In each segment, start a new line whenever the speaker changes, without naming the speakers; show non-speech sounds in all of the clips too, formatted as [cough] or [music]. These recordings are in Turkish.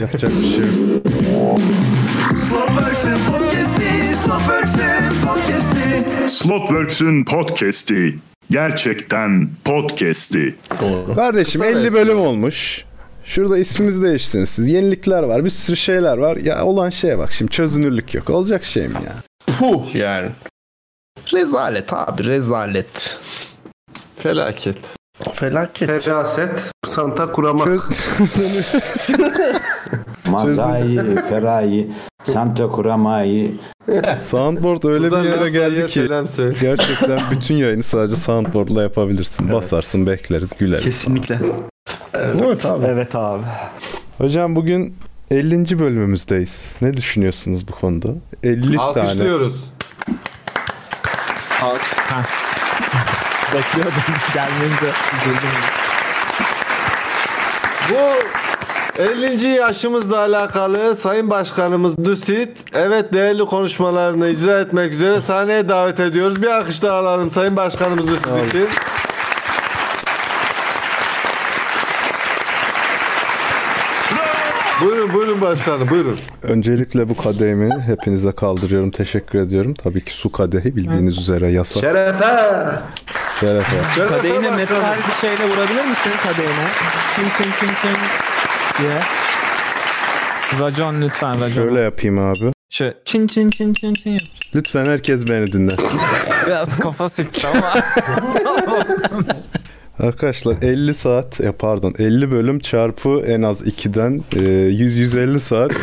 Yapacak bir şey yok.
Slotworks'ün podcast'i, Slotworks'ün podcast'i.
Slotworks'ün podcast'i. Gerçekten podcast'i.
Kardeşim
Kısa
50
versiyon.
bölüm olmuş. Şurada ismimizi değiştirin siz. Yenilikler var. Bir sürü şeyler var. Ya olan şeye bak şimdi çözünürlük yok. Olacak şey mi ya?
Puh yani. Rezalet abi rezalet.
Felaket.
Felaket.
Feraset, Santa Kurama.
Çöz...
Mazai, Ferai, Santo Kuramai,
[laughs] Soundboard öyle bir yere geldi
Nasta'ya
ki.
Selam söyle.
Gerçekten bütün yayını sadece soundboard'la yapabilirsin. Basarsın bekleriz güleriz.
Kesinlikle. Evet abi.
Evet abi.
Hocam bugün 50. bölümümüzdeyiz. Ne düşünüyorsunuz bu konuda? 50 tane.
Alkışlıyoruz.
Bekliyordum gelmenizi. Üzüldüm.
Bu 50. yaşımızla alakalı Sayın Başkanımız Dusit evet değerli konuşmalarını icra etmek üzere sahneye davet ediyoruz. Bir alkış daha alalım Sayın Başkanımız Dusit için. Buyurun buyurun başkanım buyurun.
Öncelikle bu kadehimi hepinize kaldırıyorum. Teşekkür ediyorum. Tabii ki su kadehi bildiğiniz üzere yasak.
Şerefe.
Şeref olsun.
Kadehine metal bir şeyle vurabilir misin kadehine? Çin çin çin çin diye. Racon lütfen racon.
Şöyle yapayım abi.
Şu çin çin çin çin çin yap.
Lütfen herkes beni dinler.
Biraz kafa sikti ama.
Arkadaşlar 50 saat ya pardon 50 bölüm çarpı en az e, 2'den 100-150 saat e,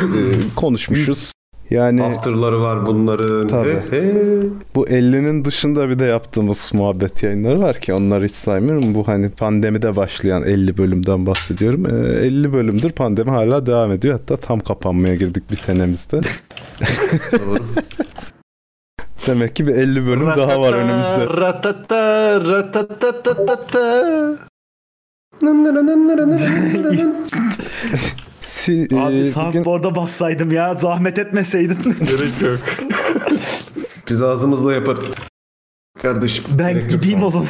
konuşmuşuz. Yani
After'ları var bunların.
Tabii.
He, he.
bu 50'nin dışında bir de yaptığımız muhabbet yayınları var ki onları hiç saymıyorum. Bu hani pandemide başlayan 50 bölümden bahsediyorum. E, 50 bölümdür pandemi hala devam ediyor. Hatta tam kapanmaya girdik bir senemizde. Demek ki bir 50 bölüm daha var önümüzde.
Ratata, ratatatatata.
Si, e,
Abi
bugün-
soundboard'a bassaydım ya zahmet etmeseydin. [laughs]
Gerek yok. [laughs] Biz ağzımızla yaparız. Kardeşim. gerek
ben
yok.
gideyim o zaman.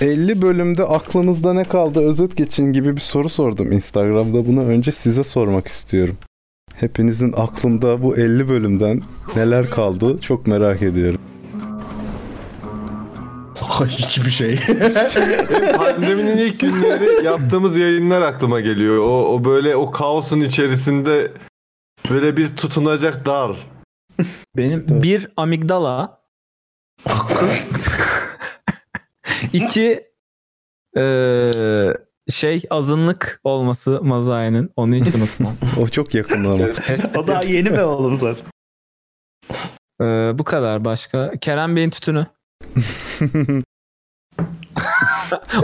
50 bölümde aklınızda ne kaldı özet geçin gibi bir soru sordum Instagram'da. Bunu önce size sormak istiyorum. Hepinizin aklında bu 50 bölümden neler kaldı çok merak ediyorum.
Hiçbir şey.
Pandeminin ilk günleri yaptığımız yayınlar aklıma geliyor. O, o böyle o kaosun içerisinde böyle bir tutunacak dal.
Benim
Tabii.
bir amigdala. iki
e,
eee, şey azınlık olması mazayının. Onu hiç unutmam.
O çok yakın ama.
O
[laughs]
daha yeni mi oğlum sen?
Eee, Ee, bu kadar başka. Kerem Bey'in tütünü.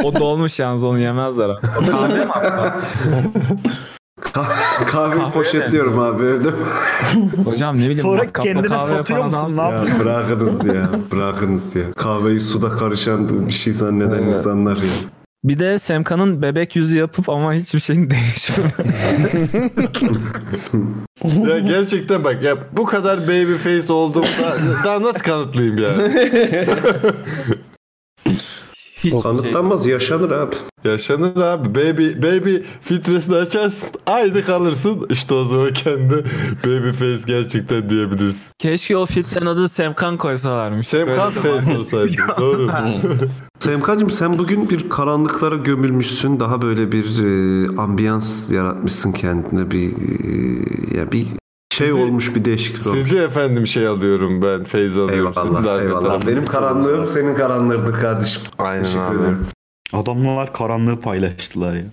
O dolmuş yalnız onu yemezler abi. Kahve mi hatta?
Kah- kahveyi
Kahveye
poşetliyorum abi evde.
Hocam ne bileyim.
Sonra
matkapla
kendine
kahve
satıyor
falan
musun? Ne
alsın.
yapıyorsun?
Ya bırakınız ya. Bırakınız ya. Kahveyi suda karışan bir şey zanneden insanlar ya.
Bir de Semkan'ın bebek yüzü yapıp ama hiçbir şeyin değişmiyor.
Ya gerçekten bak ya bu kadar baby face olduğumda [laughs] daha nasıl kanıtlayayım yani?
Hiç şey.
Kanıtlanmaz yaşanır abi.
Yaşanır abi. Baby baby filtresini açarsın. Aynı kalırsın. İşte o zaman kendi baby face gerçekten diyebilirsin.
Keşke o filtrenin adı Semkan koysalarmış.
Semkan face olsaydı.
[laughs]
Doğru.
Semkancığım sen bugün bir karanlıklara gömülmüşsün. Daha böyle bir e, ambiyans yaratmışsın kendine. Bir e, ya bir şey
Sizi-
olmuş bir değişiklik olmuş.
Sizi efendim şey alıyorum ben. Feyz alıyorum. Sizin de
Eyvallah,
arka
eyvallah.
tarafınızda
Benim karanlığım senin karanlığındır kardeşim.
Aynen
Teşekkür
abi.
ederim.
Adamlar karanlığı paylaştılar ya.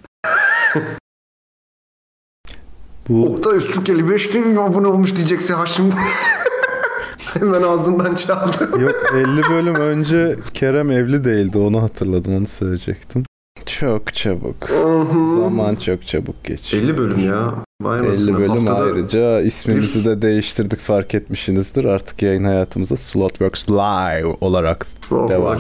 bu
Oktay Öztürk 55 kere mi abone olmuş diyeceksin ha şimdi. [laughs] Hemen ağzından çaldı.
yok 50 bölüm önce Kerem evli değildi onu hatırladım onu söyleyecektim. Çok çabuk. Zaman çok çabuk geçiyor.
50 bölüm ya. Vay
50
anasını.
bölüm
Haftada
ayrıca ismimizi de değiştirdik fark etmişsinizdir. Artık yayın hayatımıza Slotworks Live olarak devam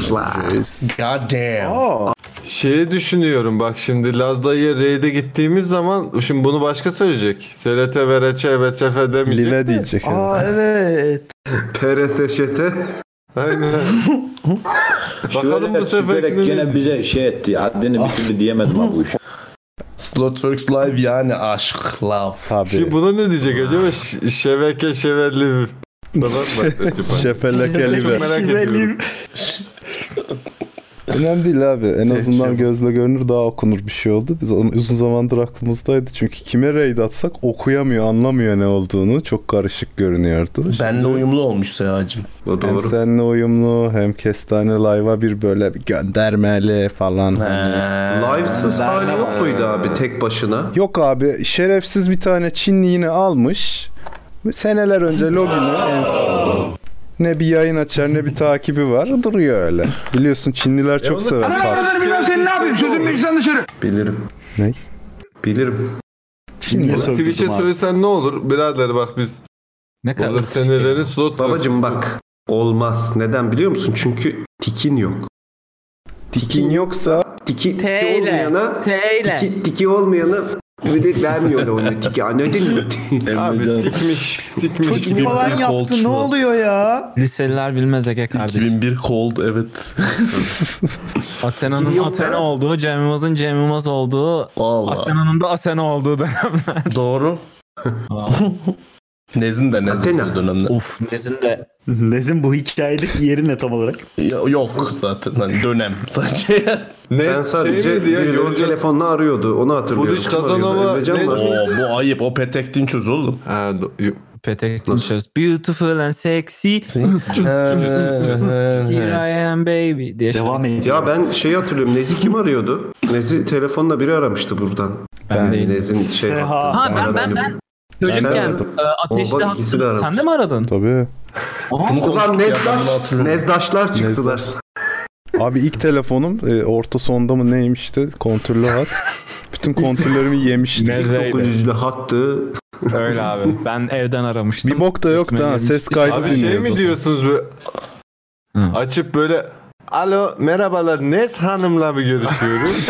edeceğiz.
God damn.
Aa,
Şeyi düşünüyorum bak şimdi Lazda'ya raid'e gittiğimiz zaman şimdi bunu başka söyleyecek. Selete ve reçe ve çefe demeyecek.
Live diyecek.
aa evet.
PRSŞT. [laughs]
Aynen. Bakalım bu
Şöyle
sefer
süperek
ne
gene bize şey etti. Haddini bir türlü diyemedim ha bu iş.
Slotworks Live yani aşk, love.
Tabii.
Şimdi buna ne diyecek acaba? Ş- şeveke şevelli. Bana bak acaba. Çok merak ediyorum.
Önemli değil abi. En azından gözle görünür daha okunur bir şey oldu. Biz onu uzun zamandır aklımızdaydı. Çünkü kime raid atsak okuyamıyor, anlamıyor ne olduğunu. Çok karışık görünüyordu.
Benle uyumlu olmuş Seha'cığım.
O
Hem
doğru.
seninle uyumlu hem kestane live'a bir böyle bir göndermeli falan.
Ee,
Ee,
Livesız hali yok muydu abi tek başına?
Yok abi şerefsiz bir tane Çinli yine almış. Seneler önce login'i en son. Ne bir yayın açar ne bir takibi var. Duruyor öyle. Biliyorsun Çinliler
E
çok sever. Pas-
senin ne yapayım? Sözüm
Bilirim.
Ne?
Bilirim.
Çinli.
Twitch'e söylesen ne olur? Birader bak biz
Ne kadar
burada seneleri
şey-
slot
Babacım bak olmaz. Neden biliyor musun? Çünkü tikin yok. Tikin yoksa tiki, tiki olmayana tiki, tiki olmayana ödül vermiyor onu
[laughs]
tiki. Anladın mı?
Abi
Emrecan.
sikmiş, sikmiş.
Çocuk falan yaptı ne oluyor?
Liseliler bilmez Ege kardeşim.
2001 Cold evet.
Athena'nın
Milyon tane-
Athena olduğu, Cem Yılmaz'ın Cem Yılmaz olduğu,
[laughs]
Valla
Athena'nın da Athena olduğu dönem.
doğru. [laughs] Nez'in de Nez'in
Athena.
olduğu dönemde.
Uf Nez'in de
Nez'in bu hikayedeki yeri ne tam olarak?
Ya, Yok zaten hani dönem sadece.
Ne, Şey
Ben
miydi
sadece
ya?
birileri
Göreceğiz.
telefonla arıyordu. Onu hatırlıyorum.
Buluş
Kim arıyordu?
Kazanova,
Emrecan
ne-
var.
Oo, bu ayıp o petek dinçöz oğlum.
Ha, do- yo-
Petek Tinchers. Beautiful and
[laughs]
sexy. Ee, Here I am baby diye. şarkı.
Devam ediyor.
Ya ben şeyi hatırlıyorum. Nez'i kim arıyordu? Nez'i telefonla biri aramıştı buradan.
Ben değilim.
Nez'in şey
Seha.
hattı.
Ha, ben-
Ara
ben-
beni.
ben. Çocukken
aradım.
e, ateşli
Oğlan ikisi de
hattı.
aramış.
Sen de
[laughs]
mi aradın?
Tabii.
Bunu
Ulan
konuştuk ya, ben bunu
Nezdaş,
hatırlıyorum.
Nezdaşlar çıktılar.
Abi ilk telefonum e, orta sonda mı neymişti? Kontürlü hat. Bütün kontürlerimi yemişti.
Nezleydi.
900'lü hattı.
Öyle abi. Ben evden aramıştım.
Bir bok da yoktu ha. Ses kaydı
Abi şey
dinliyordum.
mi diyorsunuz bu?
Hı.
Açıp böyle Alo merhabalar Nes Hanım'la mı görüşüyoruz?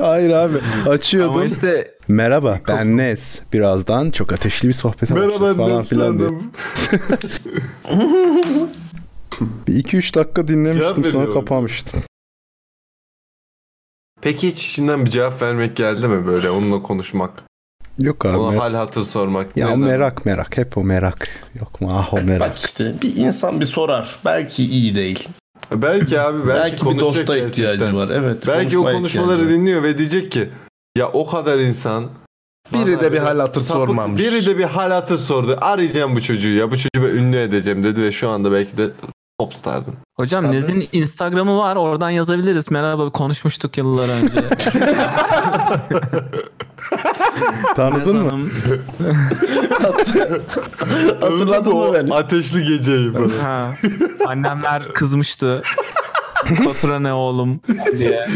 [laughs] Hayır abi. Açıyordum.
Ama işte
Merhaba ben Nez. Birazdan çok ateşli bir sohbete
Merhaba
başlayacağız falan
Nes
filan diye.
Hanım.
Bir 2-3 dakika dinlemiştim
Cevap
sonra
veriyorum.
kapamıştım.
Peki hiç içinden bir cevap vermek geldi mi böyle onunla konuşmak?
Yok abi.
Ona
mer-
hal hatır sormak.
ya
ne
o
zaman?
merak merak. Hep o merak. Yok mu? Ah o
[laughs]
Bak
merak.
işte bir insan bir sorar. Belki iyi değil.
Belki abi belki,
Belki, bir
konuşacak
dosta ihtiyacı
gerçekten.
var. Evet.
Belki o
konuşmaya
konuşmaları
ihtiyacı var.
dinliyor ve diyecek ki ya o kadar insan
Biri de bir hal hatır
Sapık-
sormamış.
Biri de bir hal hatır sordu. Arayacağım bu çocuğu ya. Bu çocuğu ben ünlü edeceğim dedi ve şu anda belki de popstardın.
hocam
Tabii.
Nez'in Instagram'ı var. Oradan yazabiliriz. Merhaba konuşmuştuk yıllar
[laughs]
önce. Nez
Tanıdın mı?
Hanım.
Hatırladın mı beni?
Ateşli geceyi falan.
Ha.
[laughs]
Annemler kızmıştı. Fatura ne oğlum diye.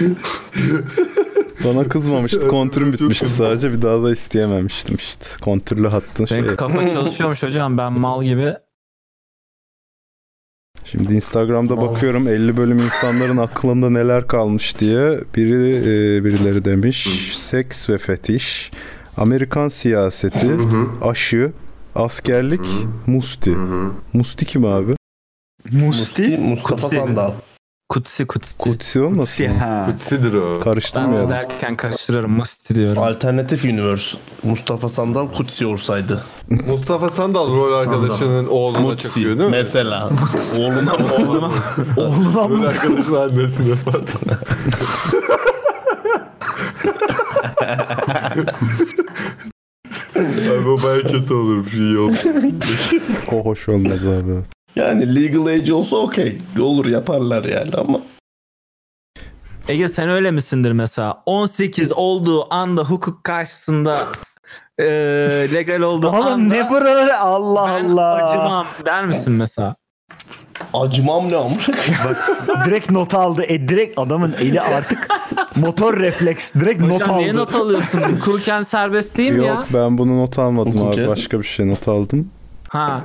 Bana kızmamıştı. Kontürüm bitmişti sadece. Bir daha da isteyememiştim işte. Kontürlü hattın şey.
Benim kafa çalışıyormuş hocam ben mal gibi.
Şimdi Instagram'da bakıyorum 50 bölüm insanların aklında neler kalmış diye biri e, birileri demiş. Seks ve fetiş, Amerikan siyaseti, aşı, askerlik, musti. Musti kim abi?
Musti.
Mustafa
Kutsi.
Sandal.
Kutsi kutsi.
Kutsi olmasın?
Kutsi
mı?
ha.
Kutsidir o.
Karıştım
Ben
ya.
derken karıştırıyorum. Musti diyorum.
Alternatif Universe. Mustafa Sandal Kutsi olsaydı.
Mustafa Sandal rol arkadaşının oğluna
Mutsi
çakıyor değil mi?
mesela. Oğluna oğluna.
Rol arkadaşının annesine falan. Abi o baya kötü olur bir şey yok.
O hoş olmaz abi.
Yani legal age olsa okey. Olur yaparlar yani ama.
Ege sen öyle misindir mesela? 18 olduğu anda hukuk karşısında eee, legal olduğu anda
Oğlum ne buralar Allah
ben
Allah.
acımam der misin mesela?
Acımam ne amına koyayım.
Bak direkt not aldı. E direkt adamın eli artık motor refleks. Direkt not
Hocam niye
aldı.
not alıyorsun?
[laughs]
Hukuken serbest değil mi
Yok
ya?
ben bunu not almadım
Hukuk
abi.
yaz.
Başka bir şey not aldım.
Ha.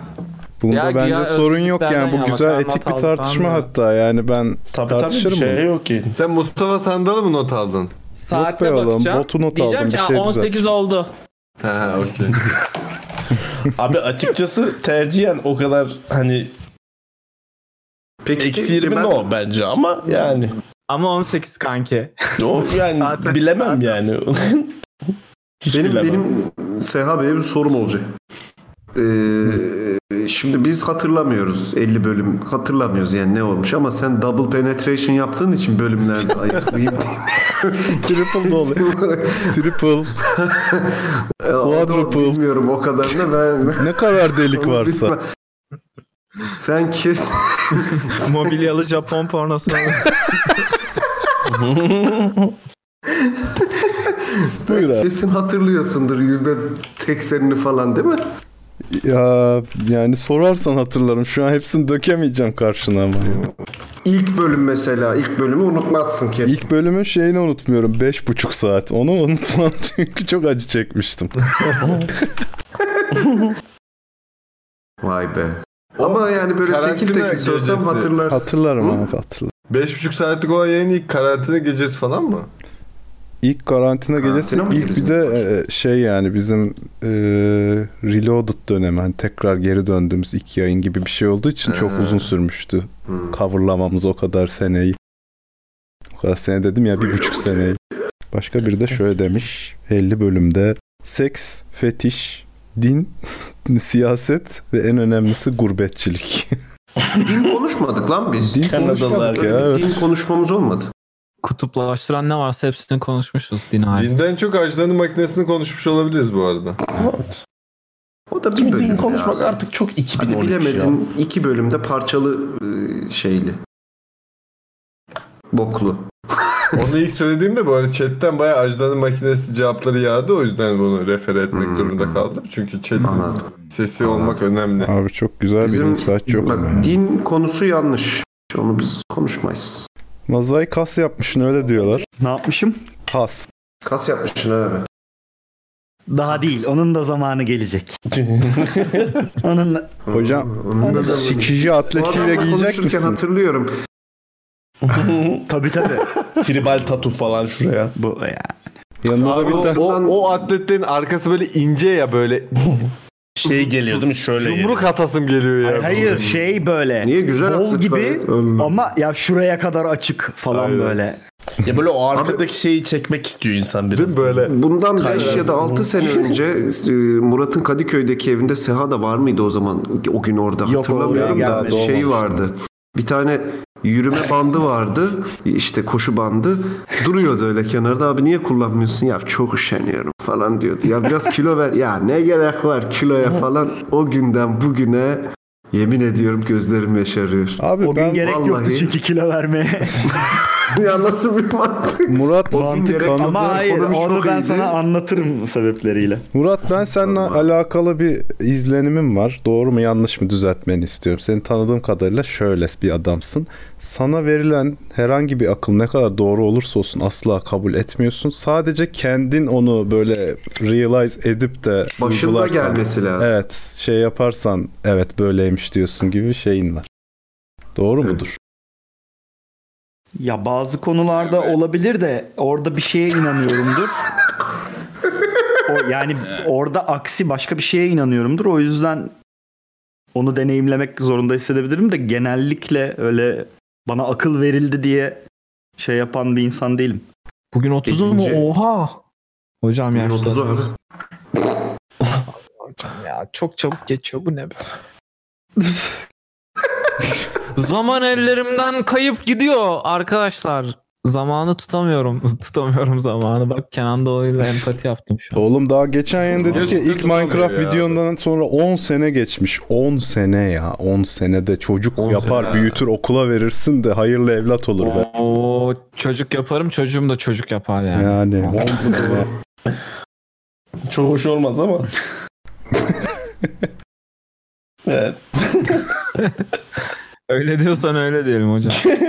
Bunda
Ya güya
bence sorun yok yani.
özgürlüklerden
Bu güzel
yana
etik bir
not
tartışma
aldım.
hatta. Yani ben
Tabii tabii bir
tartışırım bunu.
şey yok ki.
Sen Mustafa Sandal'ı mı not aldın?
Saate
oğlum,
bakacağım.
botu not
Diyeceğim
aldım,
ki
bir
"Ha,
şey güzel."
18 oldu.
Ha okey.
Abi açıkçası tercihen o kadar hani
Peki
eksi 20
ben-
no bence ama yani.
Ama 18 kanki. [laughs]
O yani bilemem yani. [laughs] Hiç
benim
bilemem.
benim Seha Bey'e bir sorum olacak. Ee, şimdi biz hatırlamıyoruz 50 bölüm hatırlamıyoruz yani ne olmuş ama sen double penetration yaptığın için bölümlerde ayıklayayım Triple ne oluyor?
[laughs] Triple.
Quadruple. Bilmiyorum o kadarını ben.
ne kadar delik varsa.
Sen kes.
Mobilyalı Japon pornosu.
[laughs]
Buyur Kesin hatırlıyorsundur yüzde seksenini falan değil mi?
Ya yani sorarsan hatırlarım. Şu an hepsini dökemeyeceğim karşına ama.
İlk bölüm mesela ilk bölümü unutmazsın kesin.
İlk bölümün şeyini unutmuyorum. Beş buçuk saat. Onu unutmam [laughs] çünkü çok acı çekmiştim.
Vay be. Ama yani böyle tekil
karantina
tekil sorsam
gecesi.
hatırlarsın.
Hatırlarım abi hatırlarım.
5,5 saatlik olan yayın ilk karantina gecesi falan mı?
İlk karantina gecesi
mı
ilk bir
gireceğiz?
de e, şey yani bizim e, reloaded dönemi hani tekrar geri döndüğümüz iki yayın gibi bir şey olduğu için çok
Ha.
uzun sürmüştü.
Hmm.
Coverlamamız o kadar seneyi. O kadar sene dedim ya bir buçuk seneyi. Başka biri de şöyle demiş 50 bölümde seks, fetiş, din, [laughs] siyaset ve en önemlisi gurbetçilik.
Din konuşmadık lan biz.
Din konuşmadık ya,
Böyle bir
evet.
Din konuşmamız olmadı.
Kutuplaştıran ne varsa hepsini konuşmuşuz din hali.
Dinden çok ajdanın makinesini konuşmuş olabiliriz bu arada.
O da bir
Şimdi
bölüm
din
ya.
konuşmak artık çok 2013
Hadi
ya.
bilemedin iki bölümde parçalı e, şeyli. Boklu.
Onu ilk söylediğimde bu arada chatten bayağı ajdanın makinesi cevapları yağdı. O yüzden bunu refer etmek durumunda kaldım. Çünkü chatin
Anladım.
sesi olmak önemli.
Abi çok güzel
Bizim-
bir saat çok
Bak
ama ya.
din konusu yanlış. Onu biz konuşmayız.
Mozaik kas yapmışsın öyle diyorlar.
Ne yapmışım?
Kas.
Kas yapmışsın abi.
Daha değil. Onun da zamanı gelecek. Onun
Hocam
Onun da
sikici atletiyle giyecek
konuşurken
misin?
hatırlıyorum.
tabii tabii.
Tribal
şey
tatu falan şuraya.
Bu ya.
Yanında da bir
O,
tane
o, o atletlerin arkası böyle ince ya böyle
Şey geliyor değil mi? Şöyle
yumruk atasım geliyor ya.
Hayır, hayır, şey böyle.
Niye güzel
Bol
atlet
gibi
gayet. Hmm.
ama ya şuraya kadar açık falan
Aynen.
böyle.
geliyor. Ya böyle o arkadaki şeyi çekmek istiyor insan
Değil mi
biraz.
böyle?
Bundan 5 ya da 6 sene önce e, Murat'ın Kadıköy'deki evinde Seha da var mıydı o zaman? O gün orada
Yok,
hatırlamıyorum
oraya
da
gelmedi.
şey vardı. Bir tane yürüme bandı vardı. işte koşu bandı. Duruyordu öyle kenarda. Abi niye kullanmıyorsun? Ya çok üşeniyorum falan diyordu. Ya biraz kilo ver. Ya ne gerek var kiloya falan. O günden bugüne yemin ediyorum gözlerim yaşarıyor.
Abi
O gün
ben
gerek yoktu
vallahi-
çünkü kilo vermeye.
[laughs] ya nasıl bir mantık?
Murat
O gün
mantık
gerek-
kanı-
Ama hayır
ekonomi çok
onu ben
iyiydi.
sana anlatırım sebepleriyle.
Murat ben seninle alakalı bir izlenimim var. Doğru mu yanlış mı düzeltmeni istiyorum. Seni tanıdığım kadarıyla şöyle bir adamsın. Sana verilen herhangi bir akıl ne kadar doğru olursa olsun asla kabul etmiyorsun. Sadece kendin onu böyle realize edip de
Başında
uygularsan-
gelmesi lazım.
Evet şey yaparsan evet böyleymiş diyorsun gibi bir şeyin var. Doğru
Evet.
mudur?
Ya bazı konularda olabilir de orada bir şeye inanıyorumdur. O, yani orada aksi başka bir şeye inanıyorumdur. O yüzden onu deneyimlemek zorunda hissedebilirim de genellikle öyle bana akıl verildi diye şey yapan bir insan değilim.
Bugün 30'u mu?
Birinci.
Oha. Hocam yaşlı.
30 abi.
Hocam ya çok çabuk geçiyor bu ne be.
[laughs] Zaman ellerimden kayıp gidiyor arkadaşlar. Zamanı tutamıyorum. [laughs] Tutamıyorum zamanı. Bak Kenan Doğulu'yla empati yaptım şu an.
Oğlum daha geçen yayın dedik ya
Gerçekten
ilk
doğru
Minecraft
ya.
videondan sonra 10 sene geçmiş. 10 sene ya. 10 senede çocuk
10
yapar,
sene.
büyütür, okula verirsin de hayırlı evlat olur be.
Oo, çocuk yaparım çocuğum da çocuk yapar yani.
Yani 10 sene.
Çok hoş olmaz ama. [laughs] evet.
Öyle diyorsan öyle diyelim hocam. [laughs]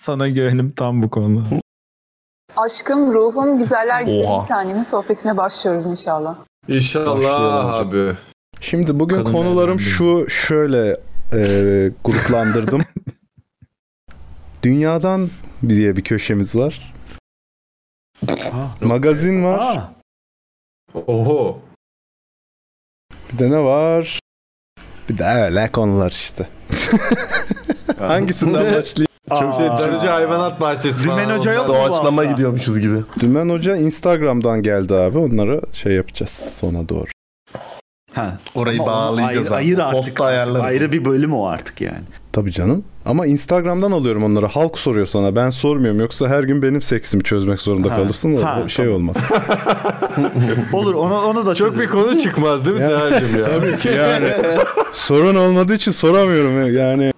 Sana güvenim tam bu konuda.
Aşkım, ruhum, güzeller güzeli
Oha.
bir tanemin sohbetine başlıyoruz inşallah.
İnşallah abi.
Şimdi bugün
Kadın
konularım
evlendim.
şu şöyle e, gruplandırdım. Dünyadan diye bir köşemiz var. Magazin var.
Aa,
Oho.
Bir de ne var? Bir de öyle konular işte. Hangisinden başlayayım?
Çok şey, Darıcı Hayvanat Bahçesi
Dümen
falan
Hoca yok
onlar.
mu bu
[laughs]
Doğaçlama hafta?
gidiyormuşuz gibi. Dümen Hoca Instagram'dan geldi abi. Onları şey yapacağız sona doğru.
Ha.
Orayı
Ama onu
bağlayacağız
ayrı-
abi.
Ayır artık.
Posta ayarlarız.
Ayrı bir bölüm o artık yani.
Tabii canım. Ama Instagram'dan alıyorum onları. Halk soruyor sana. Ben sormuyorum. Yoksa her gün benim seksimi çözmek zorunda
Ha.
kalırsın. O,
Ha,
o şey olmaz.
Olur onu onu da Çok bir
konu çıkmaz değil mi Sehacım ya?
Tabii ki yani. Sorun olmadığı için soramıyorum yani.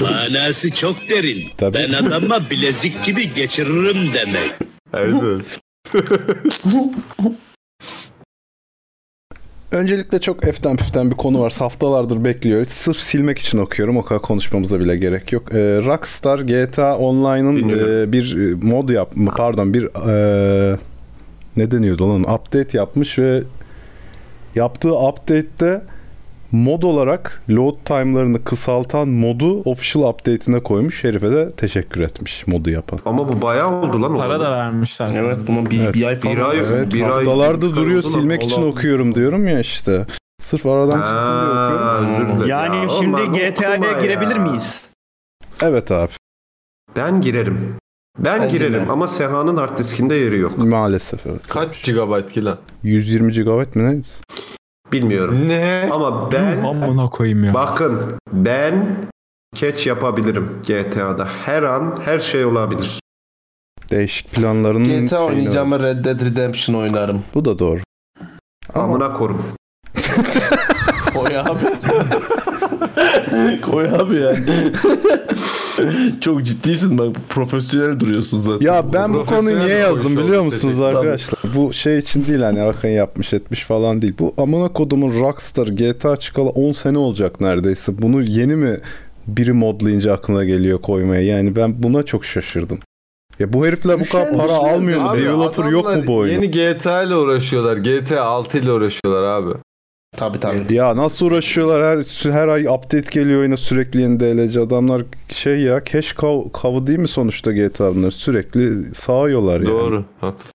Manası çok derin.
Tabii.
Ben adama bilezik gibi geçiririm demek.
Evet.
Öncelikle çok eften püften bir konu var. Haftalardır bekliyor. Sırf silmek için okuyorum. O kadar konuşmamıza bile gerek yok. Ee, Rockstar GTA Online'ın e, bir e, mod yapma pardon bir e, ne deniyordu lan? Update yapmış ve yaptığı update'te mod olarak load time'larını kısaltan modu official update'ine koymuş. Herife de teşekkür etmiş modu yapan.
Ama bu bayağı oldu lan.
Para da
vermişler.
Evet bunun bir, bir ay falan.
Bir ay,
Evet
bir ay
haftalardır
oldu
duruyor
lan.
silmek için
Allah.
okuyorum diyorum ya işte. Sırf aradan çıksın diye okuyorum.
Yani şimdi GTA'ya girebilir miyiz?
Evet abi.
Ben girerim. Ben, girerim ama Seha'nın hard diskinde yeri yok.
Maalesef evet.
Kaç GB ki lan?
120 GB mi ne?
Bilmiyorum.
Ne?
Ama ben...
Amına koyayım ya.
Bakın ben catch yapabilirim GTA'da. Her an her şey olabilir.
Değişik planlarının...
GTA
şeyini-
oynayacağıma Red Dead Redemption oynarım.
Bu da doğru.
Amına korum.
Koy abi. Koy abi ya. Çok ciddisin bak profesyonel duruyorsun zaten.
Ya ben bu konuyu niye yazdım biliyor musunuz
Tabii.
arkadaşlar? Bu şey için değil hani Akın yapmış etmiş falan değil. Bu amına kodumun Rockstar GTA çıkalı 10 sene olacak neredeyse. Bunu yeni mi biri modlayınca aklına geliyor koymaya? Yani ben buna çok şaşırdım. Ya bu herifler bu kadar para almıyor mu?
Abi
Developer yok mu
adamlar
bu oyunda?
Yeni GTA ile uğraşıyorlar. GTA 6 ile uğraşıyorlar abi.
Tabii tabii.
Ya nasıl uğraşıyorlar her her ay update geliyor yine sürekli yeni DLC adamlar şey ya cash cow, cow değil mi sonuçta GTA bunlar sürekli sağıyorlar yani.
Doğru. haklısın.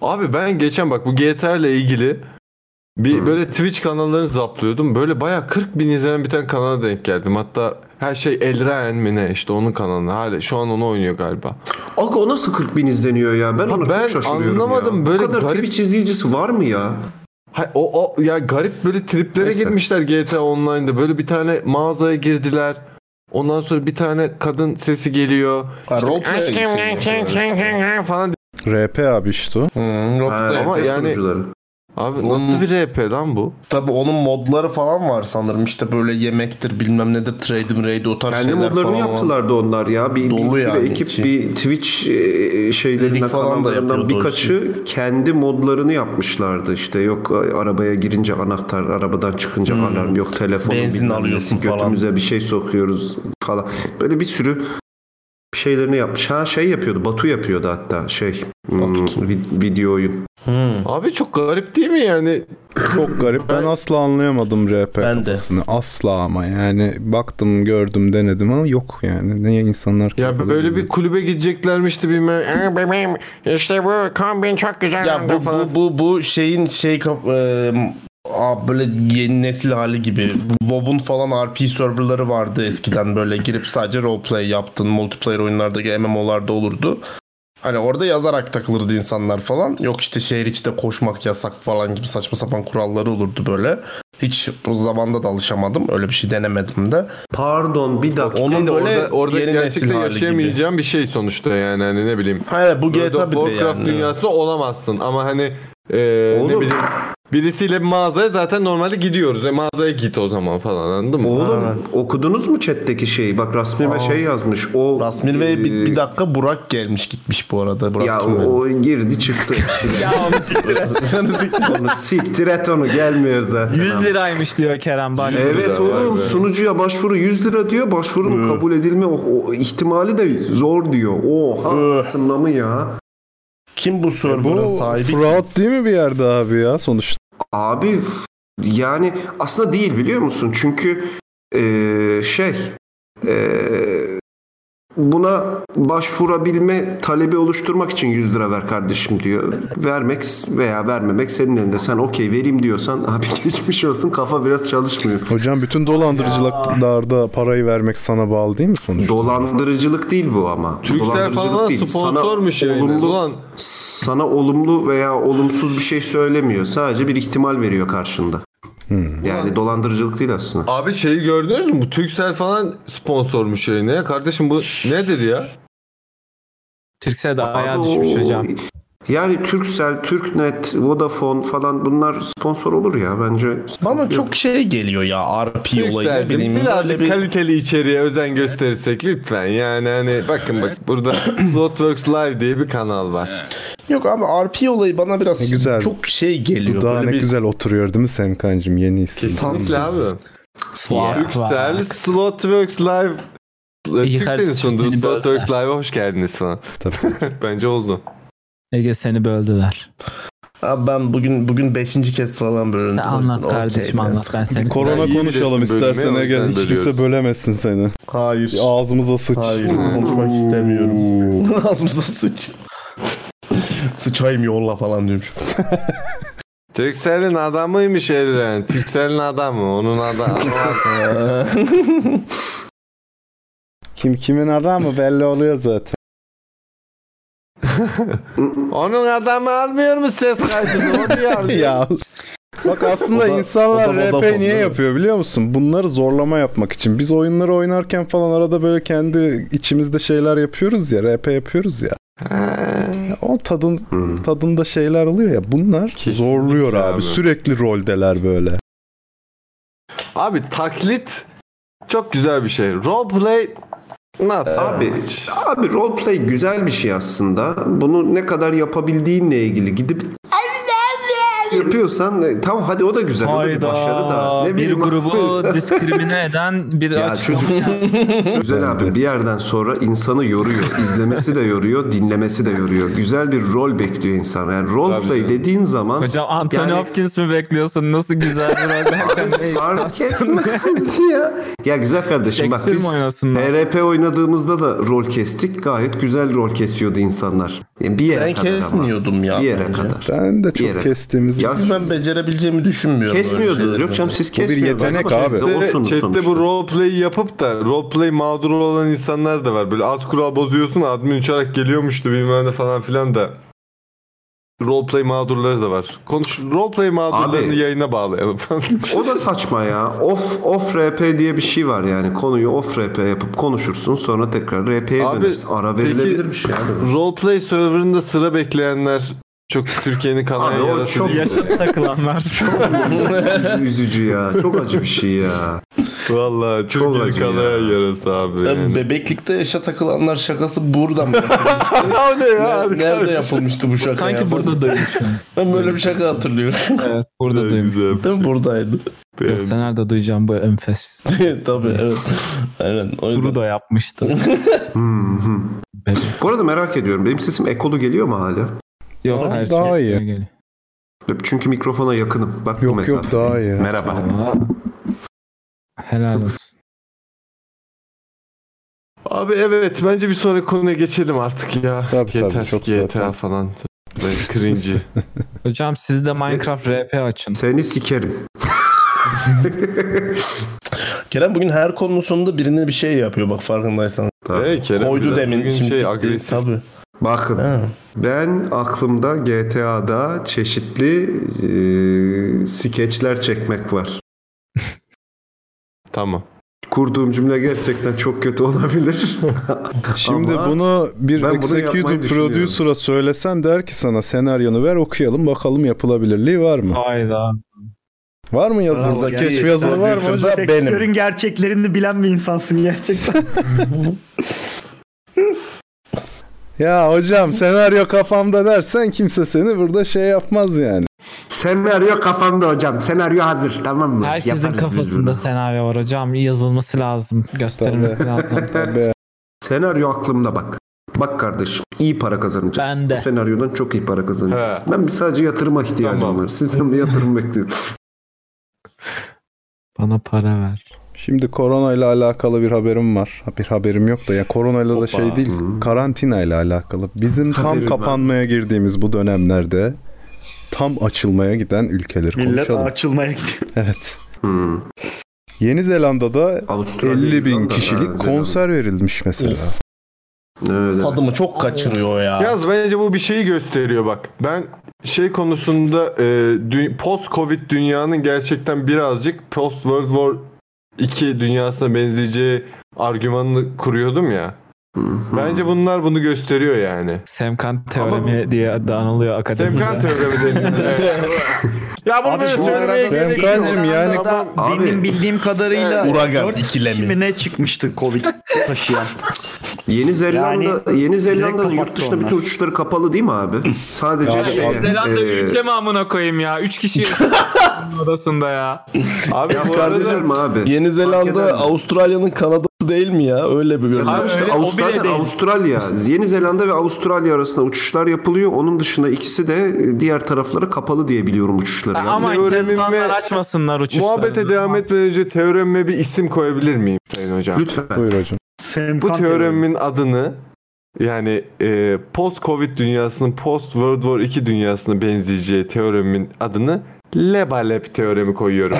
Abi ben geçen bak bu GTA ile ilgili bir böyle Twitch kanallarını zaplıyordum. Böyle bayağı 40 bin izlenen bir tane kanala denk geldim. Hatta her şey Elraen mi ne işte onun kanalına. Hala şu an onu oynuyor galiba.
Aga o nasıl 40 bin izleniyor ya? Ben
Ha,
ona
ben
çok şaşırıyorum
anlamadım.
ya.
Böyle
Bu kadar
garip-
Twitch izleyicisi var mı ya?
Hay, o, o ya garip böyle triplere
Neyse.
gitmişler GTA Online'da. Böyle bir tane mağazaya girdiler. Ondan sonra bir tane kadın sesi geliyor.
Ha, role play
"Aşkım,
şey
aşkım, aşkım" falan
RP abi işte o.
Rock'ta
Ama
yapıyor
yani-
sunucuları.
Abi
Onun-
nasıl bir RP lan bu?
Tabii onun modları falan var sanırım. İşte böyle yemektir bilmem nedir trade'im raid o tarz
Kendi
şeyler
modlarını
falan var.
yaptılardı onlar ya. Bir, bir
Dolu
sürü
yani
ekip
içi.
bir Twitch e, şeylerinden
Dedik falan da
kanallarından
yapıyordu
birkaçı kendi modlarını yapmışlardı. İşte yok arabaya girince anahtar, arabadan çıkınca alarm, yok telefon,
Hmm. Benzin alıyorsun falan.
götümüze bir şey sokuyoruz falan. Böyle bir sürü şeylerini yapmış. Ha şey yapıyordu. Batu yapıyordu hatta şey hmm, vid- video oyun.
Abi çok garip değil mi yani?
Çok garip. Ben asla anlayamadım RP
Ben de.
kafasını. Asla ama yani baktım gördüm denedim ama yok yani. Niye insanlar
Ya böyle bir kulübe gideceklermişti bilmem. "Ee, Bebeğim işte bu kombin çok güzel.
Ya bu, bu bu bu şeyin şey kaf- e, a, böyle yeni nesil hali gibi. WoW'un falan RP serverları vardı eskiden böyle girip sadece roleplay yaptın. Multiplayer oyunlardaki MMO'larda olurdu. Hani orada yazarak takılırdı insanlar falan. Yok işte şehir içinde koşmak yasak falan gibi saçma sapan kuralları olurdu böyle. Hiç o zamanda da alışamadım. Öyle bir şey denemedim de.
Pardon bir dakika.
Onun
Orada,
böyle
orada
yeni nesil
gerçekten
hali gibi.
yaşayamayacağım bir şey sonuçta yani hani ne bileyim.
Hayır bu
World
GTA
of
bir de
Warcraft
yani.
dünyasında olamazsın ama hani eee, ne
Oğlum.
bileyim birisiyle bir mağazaya zaten normalde gidiyoruz. E, mağazaya git o zaman falan anladın mı?
Oğlum okudunuz mu chatteki şeyi? Bak Rasmi ve şey yazmış. O
Rasmir Bey bir,
e,
bir dakika Burak gelmiş gitmiş bu arada. Burak
Ya
kim
o, o girdi [laughs] çıktı.
Sen de siktir.
onu siktir et onu gelmiyor zaten.
100 liraymış diyor Kerem Bahçeli.
Evet oğlum sunucuya başvuru 100 lira diyor. Başvurunun kabul edilme o- o ihtimali de zor diyor. Oha sınlamı ya.
Kim bu server'ın
E Bu
sahibi?
fraud değil mi bir yerde abi ya sonuçta?
Abi f- yani aslında değil biliyor musun? Çünkü eee, şey eee, buna başvurabilme talebi oluşturmak için 100 lira ver kardeşim diyor. Vermek veya vermemek senin elinde. Sen okey vereyim diyorsan abi [laughs] geçmiş olsun kafa biraz çalışmıyor.
Hocam bütün dolandırıcılıklarda parayı vermek sana bağlı değil mi sonuçta?
Dolandırıcılık değil bu ama.
Türksel
Dolandırıcılık
falan
değil.
sponsormuş
sana
yani.
olumlu,
Ulan.
sana olumlu veya olumsuz bir şey söylemiyor. Sadece bir ihtimal veriyor karşında. Yani dolandırıcılık değil aslında.
Abi şeyi gördünüz mü? Bu Türksel falan sponsormuş yayına. Kardeşim bu nedir ya?
Türksel de
Abi
ayağa
o-
düşmüş hocam.
Yani Türksel, Türknet, Vodafone falan bunlar sponsor olur ya bence.
Bana çok şey geliyor ya RP olayı ne
Yükseldim.
bileyim.
Birazcık
böyle bir-
kaliteli içeriğe özen gösterirsek lütfen. Yani hani bakın bak
[coughs]
burada Slotworks Live diye bir kanal var.
Yok abi RP olayı bana biraz
Ne güzel.
çok şey
Bu
geliyor.
daha
Böyle
ne
bir-
güzel oturuyor değil mi Semkancığım yeni isim.
Kesinlikle abi.
Ya.
Türksel Slotworks Live Türkcell'in sunduğu
seni böyle.
Slotworks Live'a hoş geldiniz falan. [laughs]
Tabii.
Bence oldu.
Ege seni böldüler.
Abi ben bugün bugün 5. kez falan bölündüm.
Sen anlat
Okey,
kardeşim
ben-
anlat ben seni.
Korona
Sen iyi
konuşalım
bilirsin bölümü,
istersen
o
Ege.
yüzden
Hiç kimse
bölüyoruz.
bölemesin seni.
Hayır.
Ağzımıza sıç.
Hayır konuşmak istemiyorum. [laughs] Ağzımıza sıç. Sıçayım yolla falan diyormuş.
Türkcell'in adamıymış Evren. Türkcell'in adamı. Onun adamı.
[laughs]
Kim kimin aramı belli oluyor zaten.
Onun adamı almıyor mu ses kaydını? Onu
[laughs]
ya.
ya. Bak aslında
O da-
insanlar
o da Vodafone,
RP niye
değil mi?
yapıyor biliyor musun? Bunları zorlama yapmak için. Biz oyunları oynarken falan arada böyle kendi içimizde şeyler yapıyoruz ya. RP yapıyoruz ya. Ya O tadın
Hmm.
tadında şeyler oluyor ya. Bunlar zorluyor abi.
abi.
Sürekli roldeler böyle.
Abi taklit çok güzel bir şey. Roleplay not.
Abi, abi roleplay güzel bir şey aslında. Bunu ne kadar yapabildiğinle ilgili gidip yapıyorsan e, tamam hadi o da güzel. O da bir başarı da. Ne
bir
bileyim abi.
grubu diskrimine eden bir
[laughs] Ya
açıklama [laughs]
çocuk
yaptı.
güzel abi bir yerden sonra insanı yoruyor. İzlemesi de yoruyor, dinlemesi de yoruyor. Güzel bir rol bekliyor insan. Yani roleplay dediğin zaman
Hocam Anthony
Yani-
Hopkins mi bekliyorsun? Nasıl güzel bir rol derken ne?
fark etmez ya. Ya güzel kardeşim bak
Shakespeare
biz
mi oynasınlar?
RP oynadığımızda da rol kestik. Gayet güzel rol kesiyordu insanlar. Yani bir yere
Ben
kadar ama.
kesmiyordum ya
Bir yere
bence.
kadar.
Ben de
Bir
çok
yere.
kestiğimiz
Ya
Çünkü ben becerebileceğimi düşünmüyorum. öyle
kesmiyordunuz.
şeyleri.
Yok canım siz
Bu bir
kesmiyordunuz.
yetenek
Ama siz
abi.
de olsunuz
Chatte
sonuçta.
bu roleplay'i yapıp da roleplay mağduru olan insanlar da var. Böyle az kural bozuyorsun admin uçarak geliyormuştu bilmem ne falan filan da. Roleplay mağdurları da var. Konuş roleplay mağdurlarını
Abi.
yayına bağlayalım.
O da saçma ya. Off off RP diye bir şey var yani. Konuyu off RP yapıp konuşursun sonra tekrar RP'ye
Abi,
dönersin. Ara
peki-
verilebilir bir şey
[laughs]
abi.
roleplay serverında sıra bekleyenler çok Türkiye'nin
Abi
kanayan
o
yarası
çok
değil.
[laughs]
Yaşam takılanlar.
üzücü ya. Çok acı bir şey ya.
Valla Türkiye'nin
acı ya.
kanayan yarası abi.
Ben
Yani.
bebeklikte yaşa takılanlar şakası buradan mı?
[laughs] o ne ya?
Ner-
abi?
Nerede yapılmıştı bu şaka? ya?
Sanki burada duymuşum.
Ben böyle bir şaka hatırlıyorum.
[laughs]
Evet, burada
Güzel,
duymuşum.
güzel.
Değil mi? Buradaydı. [laughs]
Yok, sen nerede duyacağım bu enfes?
Tabii evet. Aynen. O yüzden.
Turu da
[laughs]
yapmıştı.
Hmm, Bu arada merak ediyorum. Benim sesim ekolu geliyor mu hala?
Yok
Daha-
her şey.
daha iyi.
geliyor.
Çünkü mikrofona yakınım. Bak bu
Yok
mesafe.
yok daha iyi.
Merhaba.
Helal olsun.
Abi evet bence bir sonraki konuya geçelim artık ya.
Tabii,
yeter,
tabii, çok
yeter
zaten.
falan. Böyle cringy.
Hocam siz de Minecraft RP açın.
Seni sikerim.
Kerem bugün her konunun sonunda birine bir şey yapıyor bak farkındaysan.
Tamam.
Ey Kerem,
Koydu
biraz
demin
bugün
şimdi.
şey,
sikti.
agresif.
Tabii.
Bakın.
Ha.
Ben aklımda GTA'da çeşitli e, skeçler çekmek var.
Tamam.
Kurduğum cümle gerçekten çok kötü olabilir.
[laughs] Şimdi
Ama
bunu bir
ben bunu yapmayı
executive
düşünüyorum.
producer'a söylesen der ki sana senaryonu ver okuyalım bakalım yapılabilirliği var mı?
Hayda.
Var mı yazılı?
Vallahi
Skeç yazılı var mı?
producer'da
hocam?
benim.
Sektörün gerçeklerini bilen bir insansın
[laughs]
gerçekten.
Ya hocam senaryo kafamda dersen kimse seni burada şey yapmaz yani.
Senaryo kafamda hocam. Senaryo hazır tamam mı?
Herkesin
Yaparız biz
kafasında
bunu.
senaryo var hocam. Yazılması lazım. Gösterilmesi lazım.
Tabii.
Senaryo aklımda bak. Bak kardeşim iyi para kazanacağız.
Ben de.
Bu senaryodan çok iyi para kazanacağız.
He.
Ben bir sadece yatırıma ihtiyacım
Tamam.
var. Sizden bir yatırım bekliyorum.
Bana para ver.
Şimdi korona ile alakalı bir haberim var. Ha, Bir haberim yok da ya korona ile de şey değil karantina ile alakalı. Bizim tam
Haberim var.
kapanmaya girdiğimiz bu dönemlerde tam açılmaya giden ülkeleri
Millet
konuşalım.
açılmaya gidiyor.
Evet.
Hmm.
Yeni Zelanda'da 50 bin kişilik konser verilmiş mesela.
[laughs] Adımı çok kaçırıyor ya. [laughs]
Yaz bence bu bir şeyi gösteriyor bak. Ben şey konusunda e, dü- post-covid dünyanın gerçekten birazcık post-World War 2 dünyasına benzeyeceği argümanını kuruyordum ya.
Hmm.
Bence bunlar bunu gösteriyor yani.
Semkan teoremi diye de anılıyor akademide.
Semkan teoremi deniyor. Evet. ya bunu
Abi
böyle
bu
söylemeye
arada
gerek yok.
Semkancığım yani- Abi- Benim bildiğim kadarıyla
Uragan
dört
ikilemi.
kişi mi ne çıkmıştı Covid taşıyan?
Yeni Zelanda
Yani
Yeni
direkt
Zelanda'nın
kapattı
yurt dışına
onlar.
bütün uçuşları kapalı değil mi abi? Sadece
Abi,
şey.
Zelanda
e,
ülkemi amına koyayım ya. Üç
[laughs]
kişi odasında ya.
Abi
Ya fark eder mi abi?
Yeni
Fark eder
Zelanda
mi?
Avustralya'nın Kanada'sı değil mi ya? Öyle bir görünüyor.
Abi işte Avustralya, Avustralya, Yeni Zelanda ve Avustralya arasında uçuşlar yapılıyor. Onun dışında ikisi de e, diğer taraflara kapalı diye biliyorum uçuşları. Yani.
Ama
Teoremime
Kezbanlar açmasınlar uçuşları.
muhabbete devam etmeden önce teoremime bir isim koyabilir miyim Sayın Hocam?
Lütfen.
Buyur hocam.
Bu teoremin adını yani e, post-Covid dünyasının post-World War 2 dünyasına benzeyeceği teoremin adını Lebalep teoremi koyuyorum.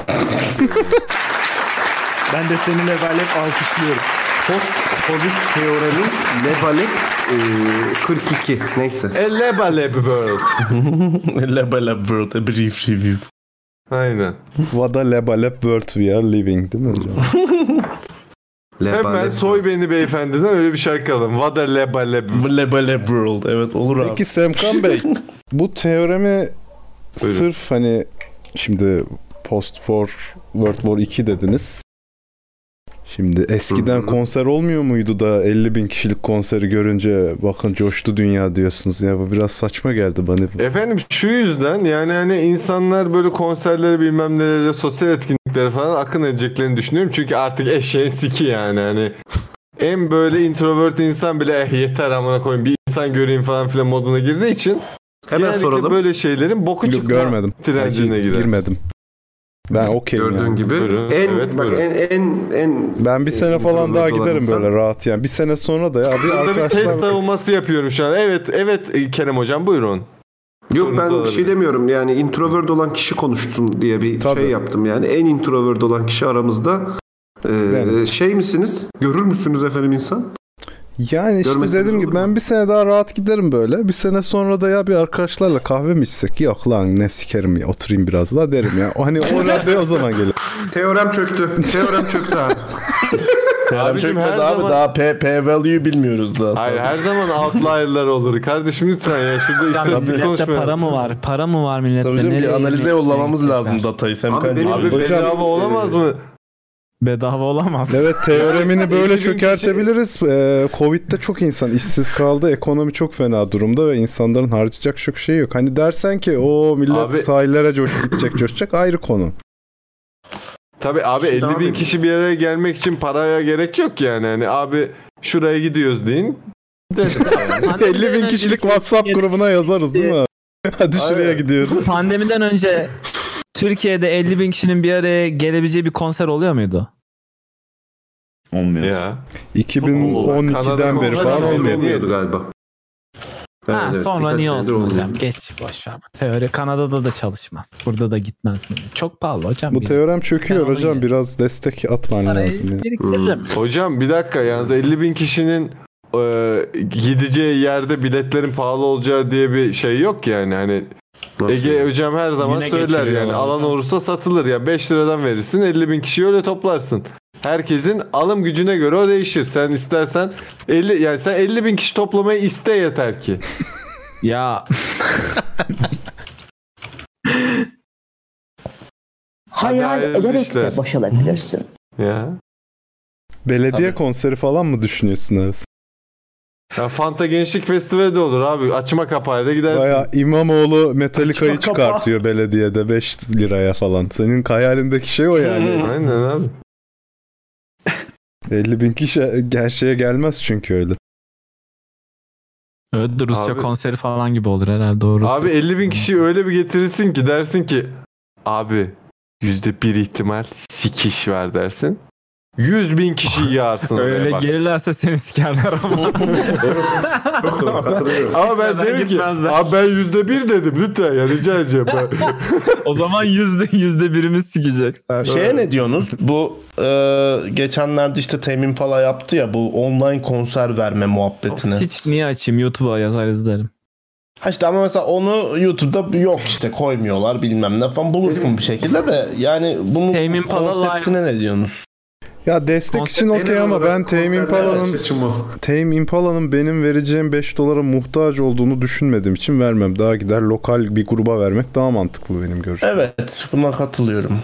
Ben de seni levalep
[laughs]
alkışlıyorum.
Post Covid teoremi Lebalep e, 42 neyse.
E, Lebalep World.
Lebalep World, a brief review.
Aynen.
What a lebalep world we are living değil mi hocam?
Hemen soy beni beyefendiden öyle bir şarkı alalım. Vada Lebalep.
Lebalep World. Evet olur abi.
Peki Semkan Bey bu teoremi
Buyurun.
sırf hani şimdi post war World War 2 dediniz. Şimdi eskiden konser olmuyor muydu da 50 bin kişilik konseri görünce bakın coştu dünya diyorsunuz ya bu biraz saçma geldi bana.
Efendim şu yüzden yani hani insanlar böyle konserlere bilmem nelere sosyal etkinliklere falan akın edeceklerini düşünüyorum. Çünkü artık eşeğin siki yani hani. En böyle introvert insan bile eh yeter amına koyayım bir insan göreyim falan filan moduna girdiği için
Hemen
genellikle
soralım.
böyle şeylerin boku çıkma
Görmedim.
trencine
Belki
girer.
Girmedim. Ben okeyim
Gördüğün
yani.
gibi
Buyurun.
en
Evet,
bak
buyurun.
en en en
Ben
Ee,
bir sene falan daha
dolar
giderim
insan.
böyle rahat yani. Bir sene sonra da ya bir
Burada bir
arkadaşlar
test savunması yapıyorum şu an. Evet evet e, Kerem hocam buyurun.
Yok ben bir
olabilir.
şey demiyorum yani introvert olan kişi konuşsun diye bir şey yaptım yani en introvert olan kişi aramızda Ee, şey misiniz görür müsünüz efendim insan?
Yani işte
Görmeseniz
dediğim gibi ben bir sene daha rahat giderim böyle. Bir sene sonra da ya bir arkadaşlarla kahve mi içsek? Yok lan ne sikerim ya oturayım biraz daha derim ya. O Hani
[laughs]
o raddeye o zaman gelir.
Teorem çöktü. Teorem çöktü abi.
Teorem
Abicim,
çökmedi
her
abi
zaman-
daha P, P value bilmiyoruz zaten.
Hayır her zaman outlier'lar olur. Kardeşim lütfen ya şurada
Ya
istatistik
millette
konuşmayalım.
para mı var? Para mı var millette?
Tabii canım,
Nereye
bir analize
inecek?
yollamamız lazım datayı Semkan.
benim-
Abi
Hocam,
bedava
e,
olamaz mı?
Bedava olamaz.
Evet
[laughs]
teoremini
İlgili
böyle
bir şey-
çökertebiliriz. Ee, Covid'de çok insan işsiz kaldı. Ekonomi çok fena durumda ve insanların harcayacak çok şey yok. Hani dersen ki o millet
Abi-
sahillere coş gidecek coşacak ayrı konu.
Tabii abi
Şimdi
50 bin
abi-
kişi bir araya gelmek için paraya gerek yok yani. Hani abi şuraya gidiyoruz deyin.
[laughs]
Derim yani.
[laughs] 50 bin kişilik WhatsApp grubuna yazarız değil mi? abi? Hadi şuraya gidiyoruz.
Pandemiden önce Türkiye'de 50 bin kişinin bir araya gelebileceği bir konser oluyor muydu?
Olmuyor. Hani Ya.
2012'den beri falan olmuyor.
Olmuyordu galiba.
ha,
Evet, evet,
sonra
birkaç
niye
senedir
olsun hocam?
olmuyor.
Geç boş ver bu teori. Kanada'da da çalışmaz. Burada da gitmez. mi? Çok pahalı hocam.
Bu
Bir-
teorem çöküyor
Ben
hocam. Biraz destek atman
Parayı
lazım. yani.
Hmm.
biriktiririm.
Hocam bir dakika yalnız 50 bin kişinin e, gideceği yerde biletlerin pahalı olacağı diye bir şey yok yani. Hani Ege hocam her zaman
Yine
söyler
getiriyorlar
yani alan
hocam.
olursa satılır ya 5 liradan verirsin 50 bin kişiyi öyle toplarsın. Herkesin alım gücüne göre o değişir. Sen istersen 50 yani sen 50 bin kişi toplamayı iste yeter ki.
Ya
Hayal
Acayip
ederek
işler.
de boşalabilirsin.
Ya.
Belediye konseri falan mı düşünüyorsun abi?
Ya Fanta Gençlik Festivali de olur abi. Açma kapağıyla gidersin.
Baya İmamoğlu Metallica'yı
Açma kapağı.
çıkartıyor belediyede 5 liraya falan. Senin hayalindeki şey o yani.
Aynen abi.
50 bin kişi gerçeğe gelmez çünkü öyle.
evet, de Rusya
Abi-
konseri falan gibi olur herhalde. Doğru.
Abi 50 bin kişiyi öyle bir getirirsin ki dersin ki abi yüzde bir ihtimal sikiş var dersin. 100 bin
[laughs]
kişiyi yağarsın.
Öyle
gelirlerse seni sikerler ama.
[laughs]
Ama ben
Hemen
dedim ki
gitmezler.
abi ben yüzde bir dedim lütfen ya rica edeceğim.
[laughs]
Ben.
o zaman yüzde yüzde birimiz sikecek.
[laughs]
Şey
Şeye ne diyorsunuz? Bu e, geçenlerde işte Temin Pala yaptı ya bu online konser verme muhabbetini.
Hiç niye açayım YouTube'a yazar izlerim.
Ha işte ama mesela onu YouTube'da yok işte koymuyorlar bilmem ne falan bulursun bir şekilde de yani bunun
Pala
konseptine ne diyorsunuz?
Ya destek için okey ama ben Tame
şey
Impala'nın Tame Impala'nın benim vereceğim 5 dolara muhtaç olduğunu düşünmediğim için vermem. Daha gider lokal bir gruba vermek daha mantıklı benim görüşüm.
Evet buna katılıyorum.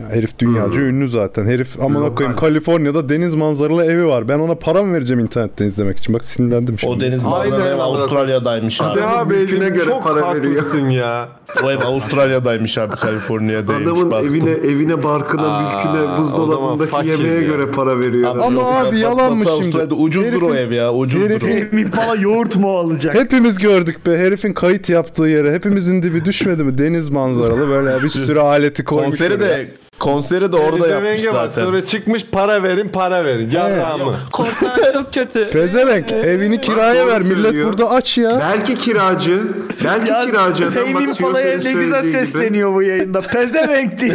Ya herif dünyaca
Hmm.
ünlü zaten. Herif amına
Lokal.
koyayım Kaliforniya'da deniz manzaralı evi var. Ben ona para mı vereceğim internetten izlemek için? Bak sinirlendim şimdi.
O deniz manzaralı ev Avustralya'daymış abi.
Seha Bey'in çok haklısın ya.
O ev Avustralya'daymış abi Kaliforniya'daymış.
Adamın evine evine barkına
Aa, o
mülküne
zaman
buzdolabındaki
fakir
yemeğe
ya.
göre para veriyor.
Ama abi yalan mı şimdi?
Avustralya'da ucuzdur o ev ya ucuzdur
Herifin-
o.
Impala yoğurt mu alacak?
Hepimiz gördük be. Herifin kayıt yaptığı yere hepimizin dibi düşmedi mi? Deniz manzaralı böyle
[laughs]
bir sürü aleti koymuş.
Konseri de-
oraya.
konseri de
Deniz Evenge bak, Sonra çıkmış para verin para verin. Ya mı?
Konser çok kötü.
Pezevenk evini kiraya
doğru
ver. Millet
söylüyor.
burada aç ya.
Belki kiracı, belki kiracı adam bak
Temin Pala'ya
Siyoser'in
ne güzel
söylediği gibi.
sesleniyor bu yayında. Pezevenk
[laughs]
diye.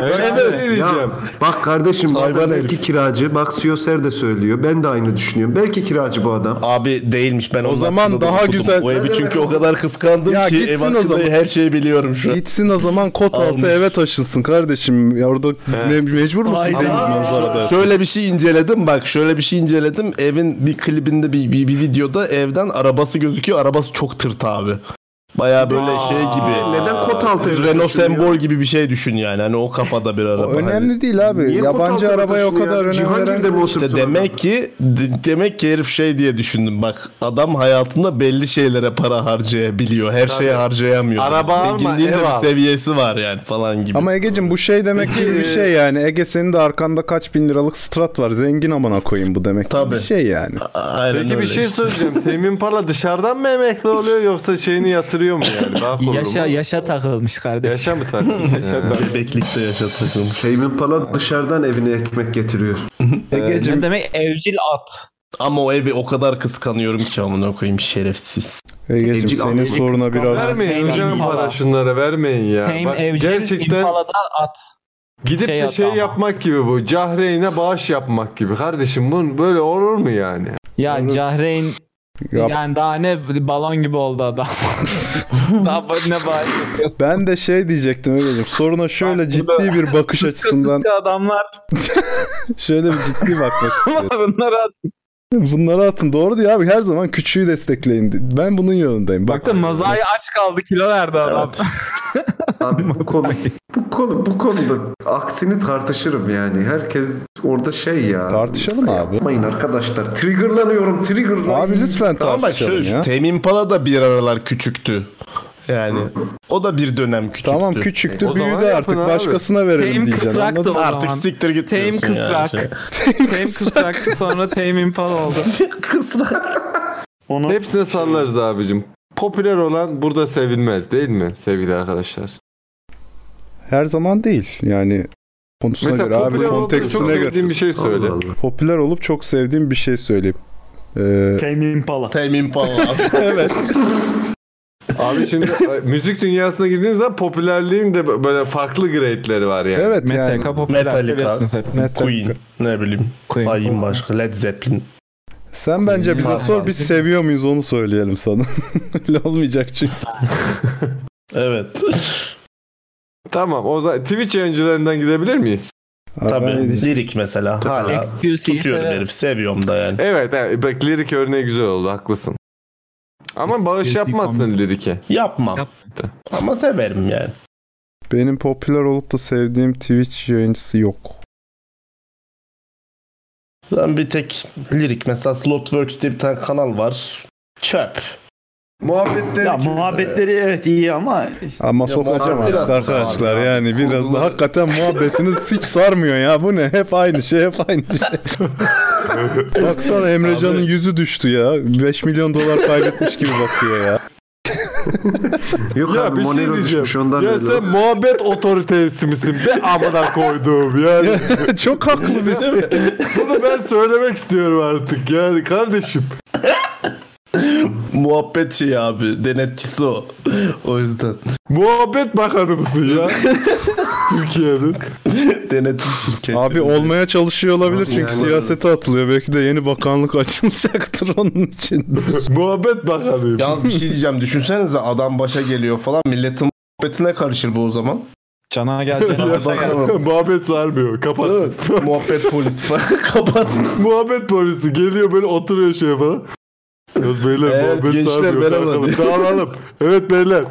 Ben de
şey
diyeceğim. Bak kardeşim bu adam belki kiracı. Bak Siyoser de söylüyor. Ben de aynı düşünüyorum. Belki kiracı bu adam.
Abi değilmiş ben
O
zaman daha güzel.
O evi çünkü o kadar kıskandım
Ya
ki ev
gitsin o
hakkında
zaman.
her şeyi biliyorum şu an.
Gitsin o zaman kot
Almış.
altı eve taşınsın kardeşim. Ya orada me- mecbur musun
Ama
deniz manzarada?
Şöyle bir şey inceledim bak şöyle bir şey inceledim. Evin bir klibinde bir, bir, bir videoda evden arabası gözüküyor. Arabası çok tırt abi. Baya böyle şey gibi.
Neden kot altı evi
Renault
taşınıyor?
Sembol gibi bir şey düşün yani. Hani o kafada bir araba.
önemli değil abi.
Niye kot
Yabancı
altına
arabaya o
taşınıyor
kadar
ya?
önem
Cihangir'de
veren...
mi otursun
İşte demek ki de- demek ki herif şey diye düşündüm. Bak adam hayatında belli şeylere para harcayabiliyor. Her şeye harcayamıyor.
Araba alma,
Zenginliğin de
ev al.
bir seviyesi var yani falan gibi.
Ama Ege'cim bu şey demek değil bir
e,
şey yani. Ege senin de arkanda kaç bin liralık strat var. Zengin amına koyayım bu demek değil bir şey yani.
Aynen
Peki bir şey
[laughs]
söyleyeceğim. Temin Pala dışarıdan mı emekli oluyor yoksa şeyini yatırıyor mu yani? Ben korurum.
[laughs] Yaşa yaşa takılmış kardeşim.
Yaşa mı
[laughs]
takılmış?
Yaşa takılmış.
Bebeklikte yaşatırdım.
Teymin Pala dışarıdan evine
[laughs]
ekmek getiriyor.
Egeciğim.
Ee, Ne demek evcil at?
Ama o evi o kadar kıskanıyorum ki amına koyayım şerefsiz.
Egeciğim
Evcil
senin
almayı
soruna
kıskanmaz.
biraz...
Vermeyin
Tame
hocam
Impala.
para şunlara vermeyin ya.
Tame
Bak,
evcil
gerçekten
impalada at.
gidip
şey
de şey
yatağı.
yapmak gibi bu. Cahreyn'e bağış yapmak gibi. Kardeşim bu böyle olur mu yani?
Ya Cahreyn
Yap.
yani daha ne balon gibi oldu
[laughs]
adam. daha ne bağış yapıyorsun?
Ben de şey diyecektim Ege'cim. Soruna şöyle ciddi bir bakış açısından
Sıska adamlar
şöyle bir ciddi bakmak istiyorum.
bunları attık.
Bunları atın doğru diyor abi her zaman küçüğü destekleyin. Ben bunun yanındayım. Bak,
Da Mazai aç kaldı kilo verdi adam.
Abi bu konu, bu konu bu konuda aksini tartışırım yani. Herkes orada şey ya.
Tartışalım abi.
Yapmayın arkadaşlar. Triggerlanıyorum, triggerlanıyorum.
Abi lütfen
Tamam bak
tartışalım
şöyle
ya.
Temin Pala da bir aralar küçüktü. Yani o da bir dönem küçüktü.
Tamam küçüktü
E, O zaman
büyüdü
yapın
artık
abi.
başkasına verelim
Tame
diyeceksin.
kısrak da
anladın
o
mı?
zaman.
Artık siktir git
Tame
diyorsun yani.
kısrak. [laughs] Tame kısrak sonra Tame Impala
[laughs]
oldu.
Onu
Hepsine
şey-
sallarız abicim. Popüler olan burada sevilmez değil mi sevgili arkadaşlar?
Her zaman değil yani konusuna
Mesela
göre abi
popüler olduğunu çok
kontekstine göre.
sevdiğim bir şey söyle.
Allah Allah.
Popüler olup çok sevdiğim bir şey söyleyeyim. Ee,
Tame Impala.
Temin
[laughs]
Pala.
evet.
Abi [laughs] şimdi e, müzik dünyasına girdiğiniz zaman popülerliğin de bö- böyle farklı grade'leri var yani.
Evet yani.
Metallica popüler.
Metallica,
biliyorsunuz hep.
Metallica.
Queen, ne bileyim.
Queen.
Sayayım başka Led Zeppelin.
Sen bence bize sor biz seviyor muyuz onu söyleyelim sana. [laughs] Öyle olmayacak çünkü.
Evet.
Tamam o zaman Twitch yayıncılarından gidebilir miyiz?
Abi ben ne
Tabii
diyeceğim?
lirik mesela hala
XQC'yi
tutuyorum
severim.
herif seviyorum da yani.
Evet, evet E, bak lirik örneği güzel oldu haklısın. Ama bağış yapmazsın lirike.
Yapmam
Yap.
ama severim yani.
Benim popüler olup da sevdiğim Twitch yayıncısı yok.
Ben bir tek lirik mesela Slotworks diye bir tane kanal var. Çöp.
Muhabbetleri
Ya muhabbetleri evet iyi ama işte
Ama
Ya
sokacağım
bazen
artık
biraz
arkadaşlar
sardı
yani biraz da
Konuları-
hakikaten muhabbetiniz hiç sarmıyor ya bu ne hep aynı şey hep aynı
[laughs]
şey. Baksana Emrecan'ın
Abi-
yüzü düştü ya [laughs] 5 milyon dolar kaybetmiş gibi bakıyor ya.
Yok
ya
abi,
bir şey
Monero
diyeceğim.
düşmüş, ondan
Ya
öyle
sen
oldu.
muhabbet otoritesi misin? Be amına koyduğum [laughs] yani.
Çok haklı
Mesih. Bunu ben söylemek istiyorum artık yani kardeşim.
Muhabbet şey abi. Denetçisi o. o yüzden.
Muhabbet bakanı mısın [laughs] ya?
[laughs]
Türkiye'nin.
Denetim şirketi.
Abi olmaya çalışıyor olabilir çünkü
Yani-
siyasete atılıyor. Belki de yeni bakanlık [laughs] açılacaktır onun için.
Muhabbet bakanıyım.
Yalnız bir şey diyeceğim. Düşünsenize adam başa geliyor falan. Milletin muhabbetine karışır bu o zaman.
Cana
[laughs]
Hadi
[laughs]
bakalım.
Muhabbet sarmıyor. Kapat.
Muhabbet polisi falan. [laughs] Kapat.
[laughs] Muhabbet polisi geliyor böyle oturuyor şeye falan. Göz beyler
Evet,
muhabbet
gençler
sarmıyor.
merhaba
Kalkalım.
diye. [laughs]
Dağılalım. Evet beyler.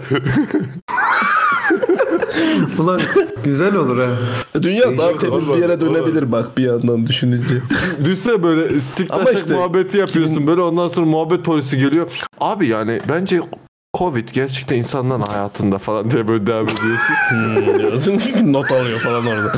Ulan güzel olur ha.
Dünya daha temiz
Olmaz,
bir yere dönebilir bak bir yandan düşününce. [laughs]
Düşse böyle
Ama
siktaşak
işte
muhabbeti yapıyorsun böyle ondan sonra muhabbet polisi geliyor. Abi yani bence Covid gerçekten insanların hayatında falan diye böyle devam ediyorsun.
diyorsun. [laughs] Not alıyor falan orada.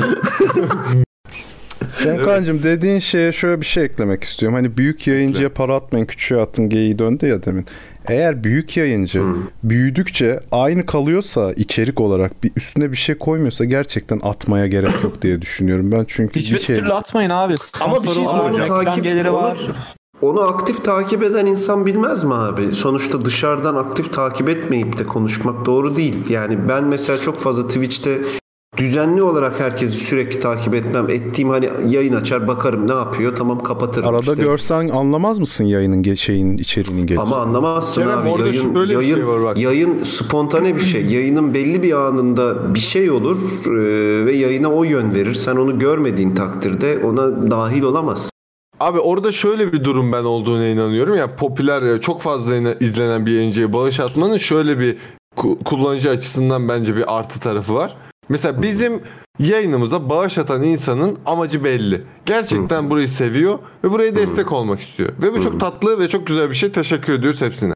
Semkancığım dediğin şeye şöyle bir şey eklemek istiyorum. Hani büyük yayıncıya para atmayın küçüğe atın geyiği döndü ya demin. Eğer büyük yayıncı büyüdükçe aynı kalıyorsa içerik olarak bir üstüne bir şey koymuyorsa gerçekten atmaya gerek yok diye düşünüyorum ben. Çünkü
Hiçbir
bir şey...
türlü atmayın abi.
Ama bir şey
Sponsoru var,
sorun
reklam
takip-
geliri var.
Onu aktif takip eden insan bilmez mi abi? Sonuçta dışarıdan aktif takip etmeyip de konuşmak doğru değil. Yani ben mesela çok fazla Twitch'te düzenli olarak herkesi sürekli takip etmem. Ettiğim hani yayın açar bakarım ne yapıyor tamam kapatırım.
Arada
işte.
görsen anlamaz mısın yayının ge- şeyin içeriğinin gelişini?
Ama anlamazsın
Kerem,
abi.
orada
Yayın,
şöyle bir
yayın,
şey
yayın spontane bir şey. Yayının belli bir anında bir şey olur e, ve yayına o yön verir. Sen onu görmediğin takdirde ona dahil olamazsın.
Abi orada şöyle bir durum ben olduğuna inanıyorum. Yani popüler e, çok fazla in- izlenen bir yayıncıya bağış atmanın şöyle bir ku- kullanıcı açısından bence bir artı tarafı var. Mesela bizim yayınımıza bağış atan insanın amacı belli. Gerçekten burayı seviyor ve buraya destek olmak istiyor. Ve bu çok tatlı ve çok güzel bir şey. Teşekkür ediyoruz hepsine.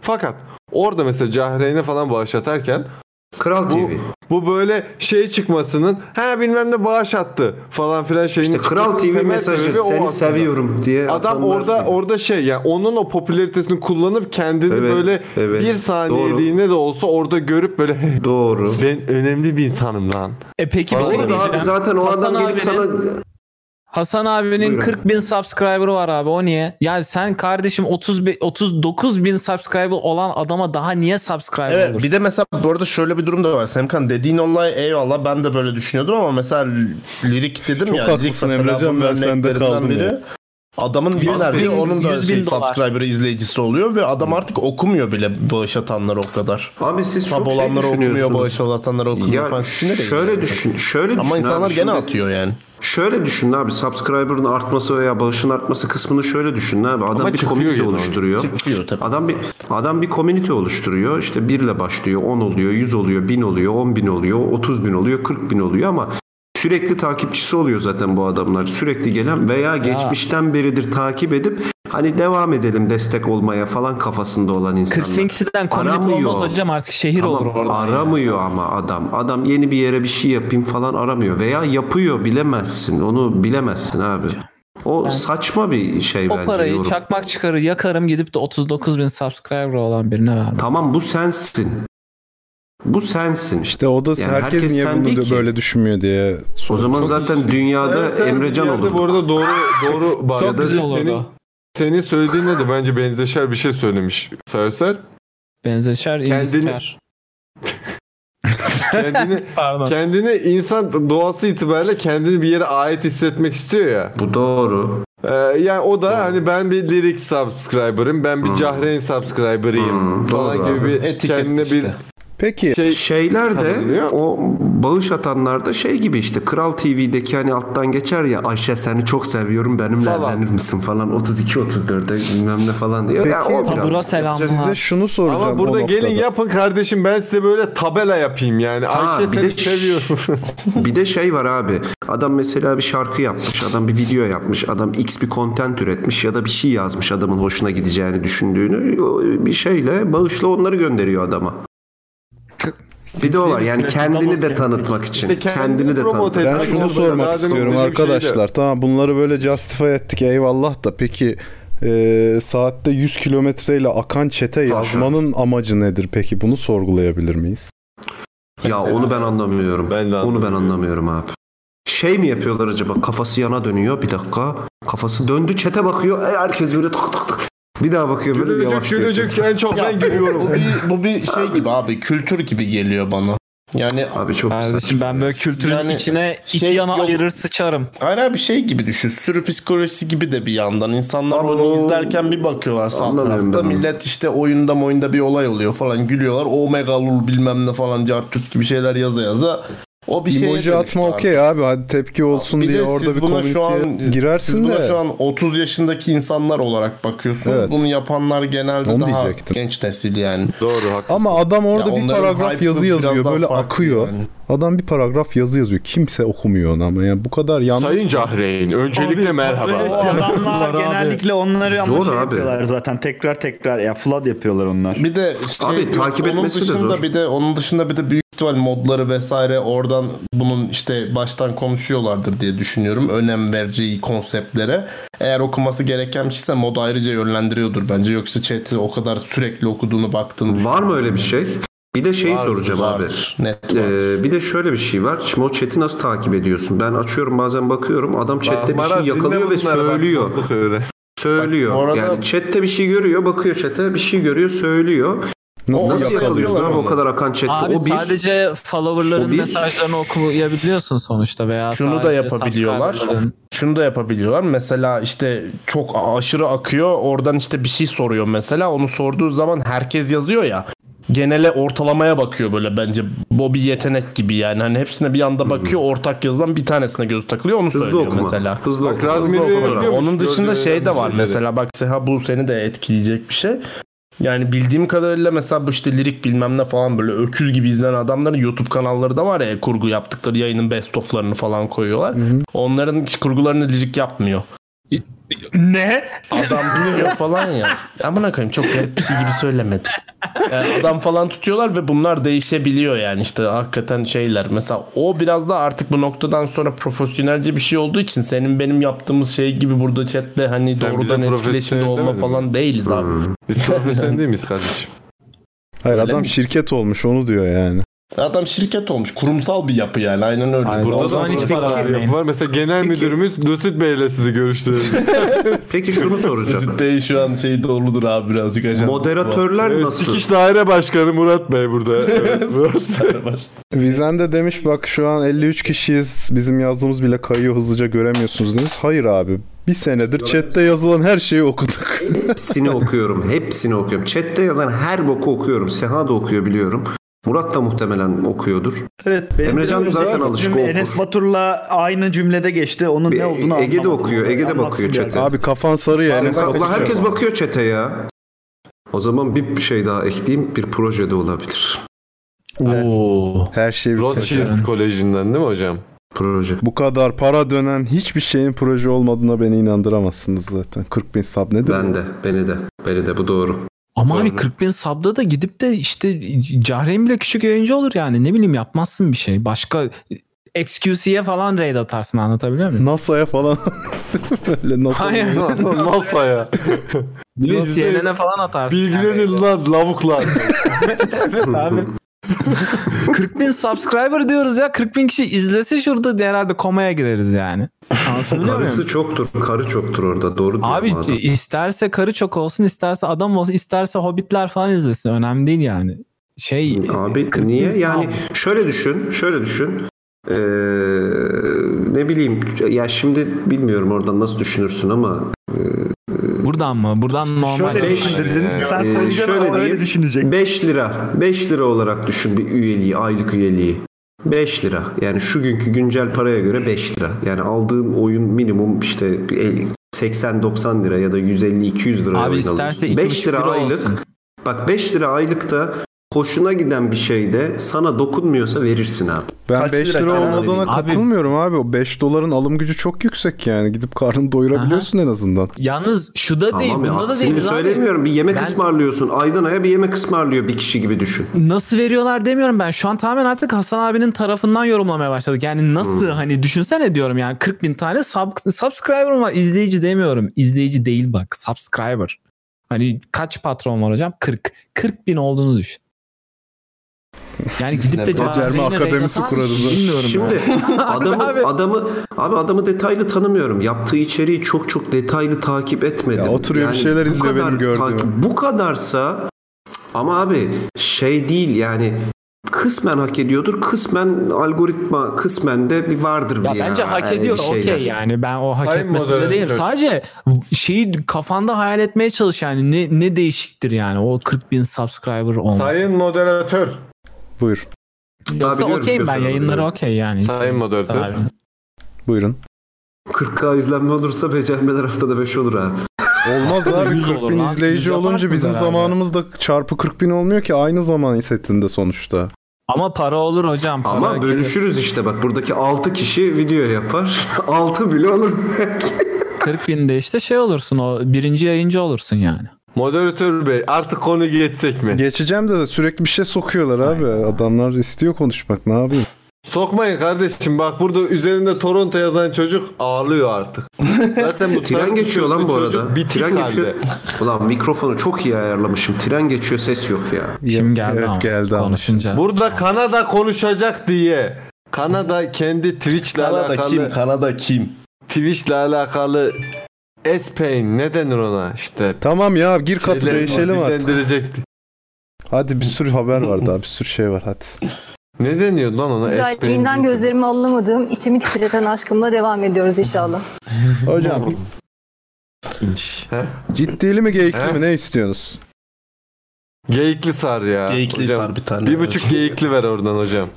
Fakat orada mesela Cahreyn'e falan bağış atarken
Kral
bu, Bu böyle şey çıkmasının ha bilmem ne bağış attı falan filan şeyini
İşte Kral TV mesajı, "Seni seviyorum" diye
Adam
atanlar-
orada orada şey yani onun o popülaritesini kullanıp kendini
Evet,
böyle
evet.
bir saniyeliğine de olsa orada görüp böyle
doğru.
Ben önemli bir insanım lan.
E peki
Doğru da abi,
zaten o adam gelip sana-
Hasan abinin
Buyurun.
40 bin subscriber'ı var abi o niye? Yani sen kardeşim 30 bin, 39 bin subscriber olan adama daha niye subscriber
Evet
olur?
bir de mesela bu arada şöyle bir durum da var. Semkan dediğin olay eyvallah ben de böyle düşünüyordum ama mesela lirik dedim
Çok
ya.
haklısın
lirik mesela
Emrecan,
bunun
ben sende
örneklerinden
kaldım ya.
Adamın bir
Yüz
nerede
bin-
onun da
yüz
şey,
bin dolar.
subscriber'ı izleyicisi oluyor ve adam artık okumuyor bile bağış atanları o kadar.
Abi siz
Sub
çok şey
olanları okumuyor,
düşünüyorsunuz.
bağış atanları okumuyor.
Ya
falan. Sizinle de
şöyle
yani.
düşün, şöyle düşün
Ama
abi,
insanlar gene
şimdi-
atıyor yani.
Şöyle düşün abi subscriber'ın artması veya bağışın artması kısmını şöyle düşün abi. Adam
Ama
bir
çıkıyor
komünite
yine orada.
oluşturuyor.
Çıkıyor
Adam bir adam bir komünite oluşturuyor. İşte birle başlıyor, 10 oluyor, 100 oluyor, 1000 oluyor, 10 bin oluyor, 30 bin oluyor, 40 bin oluyor ama sürekli takipçisi oluyor zaten bu adamlar. Sürekli gelen veya geçmişten beridir takip edip hani devam edelim destek olmaya falan kafasında olan insanlar.
40 bin kişiden komünite
Aramıyor.
olmaz hocam artık şehir
Tamam,
olur orada.
Aramıyor ama adam. Adam yeni bir yere bir şey yapayım falan aramıyor. Veya yapıyor bilemezsin. Onu bilemezsin abi. O saçma bir şey
O
bence
parayı
yorum.
çakmak çıkarır yakarım gidip de 39 bin subscriber olan birine vermem.
Tamam bu sensin. Bu sensin.
İşte o da
Yani
herkes,
herkes
niye
sen
bunu
değil
da
ki.
böyle düşünmüyor diye.
O zaman zaten dünyada
Sen- sen
Emrecan
bir yerde
olurdu.
Bu arada doğru [laughs] doğru bari.
Çok güzel olurdu.
Senin, senin söylediğine de bence benzeşer bir şey söylemiş Sayöser.
Benzeşer, ilgiler.
[laughs] kendini
Pardon.
kendini insan doğası itibariyle kendini bir yere ait hissetmek istiyor ya.
Bu doğru.
yani o da hani ben bir lirik subscriber'ım, ben bir Cahreyn subscriber'ıyım falan
Hmm. doğru
gibi
abi.
bir
Etiket
kendine bir şey
Peki
Şey, şeyler de
kazanılıyor.
o bağış atanlar da şey gibi işte Kral TV'deki hani alttan geçer ya Ayşe seni çok seviyorum benimle evlenir misin falan 32 34'e bilmem ne falan diyor. Ya o biraz-
Size şunu soracağım.
Ama
o
burada gelin
noktada.
yapın kardeşim ben size böyle tabela yapayım yani.
Ha,
Ayşe
bir
seni
de-
seviyorum.
bir de şey var abi. Adam mesela bir şarkı yapmış, adam bir video yapmış, adam X bir content üretmiş ya da bir şey yazmış adamın hoşuna gideceğini düşündüğünü o bir şeyle bağışla onları gönderiyor adama. Bir de o
[laughs]
var yani kendini de tanıtmak için. kendini de tanıtmak.
Ben
şey
şunu sormak istiyorum arkadaşlar. Tamam bunları böyle justify ettik eyvallah da peki e, saatte 100 kilometreyle akan çete yazmanın amacı nedir peki? Bunu sorgulayabilir miyiz?
Ya onu ben anlamıyorum. Onu ben anlamıyorum abi. Şey mi yapıyorlar acaba? Kafası yana dönüyor. Bir dakika. Kafası döndü. Çete bakıyor. E, herkes böyle tak tak tak. Bir daha bakıyor böyle yavaş. diyor.
en çok ben
görüyorum. Bu bir, bu bir şey gibi abi kültür gibi geliyor bana. Yani
abi çok
Kardeşim
ben böyle kültürün içine iki
şey
yana ayırır sıçarım.
Aynen bir şey gibi düşün. Sürü psikolojisi gibi de bir yandan. İnsanlar onu izlerken bir bakıyorlar sağ
Anlamıyorum
tarafta.
ben onu.
Millet işte oyunda oyunda bir olay oluyor falan gülüyorlar. O megalul bilmem ne falan cartçut gibi şeyler yaza yaza. O bir şey
Emoji atma okey abi. Hadi tepki olsun
Bir
diye
de
orada
siz
bir
buna şu an
komüniteye girersin
siz buna
de.
şu an 30 yaşındaki insanlar olarak bakıyorsunuz.
Evet.
Bunu yapanlar genelde
Onu
daha
diyecektim.
genç nesil yani.
[laughs] Doğru haklısın.
Ama adam orada
Ya
bir
onların
paragraf
hype'ı
yazı
biraz
yazıyor.
daha
Böyle
farklı
akıyor. Adam bir paragraf yazı yazıyor. Kimse okumuyor onu ama yani bu kadar yalnız.
Sayın Cahreyn, öncelikle
O
merhaba.
adamlar genellikle onları ama
Zor
şey
abi.
yapıyorlar zaten tekrar tekrar ya flood yapıyorlar onlar.
Bir de şey, onun dışında bir de onun dışında bir de büyük ihtimal modları vesaire oradan bunun işte baştan konuşuyorlardır diye düşünüyorum. Önem vereceği konseptlere. Eğer okuması gereken bir şeyse mod ayrıca yönlendiriyordur bence. Yoksa chat'i o kadar sürekli okuduğunu baktığını
Var mı öyle bir şey? Bir de şeyi soracağım abi. Ee, bir de şöyle bir şey var. Şimdi o chat'i nasıl takip ediyorsun? Ben açıyorum bazen bakıyorum. Adam chatte bir şey
Maraz, dinle
yakalıyor ve
bunları, bak,
söylüyor.
mantık öyle.
Söylüyor.
Bak, bu arada-
Yani chatte bir şey görüyor. Bakıyor chatte bir şey görüyor. Söylüyor.
Nasıl
Nasıl,
yakalıyorlar
yakalıyorsun abi
onu?
o kadar akan chatte?
Abi
o bir.
sadece followerların
o bir-
mesajlarını okuyabiliyorsun sonuçta veya
Şunu da
sadece
yapabiliyorlar.
subscriberların.
Şunu da yapabiliyorlar. Mesela işte çok aşırı akıyor. Oradan işte bir şey soruyor mesela. Onu sorduğu zaman herkes yazıyor ya. Genele ortalamaya bakıyor böyle bence. Bu bir yetenek gibi yani. Hani hepsine bir anda bakıyor. Ortak yazılan bir tanesine göz takılıyor. Onu söylüyor
okuma.
mesela.
Hızlı
Bak,
okuma.
Razmir'i
Hızlı okuma.
yapıyormuş. Onun dışında
Gördüğü
şey de var
şeyleri.
mesela. Bak Seha bu seni de etkileyecek bir şey. Yani bildiğim kadarıyla mesela bu işte lirik bilmem ne falan böyle öküz gibi izlenen adamların YouTube kanalları da var ya kurgu yaptıkları yayının best of'larını falan koyuyorlar. Onların hiç kurgularını lirik yapmıyor.
Ne?
Adam biliyor falan ya. Amına koyayım çok garip bir şey gibi söylemedim. Yani adam falan tutuyorlar ve bunlar değişebiliyor yani işte hakikaten şeyler. Mesela o biraz da artık bu noktadan sonra profesyonelce bir şey olduğu için senin benim yaptığımız şey gibi burada chatte hani
Sen
doğrudan
bize
etkileşimde
profesyonel
olma
demedin mi?
falan değiliz abi.
Hmm.
Biz profesyonel değil miyiz kardeşim?
Hayır
Öyle
adam
mi?
şirket olmuş onu diyor yani.
Adam şirket olmuş. Kurumsal bir yapı yani. Aynen öyle.
Burada da hiç para vermeyin. Var. Mesela genel müdürümüz Nusret Bey ile sizi görüştü.
[laughs] Peki şunu soracağım.
Mesut Bey şu an şey doludur abi birazcık. Ajan.
Moderatörler
Evet, Sikiş Daire Başkanı Murat Bey
[laughs]
burada. Evet, Murat.
Vizen de demiş bak şu an 53 kişiyiz. Bizim yazdığımız bile kayıyor hızlıca göremiyorsunuz demiş. Hayır abi. Bir senedir chatte yazılan her şeyi [laughs] okuduk.
Hepsini okuyorum. Hepsini okuyorum. Chat'te yazan her boku okuyorum. Seha da okuyor biliyorum. Murat da muhtemelen okuyordur.
Evet,
Emrecan
benim
zaten
cümle-
alışık
cümle
okur.
Enes Batur'la aynı cümlede geçti. Onun ne olduğunu anlamadım.
Ege'de okuyor. Ege'de
Anlatsın
bakıyor
bir
chat'e.
ara.
Abi kafan sarı ya. Enes
Ulan
Batur.
herkes bakıyor chat'e ya. O zaman bir şey daha ekleyeyim. Bir projede olabilir.
Her şey bir
Rothschild Koleji'nden değil mi hocam?
Proje.
Bu kadar para dönen hiçbir şeyin proje olmadığına beni inandıramazsınız zaten. 40 bin sub nedir?
Ben de. Beni de. Beni de. Bu doğru.
Ama abi 40 bin sub'da da gidip de işte Cahreyn bile küçük yayıncı olur yani. Ne bileyim yapmazsın bir şey. Başka XQC'ye falan raid atarsın anlatabiliyor muyum?
NASA'ya falan. [laughs] Böyle NASA
[laughs] Hayır.
NASA'ya.
Bilmiyorum, CNN'e e falan atarsın. [laughs]
Bilgilerin lan lavuklar.
evet abi. 40 bin subscriber diyoruz ya. 40 bin kişi izlese şurada herhalde komaya gireriz [laughs] yani. Anlatabiliyor muyum?
Karısı çoktur. Karı çoktur orada. Doğru diyor
Abi
bu adam.
isterse karı çok olsun, isterse adam olsun, isterse hobbitler falan izlesin. Önemli değil yani. Şey
Abi
40
niye?
insan-
Yani şöyle düşün, şöyle düşün. Ee, ne bileyim ya şimdi bilmiyorum oradan nasıl düşünürsün ama
buradan mı? Buradan normal.
Şöyle
şey
beş- Ee, şöyle diyeyim. 5 lira. 5 lira olarak düşün bir üyeliği, aylık üyeliği. 5 lira. Yani şu günkü güncel paraya göre 5 lira. Yani aldığın oyun minimum işte bir el- 80-90 lira ya da 150-200 lira
Abi isterse iki
5
buçuk
lira
lira
aylık.
olsun.
Bak 5 lira aylık da hoşuna giden bir şey de sana dokunmuyorsa verirsin abi.
Ben 5 lira olmadığına katılmıyorum abi. O 5 doların alım gücü çok yüksek yani. Gidip karnını doyurabiliyorsun en azından.
Yalnız şu da değil,
Tamam ya,
bunda da
aksini
değil.
söylemiyorum. Bir yemek ısmarlıyorsun. Aydan aya bir yemek ısmarlıyor bir kişi gibi düşün.
Nasıl veriyorlar demiyorum ben. Şu an tamamen artık Hasan abinin tarafından yorumlamaya başladık. Yani nasıl
Hmm.
hani düşünsene diyorum yani 40 bin tane sub- subscriber'ım var. İzleyici demiyorum. İzleyici değil bak. Subscriber. Hani kaç patron var hocam? 40. 40 bin olduğunu düşün. Yani gidip de Cevap Bey'le Bey'le- Bilmiyorum
Şimdi
[laughs] ya.
adamı adamı abi adamı detaylı tanımıyorum. Yaptığı içeriği çok çok detaylı takip etmedim.
Ya oturuyor bir şeyler
bu
izliyor benim
kadar
gördüğüm.
bu kadarsa ama abi şey değil yani kısmen hak ediyordur. Kısmen algoritma kısmen de bir vardır
Ya
bir
bence hak
yani bir
ediyor
şeyler.
okey yani ben o hak
Sayın
etmesinde değilim.
moderatör.
Sadece şeyi kafanda hayal etmeye çalış yani ne, ne değişiktir yani o 40 bin subscriber olması.
Sayın moderatör.
Buyur.
Yoksa
biliyorum
okeyim ben
sözünü,
yayınları
biliyorum.
okey yani.
Sayın moderatör.
Sarı.
Buyurun.
40k izlenme olursa becermeler haftada 5 olur abi.
Olmaz abi 40 bin izleyici olunca bizim zamanımızda çarpı 40 bin olmuyor ki aynı zaman setinde sonuçta.
Ama para olur hocam. Para
Ama bölüşürüz işte bak buradaki 6 kişi video yapar. [laughs] 6 bile olur.
40 binde işte şey olursun o birinci yayıncı olursun yani.
Moderatör bey artık konu geçsek mi?
Geçeceğim de, de sürekli bir şey sokuyorlar abi. Adamlar istiyor konuşmak ne yapayım.
Sokmayın kardeşim bak burada üzerinde Toronto yazan çocuk ağlıyor
[laughs]
artık. Zaten bu
Tren geçiyor lan bu arada.
Bitik
Tren
halde.
geçiyor. Ulan mikrofonu çok iyi ayarlamışım. Tren geçiyor ses yok ya.
Şimdi geldi ama konuşunca.
Burada Kanada konuşacak diye. Kanada kendi Twitch'le
Kanada
alakalı.
kim? Kanada kim?
Twitch'le alakalı S-Pain ne denir ona işte.
Tamam ya gir katı
Şeyler-
değişelim artık.
Dizendirecekti.
Hadi bir sürü haber var daha bir sürü şey var hadi.
Ne deniyordu lan ona? S-Pain?
Güzelliğinden gözlerimi alamadığım, içimi titreten aşkımla devam ediyoruz inşallah.
Hocam. Ciddili mi geyikli mi ne istiyorsunuz?
Geyikli sar ya.
Geyikli
Hocam,
sar bir tane.
Bir buçuk geyikli ver oradan
[laughs]
hocam.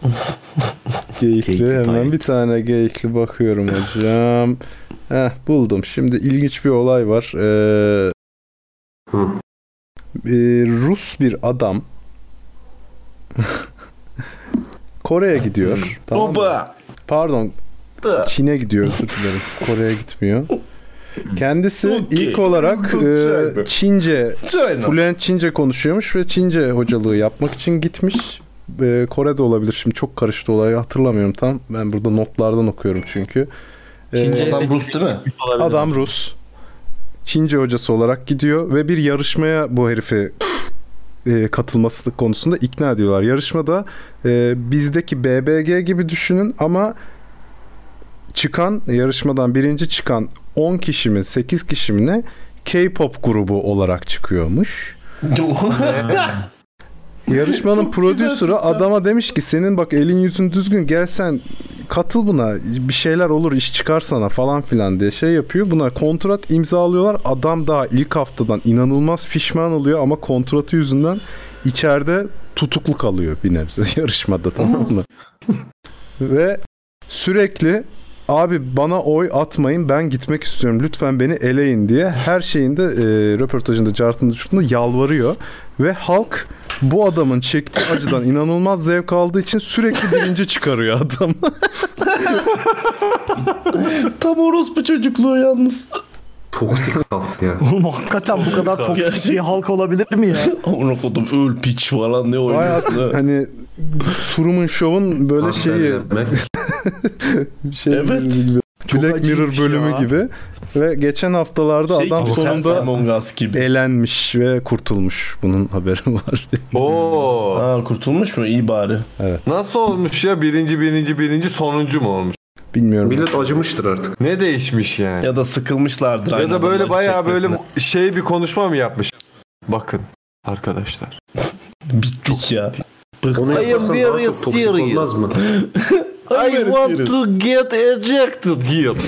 Geyikli hemen bir tane geyikli bakıyorum hocam. Heh, buldum. Şimdi ilginç bir olay var. Ee, ee, Rus bir adam [laughs] Kore'ye gidiyor. tamam mı?
Oba!
Pardon. Çin'e gidiyor özür dilerim. Kore'ye gitmiyor. Kendisi ilk olarak e, Çince, fluent Çince konuşuyormuş ve Çince hocalığı yapmak için gitmiş. E, Kore'de olabilir şimdi çok karıştı olayı hatırlamıyorum tam. Ben burada notlardan okuyorum çünkü. E,
Çince Adam Ee, Rus [laughs] değil mi?
Adam Rus. Çince hocası olarak gidiyor ve bir yarışmaya bu herifi e, katılması konusunda ikna ediyorlar. Yarışmada e, bizdeki BBG gibi düşünün ama çıkan yarışmadan birinci çıkan 10 kişi mi 8 kişi mi ne K-pop grubu olarak çıkıyormuş. Yarışmanın prodüsörü adama demiş ki senin bak elin yüzün düzgün gelsen katıl buna bir şeyler olur iş çıkar sana falan filan diye şey yapıyor. Buna kontrat imzalıyorlar. Adam daha ilk haftadan inanılmaz pişman oluyor ama kontratı yüzünden içeride tutuklu kalıyor bir nebze [laughs] yarışmada tamam mı? Ve sürekli abi bana oy atmayın ben gitmek istiyorum lütfen beni eleyin diye her şeyinde e, röportajında cartında çırtında yalvarıyor. Ve halk bu adamın çektiği
[coughs]
acıdan inanılmaz zevk aldığı için sürekli birinci çıkarıyor adam.
[laughs] Tam orospu çocukluğu yalnız.
Toksik
[laughs]
halk ya.
Oğlum hakikaten bu kadar toksik bir
Gerçekten.
halk olabilir mi ya?
Amına kodum öl piç falan ne oynuyorsun Şey
Bayağı
ha?
hani Truman Show'un böyle şeyi şey Black Mirror bölümü gibi ve geçen haftalarda
Şey
adam
gibi, Samsung
sonunda
Among Us gibi.
elenmiş ve kurtulmuş. Bunun haberi [laughs] var.
Oo.
Ha kurtulmuş mu? İyi bari.
Evet.
Nasıl olmuş ya birinci birinci birinci sonuncu mu olmuş?
Bilmiyorum.
Millet acımıştır artık.
Ne değişmiş yani?
Ya da sıkılmışlardır.
Ya
aynı
da böyle
adamları
bayağı böyle
çekmesine.
şey bir konuşma mı yapmış? Bakın arkadaşlar.
Bittik ya.
Onu
Bıktık.
yaparsan daha çok toksik olmaz mı? I want to get ejected here.
[laughs]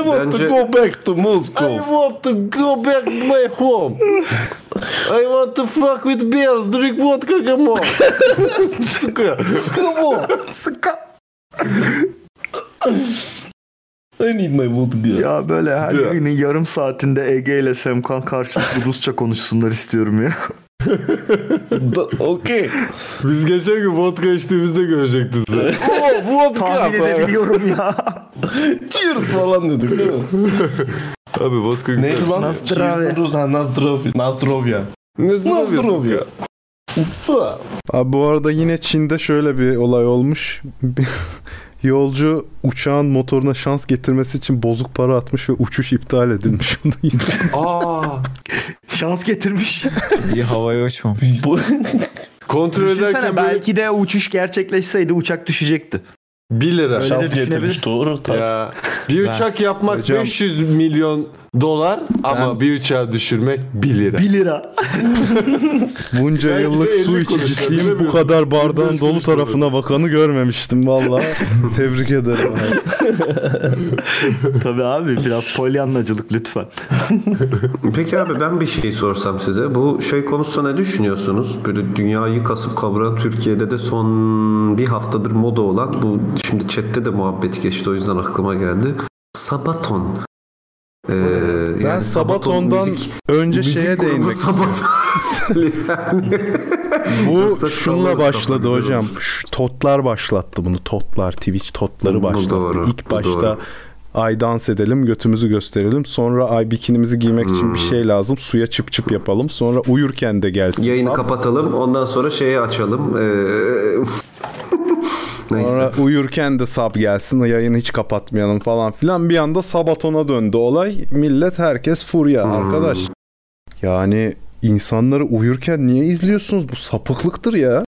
I want to go back to Moscow.
I want to go back my home. [laughs] I want to fuck with bears, drink vodka, come on. Sıkı. Come on. Sıkı.
I need my vodka.
Ya böyle her
Ya.
günün yarım saatinde Ege ile Semkan karşılıklı Rusça konuşsunlar istiyorum ya.
[laughs]
Okey.
Biz geçen gün vodka içtiğimizde görecektiniz.
Oo, bu vodka.
Tahmin edebiliyorum
ya. Cheers falan dedik değil
[laughs]
mi?
Abi vodka güzel.
Neydi lan? Cheers'ın Rus. Ha, Nazdrovya. Nazdrovya. Nazdrovya.
Abi bu arada yine Çin'de şöyle bir olay olmuş. [laughs] Bir Yolcu uçağın motoruna şans getirmesi için bozuk para atmış ve uçuş iptal edilmiş. [laughs] Onu izledim.
Aa.
Şans getirmiş.
İyi havaya uçmamış.
Bu...
Kontrol
Düşünsene
ederken böyle-
belki de uçuş gerçekleşseydi uçak düşecekti.
1 lira.
Öyle de
Şans getirmiş,
düşünebiliriz.
doğru, tabii.
Ya, bir
Ben-
uçak yapmak
Hocam.
500 milyon dolar ama bir uçağı düşürmek 1 lira.
1 lira.
Bunca
Belki de
yıllık
elli
su
konuşuyor,
içicisiyim bu
bilemiyorum.
kadar bardağın
Bilmiyoruz
dolu
konuşmaları.
tarafına bakanı
[laughs]
görmemiştim valla. Tebrik ederim.
Tabii abi biraz polyanlacılık lütfen.
Peki abi ben bir şey sorsam size. Bu şey konusunda ne düşünüyorsunuz? Böyle dünyayı kasıp kavuran Türkiye'de de son bir haftadır moda olan bu şimdi chatte de muhabbeti geçti o yüzden aklıma geldi. Sabaton. Ee,
Ben Sabaton'dan önce şeye
grubu
değinmek
Sabaton.
bu şunla başladı hocam. Şu totlar başlattı bunu. Totlar, Twitch totları
Bu
başlattı.
doğru,
İlk
bu
başta
doğru.
ay dans edelim, götümüzü gösterelim. Sonra ay bikinimizi giymek için bir
Hmm.
şey lazım. Suya çıp çıp yapalım. Sonra uyurken de gelsin.
Yayını
Sap.
kapatalım ondan sonra şeyi açalım. Ee, [laughs]
Sonra uyurken de sab gelsin yayını hiç kapatmayalım falan filan. Bir anda sabatona döndü olay. Millet herkes furya arkadaş. Yani insanları uyurken niye izliyorsunuz? Bu sapıklıktır ya.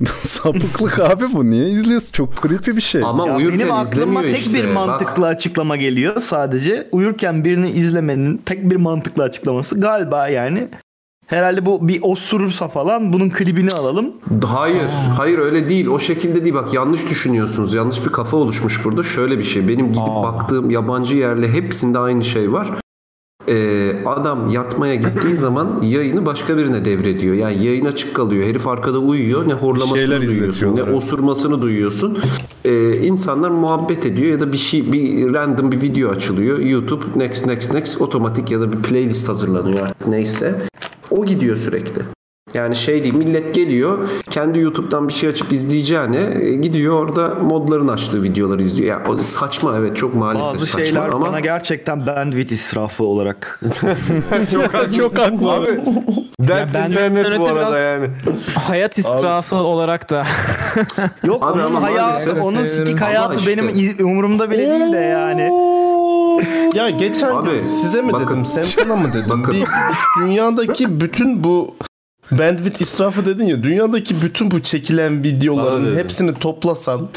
[laughs] Sapıklık abi bu. Niye izliyorsun? Çok creepy bir şey.
Ya benim aklıma tek bir mantıklı açıklama geliyor sadece. Uyurken birini izlemenin tek bir mantıklı açıklaması galiba yani. Herhalde bu bir osurursa falan bunun klibini alalım.
Hayır, hayır öyle değil. O şekilde değil. Bak yanlış düşünüyorsunuz. Yanlış bir kafa oluşmuş burada. Şöyle bir şey. Benim gidip baktığım yabancı yerle hepsinde aynı şey var. Ee, adam yatmaya gittiği zaman yayını başka birine devrediyor. Yani yayın açık kalıyor. Herif arkada uyuyor. Ne horlamasını duyuyorsun, ne osurmasını duyuyorsun. Ee, insanlar muhabbet ediyor ya da bir şey, bir random bir video açılıyor. YouTube next next next otomatik ya da bir playlist hazırlanıyor artık neyse. O gidiyor sürekli. Yani şey değil millet geliyor kendi YouTube'dan bir şey açıp izleyeceğine e, gidiyor orada modların açtığı videoları izliyor. Ya o saçma evet çok maalesef
Bazı
saçma
şeyler
ama
bana gerçekten bandwidth israfı olarak.
Çok haklı
abi.
That's Ya ben- internet bu arada biraz-
yani.
Hayat israfı olarak da.
Yok
Abi
onun
ama
hayatı,
maalesef
onun
sevinirim.
sikik
Ama
hayatı
işte-
benim iz- umurumda bile değil de yani.
ya geçen gün size mi dedim, Semkan'a mı dedim? Bir- dünyadaki bütün bu bandwidth israfı dedin ya, dünyadaki bütün bu çekilen videoların hepsini toplasan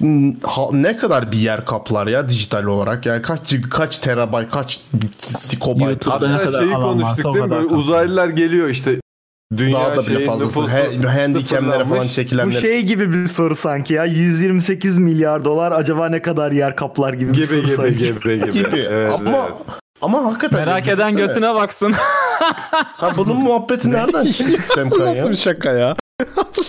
n- ha- ne kadar bir yer kaplar ya dijital olarak yani kaç gig- kaç terabayt kaç sikobayt
Hatta
şey
şeyi konuştuk değil mi? Böyle uzaylılar geliyor işte. Dünya
Daha da bile
şeyin
fazlası.
nüfusu
He- handicap'lere
sıfırlanmış.
falan çekilenler.
Bu şey gibi bir soru sanki ya. 128 milyar dolar acaba ne kadar yer kaplar gibi, bir
Gibi,
soru
gibi,
sanki.
gibi, gibi. Gibi. Evet,
ama ama hakikaten
Merak eden
düşünsene.
götüne baksın.
ha bunun muhabbeti nereden çıktı Semkan ya?
Nasıl bir şey? şaka ya?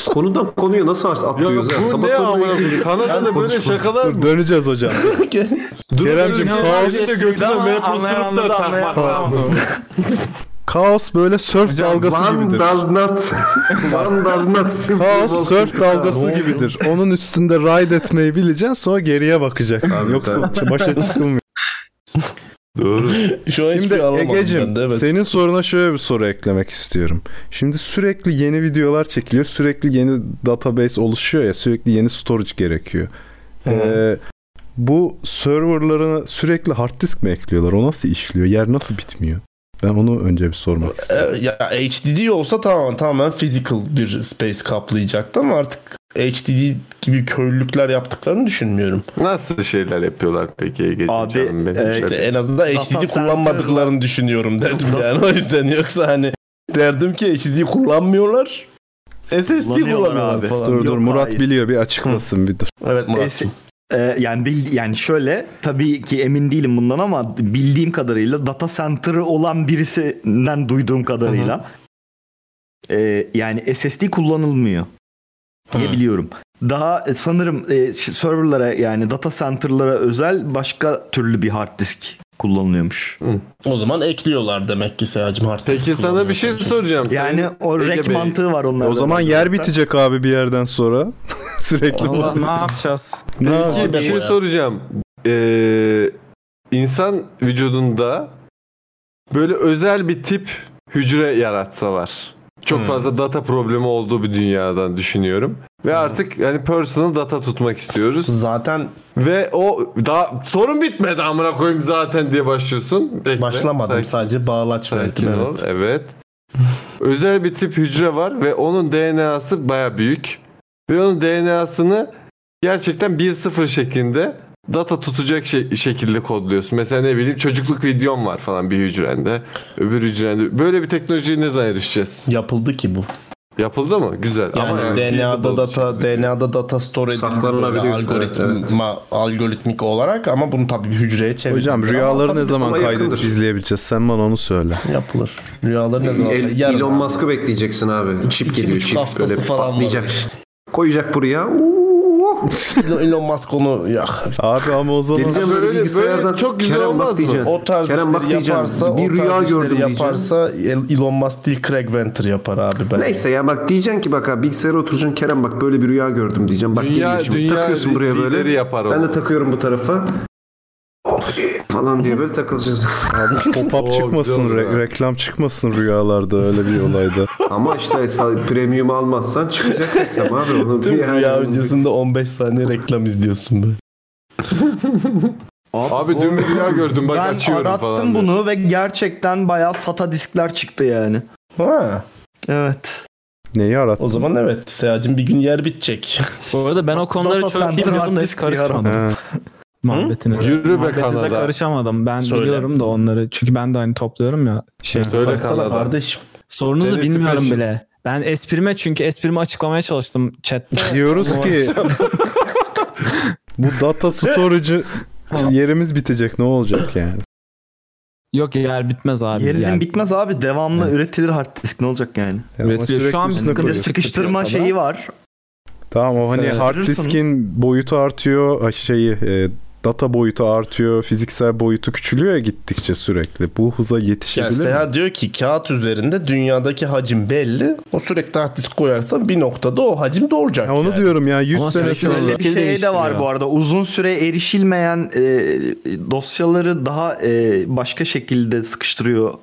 konudan konuya nasıl aç- atlıyoruz ya?
bu ne amına koyayım? Kanada'da böyle şakalar
Dur, döneceğiz hocam. Kerem'cim kaos, kaos böyle sörf dalgası
one
gibidir.
does not [laughs] one does not simply walk
Kaos sörf
into town.
dalgası gibidir. Onun üstünde ride etmeyi bileceksin sonra geriye bakacaksın. Yoksa başa çıkılmıyor.
Doğru.
Şu an
Şimdi
hiçbir şey alamadım ben
Ege'cim
de, evet.
senin soruna şöyle bir soru eklemek istiyorum. Şimdi sürekli yeni videolar çekiliyor. Sürekli yeni database oluşuyor ya. Sürekli yeni storage gerekiyor. Ee, bu serverlarına sürekli hard disk mi ekliyorlar? O nasıl işliyor? Yer nasıl bitmiyor? Ben onu önce bir sormak istiyorum.
E, ya HDD olsa tamam tamamen physical bir space kaplayacaktı ama artık HDD gibi köylülükler yaptıklarını düşünmüyorum.
Nasıl şeyler yapıyorlar peki Ege'ciğim? canım benim?
E,
Evet,
Şöyle-
en azından HDD kullanmadıklarını düşünüyorum dedim yani o yüzden yoksa hani derdim ki HDD kullanmıyorlar. SSD kullanıyorlar falan.
Dur dur
Yok,
Murat
hayır.
biliyor bir açıklasın bir dur.
Evet
Es- e, yani bil- yani şöyle tabii ki emin değilim bundan ama bildiğim kadarıyla data center'ı olan birisinden duyduğum kadarıyla e, yani SSD kullanılmıyor diye biliyorum. Daha e, sanırım e, ş- serverlara yani data center'lara özel başka türlü bir hard disk kullanılıyormuş.
O zaman ekliyorlar demek ki Seyacım artık.
Peki sana bir şey soracağım.
Yani o rek mantığı var onlarda.
O zaman yer bitecek abi bir yerden sonra. [laughs] Sürekli.
Allah, ne
yapacağız?
Ne
Peki bir
yapacağız?
şey soracağım. Ee, insan vücudunda böyle özel bir tip hücre yaratsalar. Çok
Hmm.
fazla data problemi olduğu bir dünyadan düşünüyorum. Ve artık hani personal data tutmak istiyoruz.
Zaten
ve o daha sorun bitmedi amına koyayım zaten diye başlıyorsun. Bekle,
Başlamadım
sakin-
sadece bağlaç verdim.
Sakin ol.
Evet.
Evet. [laughs] Özel bir tip hücre var ve onun DNA'sı baya büyük. Ve onun DNA'sını gerçekten 1-0 şeklinde data tutacak şey- şekilde kodluyorsun. Mesela ne bileyim çocukluk videom var falan bir hücrende. Öbür hücrende. Böyle bir teknolojiye ne zaman erişeceğiz?
Yapıldı ki bu.
Yapıldı mı? Güzel.
Yani
Ama yani feasible
DNA'da
bir şey.
data DNA'da data store
Saklanabiliyor.
edildi algoritma algoritmik olarak ama bunu tabii bir hücreye çevirdiler.
Hocam
Ama
rüyaları
tabii
ne
biz
zaman
ona
kaydedip
yakındır.
izleyebileceğiz? Sen bana onu söyle.
Yapılır. Rüyaları ne zaman?
El-
Yarın.
Elon Musk'ı bekleyeceksin abi. Çip geliyor çip.
haftası
Böyle
falan
patlayacak. Koyacak buraya.
Elon- Elon Musk onu ya.
Abi ama o zaman
Geleceğim böyle, bilgisayardan Kerem bak diyeceksin.
O tarz
Kerem bak
işleri
diyeceksin.
yaparsa,
Bir
o tarz
rüya
işleri
gördüm diyeceksin.
yaparsa El- Elon Musk değil Craig Venter yapar abi ben.
Neyse ya bak diyeceksin ki bak abi bilgisayara oturacaksın Kerem bak böyle bir rüya gördüm diyeceğim. Bak
Dünya-
geliyor şimdi
dünya
takıyorsun buraya
lideri
böyle.
yapar o.
ben de takıyorum bu tarafa. Oh, falan diye böyle takılacağız.
[laughs] Pop-up çıkmasın, re- reklam çıkmasın rüyalarda öyle bir olayda.
Ama işte sa- premium almazsan çıkacak reklam abi. Onu
Değil
bir
mi? Rüya öncesinde 15 saniye reklam izliyorsun böyle.
Abi, dün bir rüya gördüm bak
ben
açıyorum
arattım
falan. diyor.
bunu ve gerçekten bayağı sata diskler çıktı yani.
Ha.
Evet.
Neyi arattın?
O zaman evet Seyacım bir gün yer bitecek.
Bu arada ben o konuları
Data
çok iyi
center
biliyordum da
hard
hiç
disk diye
karışmadım.
aradım.
Muhabbetinize.
Yürü be
Muhabbetinize
Kanada.
karışamadım. Ben
Söyle.
biliyorum da onları. Çünkü ben de hani topluyorum ya. Şey,
Söyle
Baksana
Kanada.
kardeşim.
kardeşim.
Sorunuzu
Senin
bilmiyorum
special.
bile. Ben esprime çünkü esprimi açıklamaya çalıştım chatte.
Diyoruz ki bu data storage'ı yerimiz bitecek ne olacak yani?
Yok yer bitmez abi.
Yerinin
yer
bitmez abi. Devamlı üretilir hard disk ne olacak yani?
Ya ama Üretiliyor. Şu sürekli an bir üstüne sıkıntı-
Bir de
koyuyorsun.
sıkıştırma
Sıkıştırma.
şeyi var.
Tamam o hani
Sen
hard
ayırırsın.
diskin boyutu artıyor, ay şeyi e, data boyutu artıyor, fiziksel boyutu küçülüyor ya gittikçe sürekli. Bu hıza
Yani
yetişebilir mi?
Seha diyor ki kağıt üzerinde dünyadaki hacim belli. O sürekli hard disk koyarsan bir noktada o hacim doğacak.
Ya onu diyorum ya 100 sene sonra.
Şöyle bir şey de var bu arada. Uzun süre erişilmeyen e, dosyaları daha e, başka şekilde sıkıştırıyorlar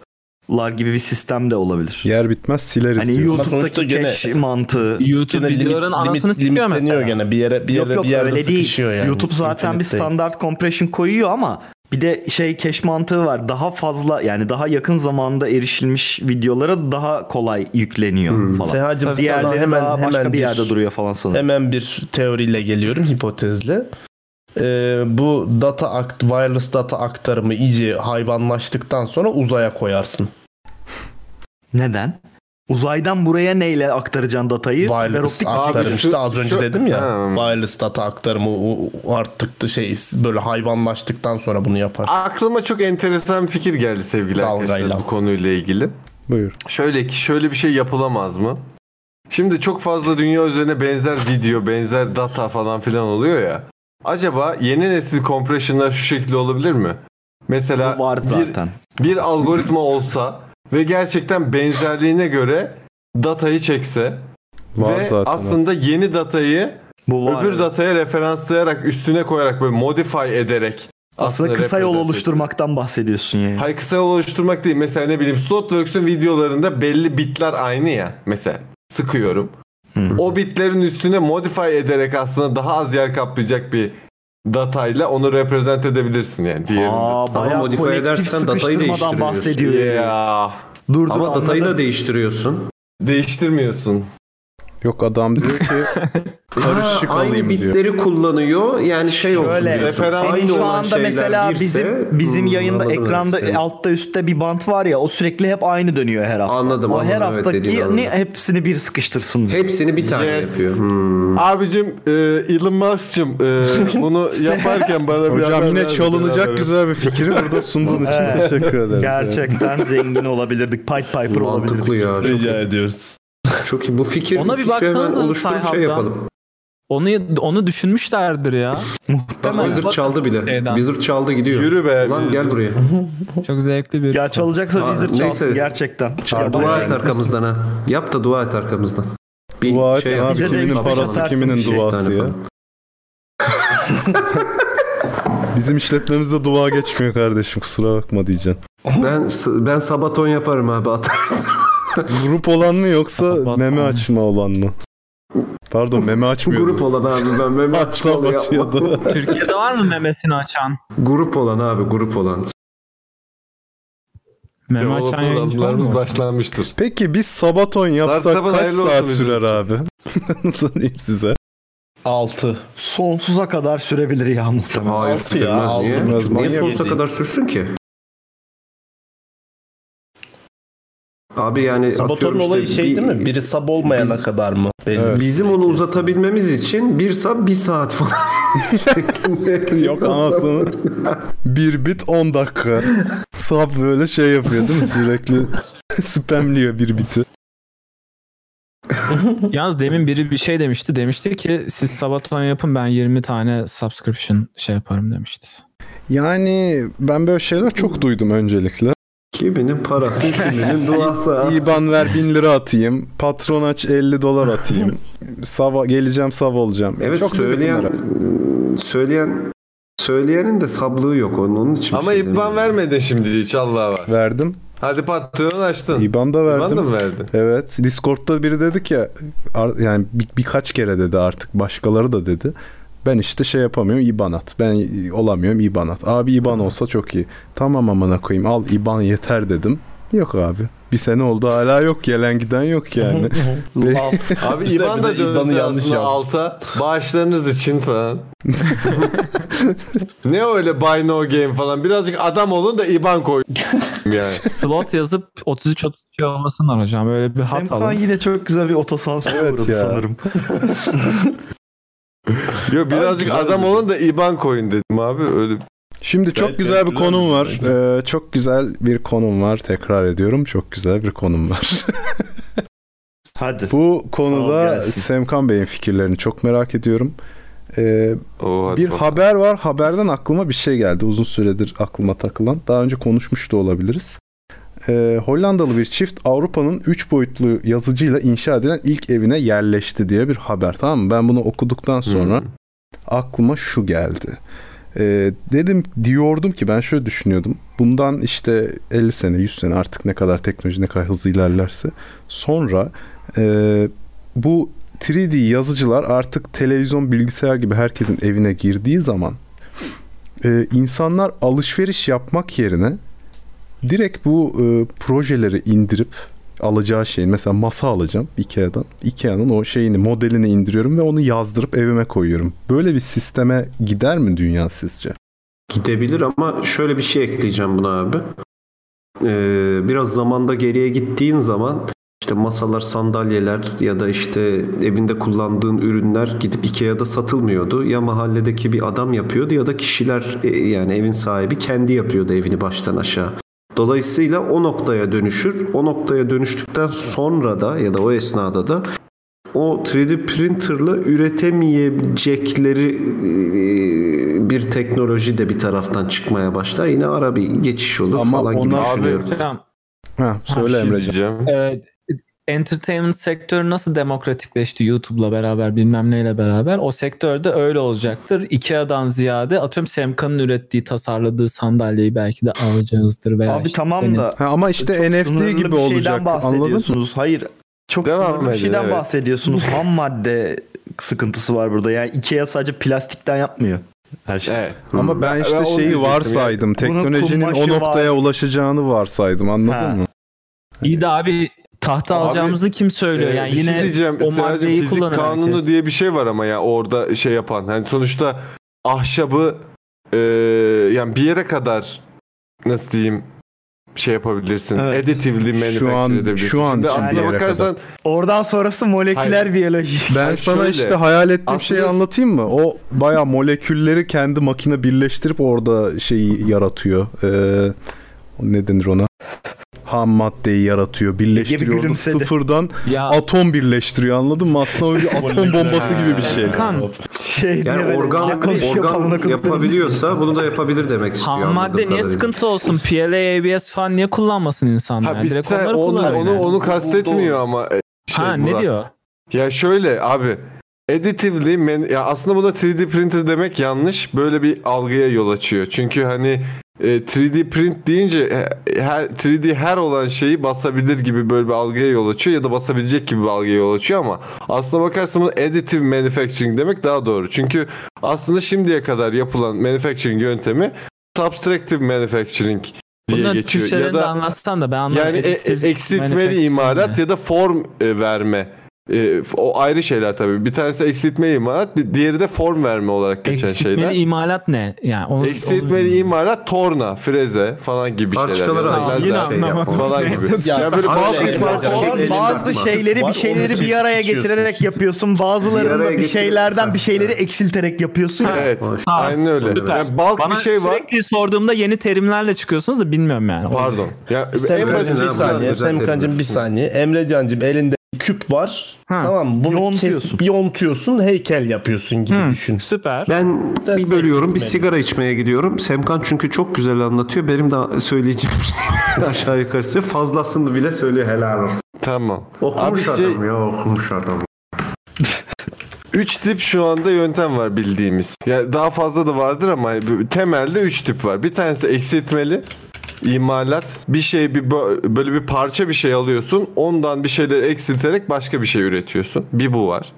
gibi bir sistem de olabilir.
Yer bitmez sileriz
Hani
diyor.
sonuçta
YouTube'daki
gene-
cache
[laughs]
mantığı.
YouTube videoların anasını sikiyor
limitleniyor
mesela.
gene bir yere bir yere
yok yok
bir yerde
öyle değil.
sıkışıyor yani.
YouTube zaten bir
İnternet değil.
standart compression koyuyor ama bir de şey cache mantığı var. Daha fazla yani daha yakın zamanda erişilmiş videolara daha kolay yükleniyor
Hmm.
falan.
Sehacım, sana
Diğerleri
hemen-
daha başka
hemen
bir
bir-
yerde duruyor falan sanırım.
Hemen bir teoriyle geliyorum hipotezle. Ee, bu data akt wireless data aktarımı iyice hayvanlaştıktan sonra uzaya koyarsın.
Neden? Uzaydan buraya neyle aktaracaksın datayı?
Wireless
Fiberoptik
aktarım
Abi şu-
işte az önce
şu-
dedim ya. Wireless data aktarımı o- o arttıkça şey böyle hayvanlaştıktan sonra bunu yapar.
Aklıma çok enteresan bir fikir geldi sevgili arkadaşlar bu konuyla ilgili.
Buyur.
Şöyle ki şöyle bir şey yapılamaz mı? Şimdi çok fazla dünya üzerine benzer video, benzer data falan filan oluyor ya. Acaba yeni nesil compression'lar şu şekilde olabilir mi? Mesela
şey var
bir-
zaten.
bir algoritma olsa ve gerçekten benzerliğine göre datayı çekse
Var
ve
zaten o.
aslında yeni datayı
Bu var,
öbür
evet.
dataya referanslayarak üstüne koyarak böyle modify ederek
Aslında kısa yol
represent
oluşturmaktan bahsediyorsun yani.
Hayır kısa yol oluşturmak değil. Mesela ne bileyim Slotworks'un videolarında belli bitler aynı ya. Mesela sıkıyorum. O bitlerin üstüne modify ederek aslında daha az yer kaplayacak bir datayla onu reprezent edebilirsin yani. Diğerinde.
Aa, bayağı
modifiye
kolektif
edersen datayı
sıkıştırmadan
değiştiriyorsun.
bahsediyor. yani.
Ya.
Dur, dur,
Ama datayı
anladım.
da değiştiriyorsun.
Değiştirmiyorsun.
Yok adam diyor ki karışık
Ha, aynı
alayım diyor.
bitleri kullanıyor. Yani şey olsun
Şöyle,
diyorsun.
senin
Aynı
şu
olan
anda
şeyler
mesela
birse-
bizim bizim
Hmm,
yayında
anladım
ekranda
evet seni.
altta üstte bir bant var ya o sürekli hep aynı dönüyor her hafta.
Anladım,
O her
anladım, evet, dediğini
haftaki ne
anladım.
hepsini bir sıkıştırsın.
Hepsini bir tane
Yes.
yapıyor. Hmm,
Abicim e, Elon Musk'cım
[laughs]
e, bunu yaparken bana bir
Hocam
haber
yine
ver, beraber.
çalınacak güzel bir fikiri burada sunduğun için
Evet.
teşekkür ederim.
Gerçekten zengin olabilirdik. Pipe Piper olabilirdik.
Mantıklı ya.
Rica ediyoruz.
Çok iyi. Bu fikir,
Ona
bu
bir
fikri hemen
baksanıza
oluşturup şey
Sayhab'dan.
yapalım.
Onu onu düşünmüşlerdir ya.
Bak Wizard çaldı bile.
Şeyden.
Wizard çaldı gidiyor. Yürü be. Lan gel buraya.
Çok zevkli bir.
Ya çalacaksa
Aa,
Wizard çalsın
neyse.
gerçekten.
Ya, dua et arkamızdan ha. Yap da dua et arkamızdan. Bir şey dua
et abi, kiminin parası,
şey
kiminin duası ya. [laughs] Bizim işletmemizde dua geçmiyor kardeşim kusura bakma diyeceksin.
Ben ben sabaton yaparım abi [laughs] atarsın.
Grup olan mı yoksa meme açma olan mı? Pardon meme açmıyordum.
Grup olan abi ben meme açmalı
başladı.
Türkiye'de var mı memesini açan?
[laughs] Grup olan abi grup olan.
Meme açan yayıncı var mı?
başlanmıştır. Peki biz sabaton yapsak
Startup'ın
kaç
hayırlı olsun
saat
bizim.
sürer abi? [laughs] Ben sorayım size.
6.
Sonsuza kadar sürebilir ya muhtemelen.
Hayır
Altı ya,
sürmez
altı.
niye?
Biraz
Niye
manyak
sonsuza
değil.
kadar sürsün ki? Abi yani
Sabotonun
atıyorum
olayı
işte
şey
bir-
değil mi? Biri sab olmayana
Biz-
kadar mı? Belli. şey
Bizim onu uzatabilmemiz için bir sab bir saat falan.
Yok anasını. Bir bit 10 [laughs] dakika. Sap böyle şey yapıyor değil mi [laughs] sürekli? Spamliyor bir biti.
Yalnız demin biri bir şey demişti. Demişti ki siz sabaton yapın ben 20 tane subscription şey yaparım demişti.
Yani ben böyle şeyler çok duydum öncelikle.
Kiminin parası, kiminin duası.
İban ver 1000 lira atayım. Patron aç 50 dolar [laughs] atayım. Sabah geleceğim sab olacağım.
Evet
Çok duydum
söyleyen
bunları.
söyleyen söyleyenin de sablığı yok onun, onun için. şey
Ama
şey
IBAN vermedin şimdi hiç Allah'a var.
Verdim.
Hadi patron açtın.
İban da verdim.
İban da
[laughs]
mı verdi?
Evet. Discord'da biri dedi ki ar- yani bir- birkaç kere dedi artık başkaları da dedi. Ben işte şey yapamıyorum IBAN at. Ben olamıyorum IBAN at. Abi IBAN olsa çok iyi. Tamam amına koyayım al IBAN yeter dedim. Yok abi. Bir sene oldu hala yok. Gelen giden yok yani.
Abi
Güzel,
İban
bir
da
de İBAN'ı
dönse
yanlış
aslında
yazdım.
alta bağışlarınız için falan. ne öyle buy no game falan. Birazcık adam olun da İban koy. yani.
Slot yazıp 33-32 olmasınlar hocam. Böyle bir hat
Semkan
alın.
yine çok güzel bir otosansör uğradı
ya.
sanırım.
Yok birazcık
Abi, güzel
adam olun da İban koyun dedim abi. Öyle
Şimdi çok
Gayet
güzel bir
güzel
konum var.
şey.
Ee, çok güzel bir konum var. Tekrar ediyorum. Çok güzel bir konum var. [laughs]
Hadi.
Bu
Sağ ol,
konuda
gelsin.
Semkan Bey'in fikirlerini çok merak ediyorum. Ee,
hadi
bir
bakalım.
haber var. Haberden aklıma bir şey geldi. Uzun süredir aklıma takılan. Daha önce konuşmuş da olabiliriz. Ee, Hollandalı bir çift Avrupa'nın 3 boyutlu yazıcıyla inşa edilen ilk evine yerleşti diye bir haber. Tamam mı? Ben bunu okuduktan sonra aklıma şu geldi. Ee, dedim diyordum ki ben şöyle düşünüyordum. Bundan işte 50 sene 100 sene artık ne kadar teknoloji ne kadar hızlı ilerlerse sonra e, bu 3D yazıcılar artık televizyon bilgisayar gibi herkesin evine girdiği zaman e, insanlar alışveriş yapmak yerine direkt bu e, projeleri indirip alacağı şeyin mesela masa alacağım Ikea'dan. Ikea'nın o şeyini modelini indiriyorum ve onu yazdırıp evime koyuyorum. Böyle bir sisteme gider mi dünya sizce?
Gidebilir ama şöyle bir şey ekleyeceğim buna abi. Ee, biraz zamanda geriye gittiğin zaman işte masalar, sandalyeler ya da işte evinde kullandığın ürünler gidip Ikea'da satılmıyordu. Ya mahalledeki bir adam yapıyordu ya da kişiler e, yani evin sahibi kendi yapıyordu evini baştan aşağı. Dolayısıyla o noktaya dönüşür. O noktaya dönüştükten sonra da ya da o esnada da o 3D printerla üretemeyecekleri e, bir teknoloji de bir taraftan çıkmaya başlar. Yine ara bir geçiş olur falan gibi düşünüyorum.
Hocam,
Ha,
şey
söyle Emrecan.
şey diyeceğim.
e, entertainment sektörü nasıl demokratikleşti YouTube'la beraber bilmem neyle beraber o sektörde öyle olacaktır. Ikea'dan ziyade atıyorum Semkan'ın ürettiği tasarladığı sandalyeyi belki de alacağızdır veya
Abi
işte
tamam
senin-
da.
ama işte
çok
NFT
sınırlı
gibi
bir şeyden
olacak, anladın mı?
bahsediyorsunuz. Hayır. Çok
Devam
sınırlı bir
edin,
şeyden
evet.
bahsediyorsunuz. Ham madde sıkıntısı var burada. Yani IKEA sadece plastikten yapmıyor. Her şey.
Ama ben işte şeyi varsaydım. Teknolojinin o noktaya ulaşacağını varsaydım. Anladın mı?
İyi de abi tahta alacağımızı kim söylüyor?
Ee,
Yani
bir
yine
şey diyeceğim.
o
Seracığım,
maddeyi
fizik
kullanır
kanunu
herkes.
diye bir şey var ama ya orada şey yapan. Hani sonuçta ahşabı e, yani bir yere kadar nasıl diyeyim şey yapabilirsin.
Evet.
Additively manufacture edebilirsin. Şimdi aslına bakarsan
Oradan sonrası moleküler
Hayır.
biyoloji. [laughs]
Ben sana işte hayal ettiğim şeyi anlatayım mı? O baya molekülleri kendi makine birleştirip orada şeyi yaratıyor. Ee, o ne denir ona? ham maddeyi yaratıyor, birleştiriyor. Orada
gülümsedi.
sıfırdan atom birleştiriyor anladın mı? Aslında öyle bir atom bombası gibi bir şey.
Kan.
yani organ, organ yapabiliyorsa bunu da yapabilir demek istiyor.
Ham madde
anladığım
niye
kadarıyla.
sıkıntı olsun? E, PLA, ABS falan niye kullanmasın insanlar?
biz
Direkt
sen-
onları
onu-
kullan
onu-
yani.
onu
kastetmiyor ama e, şey,
Ha, ne
Murat.
diyor?
Ya şöyle abi editively men- ya aslında buna 3D printer demek yanlış böyle bir algıya yol açıyor. Çünkü hani e, 3D print deyince e, her 3D her olan şeyi basabilir gibi böyle bir algıya yol açıyor ya da basabilecek gibi bir algıya yol açıyor ama aslına bakarsan bunu additive manufacturing demek daha doğru. Çünkü aslında şimdiye kadar yapılan manufacturing yöntemi subtractive manufacturing diye
Bunların
geçiyor ya
Türkçelerini de
da
anlatsan da ben anlamadım.
yani e- e- eksiltmeli
Manufacturing
imalat
ne?
ya da form e, verme. E, f- o ayrı şeyler tabii. Bir tanesi eksiltmeli imalat, bir diğeri de form verme olarak geçen
Eksiltmeli
şeyler.
imalat ne? Yani onu,
Eksiltmeli imalat, torna, freze falan gibi şeyler.
Parçaları
Yani
ayırma,
lazer şey
yine
yapma
anlamadım.
Falan gibi.
[laughs] Neyse.
ya böyle
Abi
bazı
şey
parça- Bazı-
yapacak.
Bazı şeyleri bir şeyleri bir araya getirerek yapıyorsun. Bazılarını da bir şeylerden bir şeyleri eksilterek yapıyorsun. ya.
Evet.
Ha,
Aynen öyle.
süper.
Yani balk
Bana
bir şey var.
Sürekli sorduğumda yeni terimlerle çıkıyorsunuz da bilmiyorum yani.
Pardon. Ya,
Sem Kancım bir saniye. Sem Kancım bir saniye. Emre Can'cım elinde bir küp var. Tamam mı? Bunu yontuyorsun. Kesip yontuyorsun heykel yapıyorsun
[laughs]
gibi düşün.
Süper.
Ben bir bölüyorum. Bir sigara içmeye gidiyorum. Semkan çünkü çok güzel anlatıyor. Benim de söyleyeceğim [laughs] şeyler aşağı yukarısı. Fazlasını bile söylüyor. Helal olsun.
Tamam.
Okumuş
Abi şey-
adam ya okumuş adam.
Üç tip şu anda yöntem var bildiğimiz. Ya daha fazla da vardır ama hani temelde üç tip var. Bir tanesi eksiltmeli imalat. Bir şey bir bö- böyle bir parça bir şey alıyorsun. Ondan bir şeyleri eksilterek başka bir şey üretiyorsun. Bir bu var.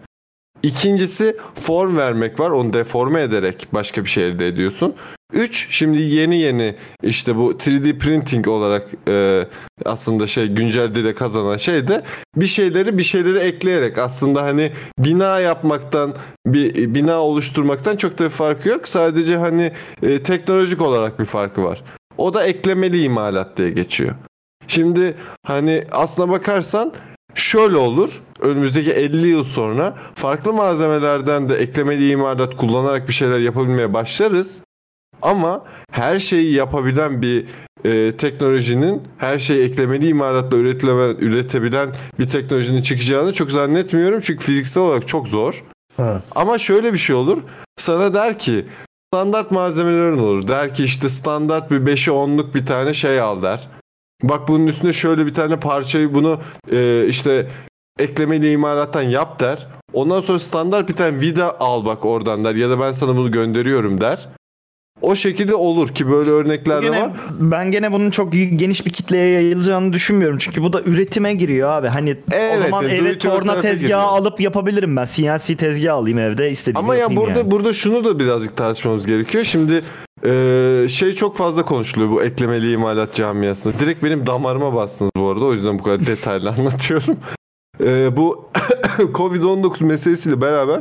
İkincisi form vermek var. Onu deforme ederek başka bir şey elde ediyorsun. 3. Şimdi yeni yeni işte bu 3D printing olarak e, aslında şey güncelde de kazanan şey de bir şeyleri bir şeyleri ekleyerek aslında hani bina yapmaktan bir bina oluşturmaktan çok da bir farkı yok. Sadece hani e, teknolojik olarak bir farkı var. O da eklemeli imalat diye geçiyor. Şimdi hani aslına bakarsan şöyle olur. Önümüzdeki 50 yıl sonra farklı malzemelerden de eklemeli imalat kullanarak bir şeyler yapabilmeye başlarız. Ama her şeyi yapabilen bir e, teknolojinin her şeyi eklemeli imalatla üretileme, üretebilen bir teknolojinin çıkacağını çok zannetmiyorum. Çünkü fiziksel olarak çok zor. Ama şöyle bir şey olur. Sana der ki standart malzemelerin olur. Der ki işte standart bir 5'e 10'luk bir tane şey al der. Bak bunun üstüne şöyle bir tane parçayı bunu e, işte eklemeli imalattan yap der. Ondan sonra standart bir tane vida al bak oradan der. Ya da ben sana bunu gönderiyorum der. O şekilde olur ki böyle örnekler de
Gene-
var.
ben gene bunun çok y- geniş bir kitleye yayılacağını düşünmüyorum. Çünkü bu da üretime giriyor abi. Hani
Evet,
o zaman
do it
eve
yourself'e
torna tezgahı
giriyor.
alıp yapabilirim ben. CNC tezgahı alayım evde istediğimi
Ama ya
yapayım
burada
yani.
burada şunu da birazcık tartışmamız gerekiyor. Şimdi e, şey çok fazla konuşuluyor bu eklemeli imalat camiasında. Direkt benim damarıma bastınız bu arada. O yüzden bu kadar [laughs] detaylı anlatıyorum. E, bu [coughs] Covid-19 meselesiyle beraber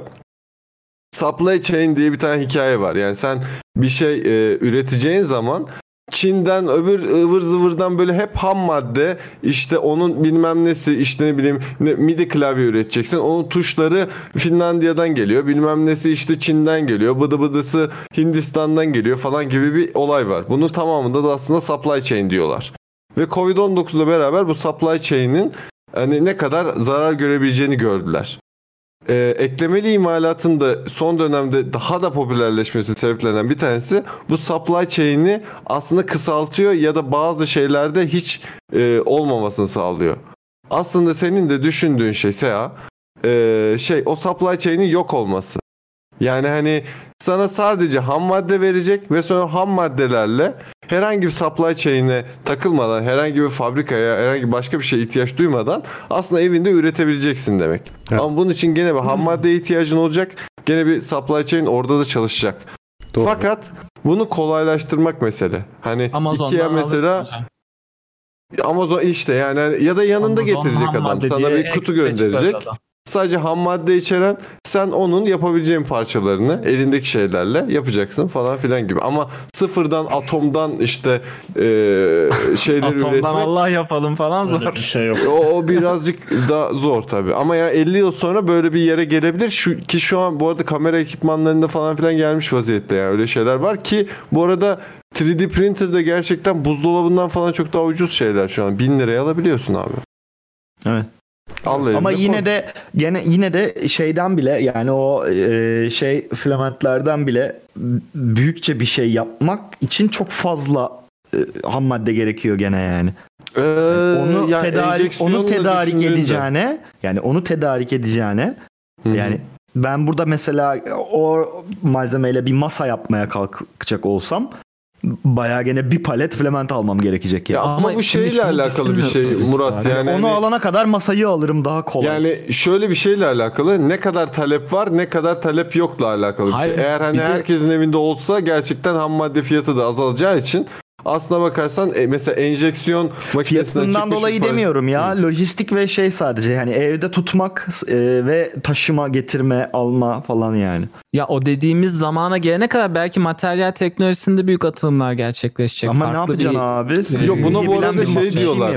supply chain diye bir tane hikaye var. Yani sen bir şey e, üreteceğin zaman Çin'den öbür ıvır zıvırdan böyle hep ham madde işte onun bilmem nesi işte ne bileyim ne, midi klavye üreteceksin. Onun tuşları Finlandiya'dan geliyor. Bilmem nesi işte Çin'den geliyor. Bıdı bıdısı Hindistan'dan geliyor falan gibi bir olay var. Bunun tamamında da aslında supply chain diyorlar. Ve Covid-19 ile beraber bu supply chain'in hani ne kadar zarar görebileceğini gördüler. Ee, eklemeli imalatın da son dönemde daha da popülerleşmesi sebeplenen bir tanesi bu supply chain'i aslında kısaltıyor ya da bazı şeylerde hiç e, olmamasını sağlıyor. Aslında senin de düşündüğün şey Seha e, şey o supply chain'in yok olması. Yani hani sana sadece ham madde verecek ve sonra ham maddelerle herhangi bir supply chain'e takılmadan, herhangi bir fabrikaya, herhangi başka bir şeye ihtiyaç duymadan aslında evinde üretebileceksin demek. Ama bunun için gene bir ham maddeye ihtiyacın olacak. Gene bir supply chain orada da çalışacak. Fakat bunu kolaylaştırmak mesele. Hani
Amazon'dan
Ikea
alırsın
mesela
hocam.
Amazon işte yani ya da yanında
Amazon
getirecek
ham
adam.
madde
Sana
diye
bir kutu
ekstra çıkardı
gönderecek.
adam.
Sadece ham madde içeren sen onun yapabileceğin parçalarını elindeki şeylerle yapacaksın falan filan gibi. Ama sıfırdan atomdan işte e, şeyleri üretmek.
[laughs] Atomdan Allah yapalım falan zor.
Öyle bir
şey
O, o birazcık daha zor tabii. Ama ya 50 yıl sonra böyle bir yere gelebilir. Şu, ki şu an bu arada kamera ekipmanlarında falan filan gelmiş vaziyette yani öyle şeyler var ki bu arada 3D printer de gerçekten buzdolabından falan çok daha ucuz şeyler şu an. 1000 liraya alabiliyorsun abi.
Evet.
Al
Ama
eline
yine
koy.
de gene yine de şeyden bile yani o e, şey filamentlerden bile büyükçe bir şey yapmak için çok fazla e, ham madde gerekiyor gene yani. onu
Ee, yani
tedarik
enjeksiyonla
onu tedarik
düşündüğünde.
edeceğine yani onu tedarik edeceğine yani ben burada mesela o malzemeyle bir masa yapmaya kalkacak olsam bayağı gene bir palet filament almam gerekecek yani.
Ya ama bu şeyle alakalı bir şey Murat yani.
onu
hani-
alana kadar masayı alırım daha kolay.
Yani şöyle bir şeyle alakalı ne kadar talep var ne kadar talep yokla alakalı bir şey.
Hayır,
Eğer hani
bir de-
herkesin evinde olsa gerçekten ham madde fiyatı da azalacağı için aslına bakarsan e, mesela enjeksiyon makinesinden
Bundan
çıkmış
dolayı
bir şey para-
demiyorum ya. Lojistik ve şey sadece yani evde tutmak e, ve taşıma, getirme, alma falan yani.
Ya o dediğimiz zamana gelene kadar belki materyal teknolojisinde büyük atılımlar gerçekleşecek.
Ama ne
Farklı
yapacaksın
bir-
abi?
E, Yok buna bu
Bilen
arada
bir
şey
makine.
diyorlar.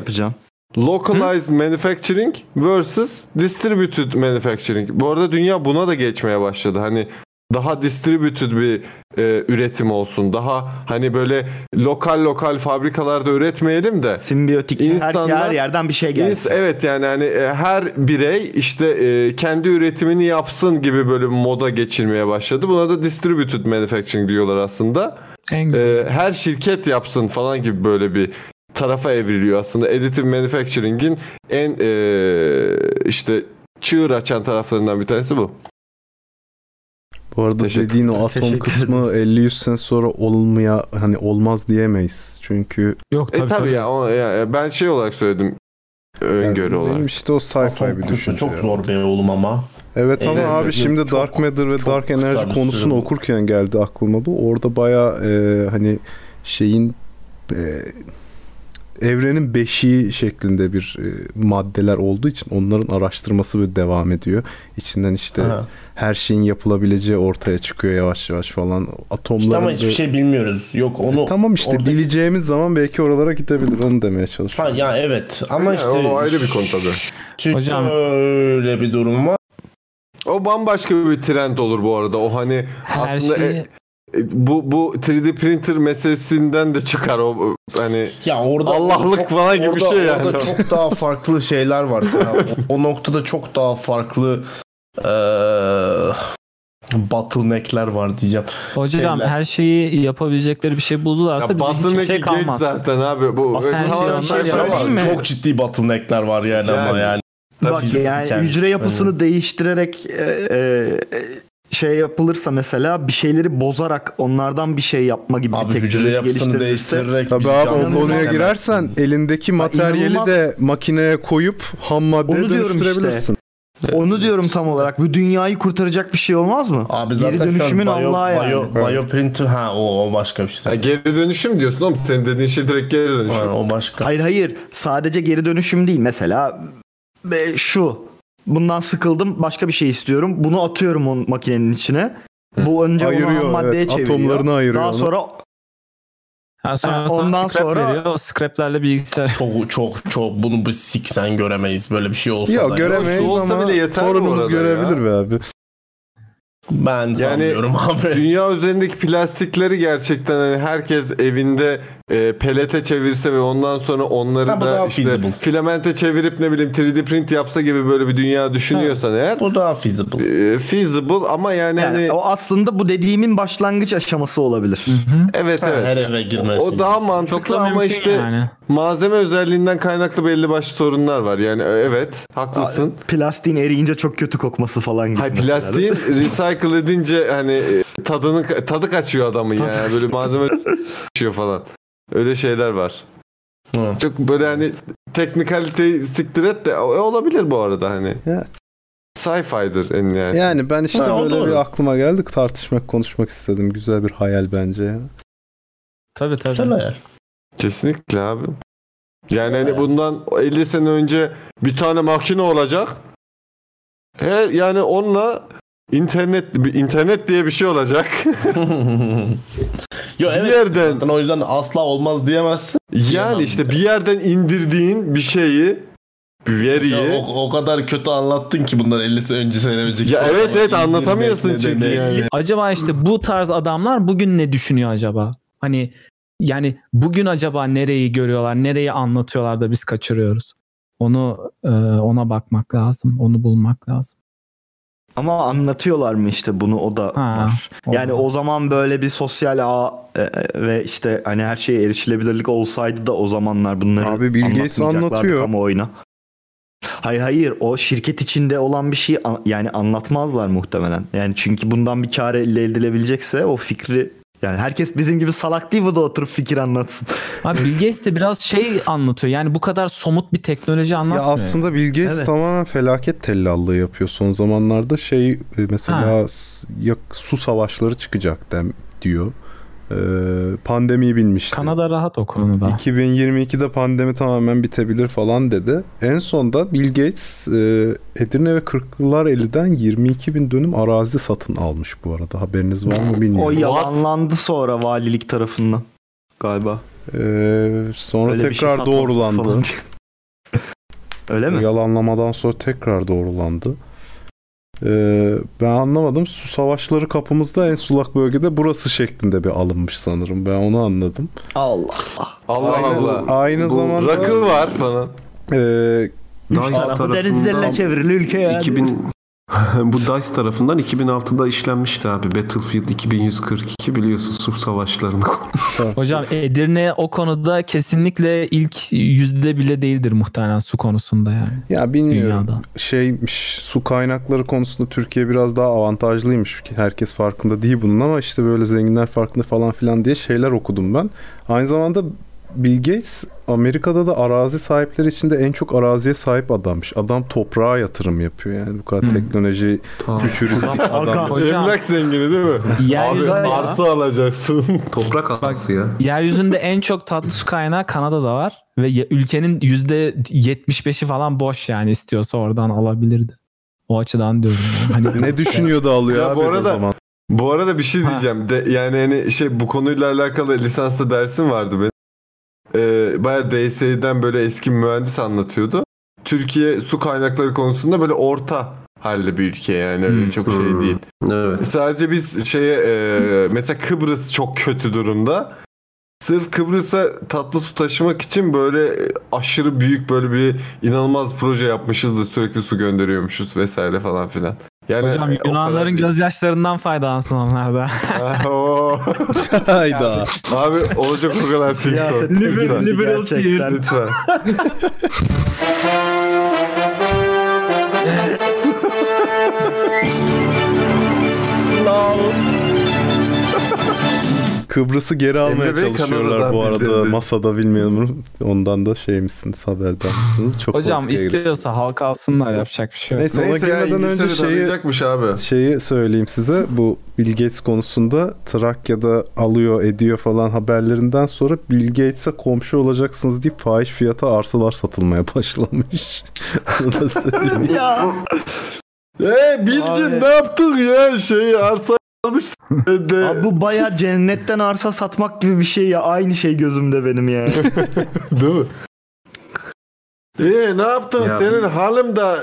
Localized manufacturing versus distributed manufacturing. Bu arada dünya buna da geçmeye başladı. Hani daha distributed bir e, üretim olsun. Daha hani böyle lokal lokal fabrikalarda üretmeyelim de
simbiyotik her yerden bir şey gelsin.
evet yani hani e, her birey işte e, kendi üretimini yapsın gibi böyle bir moda geçilmeye başladı. Buna da distributed manufacturing diyorlar aslında. E, her şirket yapsın falan gibi böyle bir tarafa evriliyor aslında. Additive manufacturing'in en e, işte çığır açan taraflarından bir tanesi bu.
Bu arada dediğin o atom
Teşekkür
kısmı 50-100 sene sonra olmaya hani olmaz diyemeyiz. Çünkü
Yok
e, tabii ya, o- ya, ben şey olarak söyledim. Öngörü
Benim
olarak.
işte o sci-fi bir düşünce.
Çok
ya.
zor be oğlum ama.
Evet ama
Evet,
abi
evet.
şimdi
Çok-
Dark Matter ve Dark
kısa bir
Energy konusunu
süre bu.
okurken geldi aklıma bu. Orada baya hani şeyin e, evrenin beşiği şeklinde bir e, maddeler olduğu için onların araştırması böyle devam ediyor. İçinden işte
Aha.
her şeyin yapılabileceği ortaya çıkıyor yavaş yavaş falan. Atomların
İşte ama hiçbir
böyle-
şey bilmiyoruz. Yok onu
E, tamam işte
orada-
bileceğimiz zaman belki oralara gidebilir onu demeye çalışıyorum.
Ha, ya evet ama
Ya,
işte
o ayrı bir konu tabii.
Çünkü
Hocam-
öyle bir durum var.
O bambaşka bir trend olur bu arada. O hani
Her
aslında
şeyi-
e- e, bu bu 3D printer meselesinden de çıkar o hani
Ya orada
Allah'lık
çok-
falan gibi bir
orada-
şey yani.
Orada çok daha farklı şeyler var sana. o, o noktada çok daha farklı eee bottleneck'ler var diyeceğim.
Hocam
Şeyler.
her şeyi yapabilecekleri bir şey buldularsa
Ya
bize hiçbir
bottleneck'i
şey
geç
kalmaz.
zaten abi bu.
Aslında
Öyle
her
tamamen
şey
şey
yapan-
var.
Değil mi?
Çok ciddi bottleneck'ler var yani, ama
Yani.
yani.
Bak yani hücre yapısını değiştirerek e, e, e, şey yapılırsa mesela bir şeyleri bozarak onlardan bir şey yapma gibi bir teknoloji geliştirilirse-
Tabii abi o konuya
İnanılmaz.
girersen elindeki materyali
inanılmaz.
de makineye koyup ham maddeye
Onu diyorum
dönüştürebilirsin.
işte. Onu diyorum tam olarak. Bu dünyayı kurtaracak bir şey olmaz mı?
Abi
Geri
zaten şu an
dönüşümün
bio-
Allah'a yani.
bio- bioprinter ha o, o başka bir şey.
Ha, geri dönüşüm diyorsun oğlum. Senin dediğin şey direkt geri dönüşüm.
o başka.
Hayır hayır. Sadece geri dönüşüm değil. Mesela e, şu. Bundan sıkıldım. Başka bir şey istiyorum. Bunu atıyorum o makinenin içine. Bu önce onu
Ayırıyor,
ham maddeye
evet.
çeviriyor.
Atomlarını ayırıyor
Daha
onu.
sonra
Ha, sonra
Ha,
sana
ondan
scrap
sonra-
veriyor. O scraplerle bilgisayar.
Çok çok çok bunu biz siksen göremeyiz böyle bir şey olsa da.
Yok göremeyiz ama torunumuz görebilir be abi.
Ben sanmıyorum [laughs] abi.
Dünya üzerindeki plastikleri gerçekten hani herkes evinde e, pelete çevirse ve ondan sonra onları
Ha, bu
da
daha
işte
feasible.
filamente çevirip ne bileyim 3D print yapsa gibi böyle bir dünya düşünüyorsan eğer. e,
Bu daha feasible.
feasible ama yani,
yani
hani
o aslında bu dediğimin başlangıç aşaması olabilir.
evet evet.
Her eve girmesi.
O daha mantıklı
da
ama
mümkün
işte
yani.
malzeme özelliğinden kaynaklı belli başlı sorunlar var. Yani e, evet haklısın.
Plastiğin eriyince çok kötü kokması falan gibi.
Hayır
mesela.
plastiğin recycle edince hani e, tadını tadı kaçıyor adamın yani. Böyle malzeme kaçıyor falan. Öyle şeyler var. Çok böyle hani teknikaliteyi siktir et de o- e, olabilir bu arada hani.
Evet.
Sci-fi'dir en yani.
Yani ben işte
Ha, o
böyle
doğru.
bir aklıma geldik tartışmak konuşmak istedim. Güzel bir hayal bence ya.
Tabii tabii.
Kesinlikle abi. Yani hani bundan 50 sene önce bir tane makine olacak. Her yani onunla internet bir internet diye bir şey olacak. [laughs]
Yo evet. Yerden. Zaten o yüzden asla olmaz diyemezsin.
Yani işte bir yerden indirdiğin bir şeyi bir
Ya
veriyi
o, o kadar kötü anlattın ki bundan 50 sene önce sene önceki.
Ya evet, evet,
İndirmek
anlatamıyorsun
ne
çünkü
demek?
Acaba işte bu tarz adamlar bugün ne düşünüyor acaba? Hani yani bugün acaba nereyi görüyorlar, nereyi anlatıyorlar da biz kaçırıyoruz? Onu e, ona bakmak lazım, onu bulmak lazım.
Ama anlatıyorlar mı işte bunu o da var. Yani o zaman böyle bir sosyal ağ e, e, ve işte hani her şeye erişilebilirlik olsaydı da o zamanlar bunları
Abi Bill Gates
anlatmayacaklardı
anlatıyor.
kamuoyuna. Hayır hayır o şirket içinde olan bir şeyi an- yani anlatmazlar muhtemelen. Yani çünkü bundan bir kar elde edilebilecekse o fikri yani herkes bizim gibi salak değil bu da oturup fikir anlatsın.
Abi Bill Gates de biraz şey anlatıyor. Yani bu kadar somut bir teknoloji
Ya
anlatmıyor.
aslında Bill Gates
Evet.
tamamen felaket tellallığı yapıyor son zamanlarda. Şey e, mesela s- ya- su savaşları çıkacak dem diyor. Ee, pandemiyi bilmişti.
Kanada rahat o konuda.
2022'de pandemi tamamen bitebilir falan dedi. En sonda Bill Gates e, Edirne ve 40'lılar 50'den 22 bin dönüm arazi satın almış bu arada. Haberiniz var mı
O
bilmiyorum.
yalanlandı sonra valilik tarafından galiba.
E, sonra
Öyle bir şey
tekrar
satmadık
doğrulandı.
falan. Öyle mi?
Yalanlamadan sonra tekrar doğrulandı. Ee, ben anlamadım. Su savaşları kapımızda en sulak bölgede burası şeklinde bir alınmış sanırım. Ben onu anladım.
Allah.
Allah
Aynı-
Allah.
Aynı
Bu
zamanda
rakı var falan.
Ee,
Üç tarafı denizlerle çevrili ülke ya.
2000 [laughs] bu DICE tarafından 2006'da işlenmişti abi. Battlefield 2142 biliyorsun Sur Savaşları'nı
Hocam Edirne o konuda kesinlikle ilk yüzde bile değildir muhtemelen su konusunda yani.
Ya bilmiyorum.
Dünyada.
Şeymiş su kaynakları konusunda Türkiye biraz daha avantajlıymış. Herkes farkında değil bunun ama işte böyle zenginler farkında falan filan diye şeyler okudum ben. Aynı zamanda Bill Gates Amerika'da da arazi sahipleri içinde en çok araziye sahip adammış. Adam toprağa yatırım yapıyor yani bu kadar teknoloji fütüristik
Adam-
adam.
Hocam.
Emlak zengini değil mi? Abi
Yeryüzünde ya.
arsa alacaksın.
Toprak alması ya.
Yeryüzünde en çok tatlı su kaynağı Kanada'da var ve ye- ülkenin yüzde 75'i falan boş yani istiyorsa oradan alabilirdi. O açıdan diyorum. yani.
[laughs]
Hani
ne düşünüyor da alıyor
Ya
abi
bu
o
arada
zaman.
bu arada bir şey diyeceğim. De, yani hani şey bu konuyla alakalı lisansta dersim vardı benim. Ee, Baya DSE'den böyle eski mühendis anlatıyordu. Türkiye su kaynakları konusunda böyle orta halli bir ülke yani öyle
Hmm.
çok şey değil. Sadece biz şeye e, mesela Kıbrıs çok kötü durumda. Sırf Kıbrıs'a tatlı su taşımak için böyle e, aşırı büyük böyle bir inanılmaz proje yapmışız da sürekli su gönderiyormuşuz vesaire falan filan. Yani e,
Hocam
[laughs]
Yunanların gözyaşlarından faydalansın onlar da.
Hayda.
Abi olacak o kadar tek
Siyaset
sorun.
liberal-
Lütfen.
liberal
Gerçekten. Lütfen.
Kıbrıs'ı geri almaya
Emre Bey
çalışıyorlar bu
Kanada'dan
arada.
bildirdi.
Masada bilmiyorum. Ondan da şey misiniz haberdar mısınız? Çok
Hocam
politikaya girdik.
istiyorsa halka alsınlar yapacak bir şey yok.
Neyse, ona girmeden önce şeyi, şeyi söyleyeyim size. Bu Bill Gates konusunda Trakya'da alıyor ediyor falan haberlerinden sonra Bill Gates'e komşu olacaksınız deyip fahiş fiyata arsalar satılmaya başlamış. [laughs] Onu da
[laughs]
söyleyeyim.
ya.
Eee Bilcim ne yaptık ya şey arsa almış.
Abi bu baya cennetten arsa satmak gibi bir şey ya. Aynı şey gözümde
[laughs]
benim ya.
Değil mi? Eee ne yaptın
Ya
senin halim de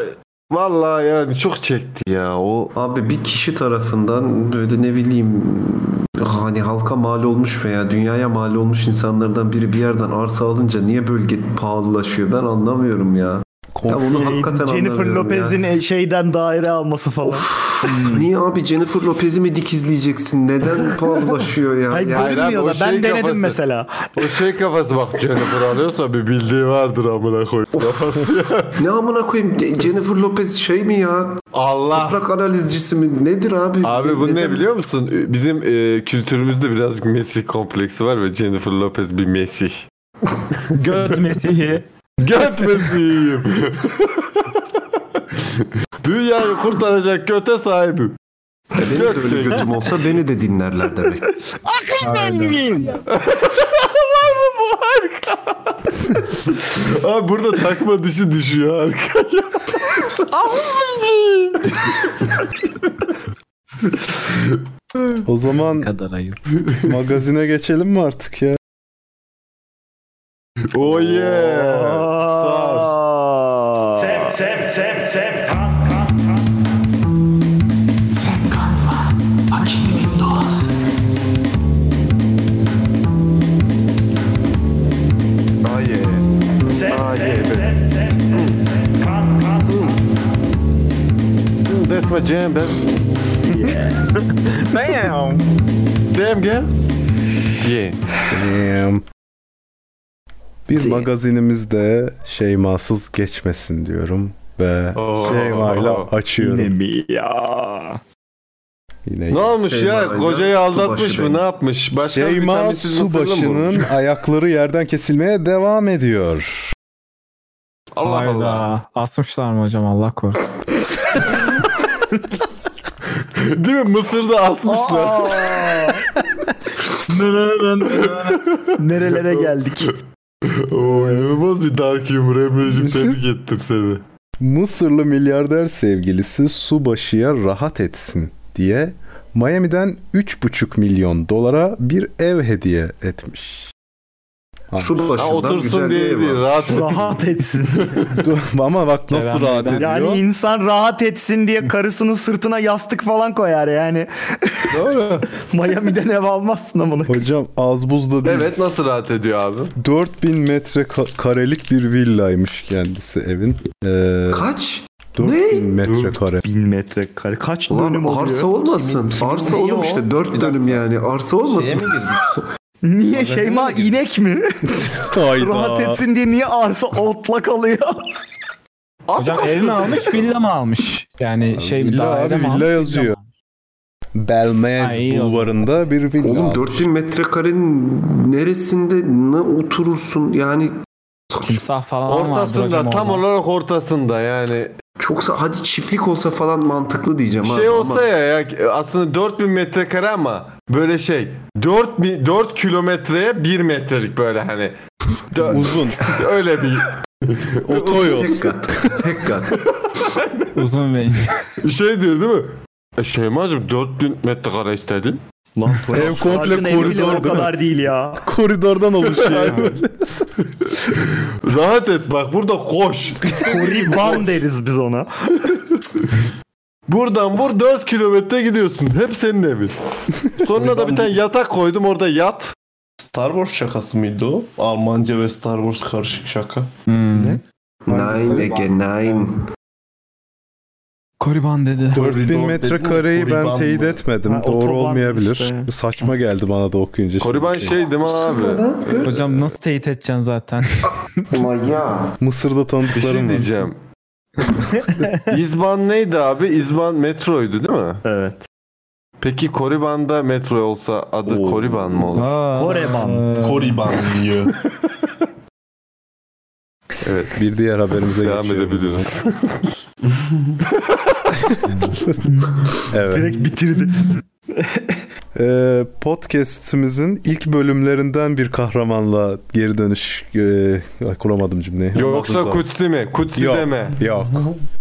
vallahi yani çok çekti ya o.
Abi bir kişi tarafından böyle ne bileyim hani halka mal olmuş veya dünyaya mal olmuş insanlardan biri bir yerden arsa alınca niye bölge pahalılaşıyor ben anlamıyorum ya. Ya bunu hakikaten
Şey, Jennifer
anlamıyorum
Lopez'in
ya.
e, şeyden daire alması falan.
Hmm.
Niye abi Jennifer Lopez'i mi
[laughs]
dikizleyeceksin? Neden pahalılaşıyor ya?
Hayır,
Yani-
bölünmüyor da. Ben denedim mesela.
O şey kafası bak Jennifer alıyorsa bir bildiği vardır amına koyayım. Kafası ya.
Ne amına koyayım Ce- Jennifer Lopez şey mi ya?
Allah.
Toprak analizcisi mi? Nedir abi?
Ah. [laughs] Abi bu ne
Neden-
biliyor musun? Bizim e, kültürümüzde biraz Messi kompleksi var ve Jennifer Lopez bir Messi.
Göt
[laughs]
Mesih'i.
Göt Messi'yim. Dünyayı kurtaracak göte sahibim.
Benim de öyle götüm olsa beni de dinlerler demek.
Var mı bu harika? Abi burada takma dışı düşüyor harika.
O zaman magazine geçelim mi artık ya?
Oh yeah.
Sem sem sem sem
Oh yeah. Oh yeah. Mm, That's my jam, baby.
Damn.
Damn girl. Yeah.
Damn. Bir magazinimiz de Şeyma'sız geçmesin diyorum ve
Oo.
Şeyma'yla açıyorum.
Yine
mi ya? Yine
Ne olmuş ya? Kocayı aldatmış mı? Ne yapmış? Başka bir
Şeyma
vitaminsiz mısırlı mı
Subaşı'nın
olmuş?
ayakları yerden kesilmeye devam ediyor.
Allah Allah. Asmışlar mı hocam Allah korusun.
Değil mi? Mısır'da asmışlar.
Nerelere geldik?
Oo, inanılmaz bir dark humor Emre'cim tebrik ettim seni.
Mısırlı milyarder sevgilisi Subaşı'ya rahat etsin diye Miami'den 3,5 milyon dolara bir ev hediye
[laughs]
etmiş.
[laughs] Ha, otursun diye değil, rahat etsin.
Rahat etsin.
Dur, Ama bak nasıl rahat ediyor.
Yani insan rahat etsin diye karısının sırtına yastık falan koyar yani. [laughs]
Doğru.
Miami'den ev almazsın amına.
Hocam az buz da değil.
Evet nasıl rahat ediyor abi?
4000 metre ka- karelik bir villaymış kendisi evin. Ee,
Kaç?
4000 metrekare.
1000 metrekare. Kaç
Ulan arsa olmasın. arsa oğlum işte 4 dönüm yani. Arsa
Şey
olmasın.
Niye Şeyma inek mi?
Hayda.
Rahat etsin diye niye arsa otlak alıyor?
hocam ev mi almış villa mı almış? Yani şey
villa
daire
abi,
mi
villa
almış?
yazıyor.
Ha,
Belmed
iyi o
bulvarında bir villa.
Oğlum
almış.
4000 metrekarenin neresinde ne oturursun yani
timsah falan
Ortasında tam olarak ortasında yani.
Çoksa hadi çiftlik olsa falan mantıklı diyeceğim
Şey
abi
olsa
ama-
ya, ya aslında 4000 metrekare ama böyle şey 4 4 kilometreye 1 metrelik böyle hani Dö-
uzun
[laughs] öyle bir
otoyol
tek kat tek kat
Uzun ve
şey diyor değil mi? E Şeyma'cığım 4000 metrekare istedin.
Lan
Ev komple
Sarkın evi
koridor
bile o
değil mi?
kadar değil ya.
Koridordan oluşuyor.
Rahat et bak burada koş.
Koriban deriz biz ona.
Buradan vur 4 kilometre gidiyorsun. Hep senin evin. Sonra da bir tane yatak koydum orada yat.
Star Wars şakası mıydı o? Almanca ve Star Wars karışık şaka.
Ne?
Nine again nine.
Koriban dedi.
4000 metrekareyi ben teyit etmedim.
Ha,
Doğru
otoban
olmayabilir.
işte.
Saçma geldi bana da okuyunca.
Koriban şey değil mi abi?
Hocam nasıl teyit edeceksin zaten?
Maya.
Mısır'da
Bir
tanıdıklarım
şey
var.
diyeceğim. [laughs] İzban neydi abi? İzban metroydu değil mi?
Evet.
Peki Koriban'da metro olsa adı Koriban mı olur?
Koreban.
Koriban diyor.
Evet.
Bir diğer haberimize
Devam edebiliriz.
Evet.
Direkt bitirdi.
Ee, podcast'imizin ilk bölümlerinden bir kahramanla geri dönüş e, ay, kuramadım cümleyi.
[laughs] Yoksa
Anladınız ama.
Kutsi mi? Kutsi
Yok,
deme.
Yok.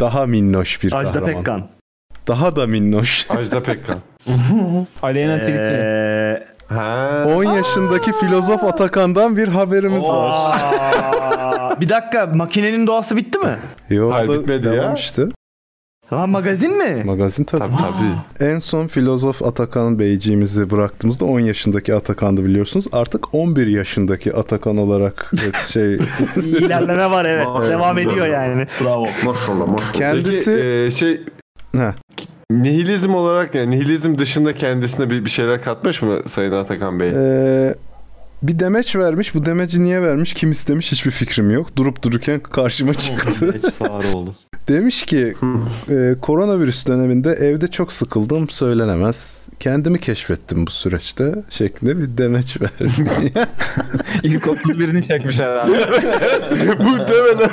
Daha minnoş bir
Ajda
kahraman.
Pekkan.
Daha da
[laughs]
minnoş.
Ajda Pekkan.
Aleyna Tilki.
Ee,
Ha.
10 yaşındaki filozof Atakan'dan bir haberimiz var.
aa, bir dakika makinenin doğası bitti mi?
Yo,
Hayır,
o da
bitmedi ya.
devam işte.
Ha magazin mi?
Magazin tabii.
Tabii tabii.
En son filozof Atakan Beyciğimizi bıraktığımızda 10 yaşındaki Atakan'dı biliyorsunuz. Artık 11 yaşındaki Atakan olarak e, şey
İlerleme var evet. Devam ediyor yani.
Bravo.
Maşallah maşallah.
kendisi
Peki, e, şey
Heh.
nihilizm olarak yani nihilizm dışında kendisine bir, bir şeyler katmış mı Sayın Atakan Bey?
Ee, bir demeç vermiş. Bu demeci niye vermiş? Kim istemiş? Hiçbir fikrim yok. Durup dururken karşıma çıktı.
Sağroğlu.
[laughs] Demiş ki e, koronavirüs döneminde evde çok sıkıldım söylenemez. Kendimi keşfettim bu süreçte şeklinde bir demeç [laughs] vermiş.
İlk 31'ini çekmiş herhalde. [laughs]
Bu demeden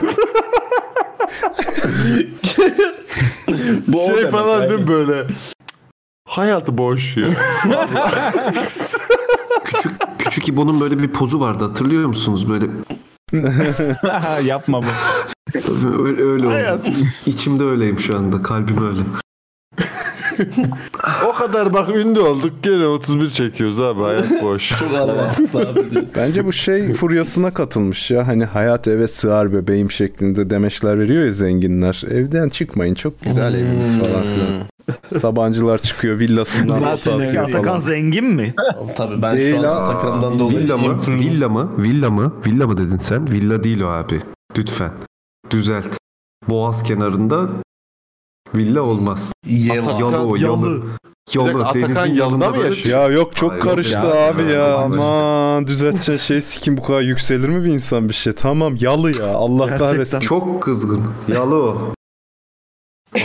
Bu o
şey
demek,
falan değil
aynen.
mi böyle? Hayatı boş ya.
Küçük İbo'nun böyle bir pozu vardı hatırlıyor musunuz böyle
Yapma bu.
Tabii öyle, öyle oldu. İçimde öyleyim şu anda. Kalbim öyle.
o kadar bak ünlü olduk gene 31 çekiyoruz abi hayat boş. Çok
arabasız Bence bu
[laughs]
şey furyasına katılmış ya. Hani hayat eve sığar bebeğim şeklinde demeçler veriyor ya zenginler. Evden çıkmayın çok
Hmm.
güzel eviniz falan
[laughs]
filan. Sabancılar çıkıyor villasından
Zaten
foto atıyor
Atakan
falan.
zengin mi?
Hmm. Tabii
Değil ha.
Villa mı? Villa mı? Villa mı? Villa mı dedin sen? Villa değil o abi. Lütfen. Düzelt. Boğaz kenarında villa olmaz. Yalı. Yalı. Yalı.
Bir
Yalı.
dakika,
Denizin yanında böyle
Ya yok çok
Ay, yok
karıştı
ya.
abi ya. Aman düzelteceksin şey sikim bu kadar yükselir mi bir insan bir şey? Tamam yalı ya Allah kahretsin.
Çok kızgın. Yalı o.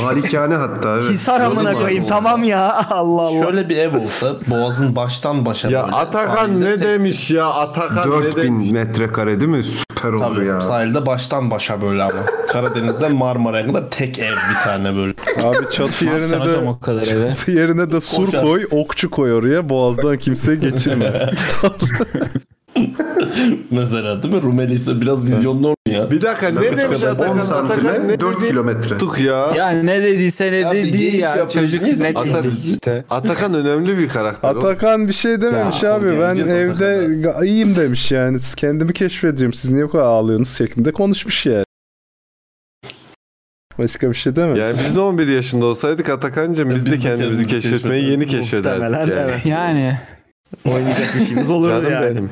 Malikane hatta evet.
Hisar
Gördün
amına
mü abi
koyayım
o
tamam ya Allah Allah.
Şöyle bir ev olsa boğazın baştan başa
Ya
böyle.
Atakan
ne
demiş ya Atakan
4000 metrekare değil mi? Süper oldu
Tabii
ya.
sahilde baştan başa böyle ama. Karadeniz'den Marmara'ya kadar tek ev bir tane böyle.
Abi çatı yerine de [laughs] çatı yerine de sur
Koşar.
koy, okçu koy oraya. Boğazdan kimseye geçirme.
Mesela değil mi? Rumeli ise biraz vizyonlu olun ya.
Bir dakika ne demiş Atakan? Atakan ne dedi? Tuk ya.
Ya ne dediyse ne dediği ya. Çocuk ne dedi işte.
Atakan önemli bir karakter. oğlum.
Atakan bir şey dememiş
Ya,
abi. Ben
geleceğiz
evde ga- iyiyim demiş yani. Siz Kendimi keşfediyorum. Siz niye bu kadar ağlıyorsunuz şeklinde konuşmuş yani. Başka bir şey dememiş.
Yani biz de 11 yaşında olsaydık Atakan'cığım biz de kendimizi keşfetmeyi yeni keşfederdik yani.
Yani.
Oynayacak bir şeyimiz olur
Canım
yani.
benim.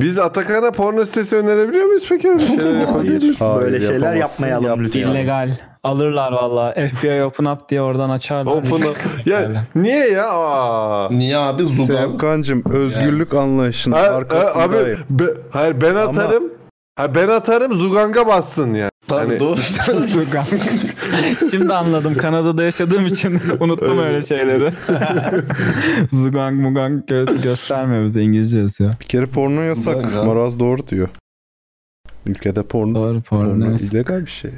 Biz Atakan'a porno sitesi önerebiliyor muyuz peki? Öyle şeyler yapabilir miyiz?
Böyle şeyler yapmayalım lütfen.
İllegal. Alırlar valla. FBI open up diye oradan açarlar.
Open up. Ya niye ya? Aa.
Niye abi Zugan?
Serkan'cım özgürlük anlayışının
Ha, ha,
arkasındayım.
abi be- hayır ben atarım. Ha, ben atarım Zugang'a bassın yani.
Tabii
Hani-
doğru.
Şimdi anladım. Kanada'da yaşadığım için [laughs] unuttum öyle [laughs] şeyleri. Zugang mugang gö- göstermiyor bize İngilizce yazıyor.
Bir kere porno yasak. Maraz doğru diyor. Ülkede porno.
Doğru porno.
porno
yasak.
illegal bir şey.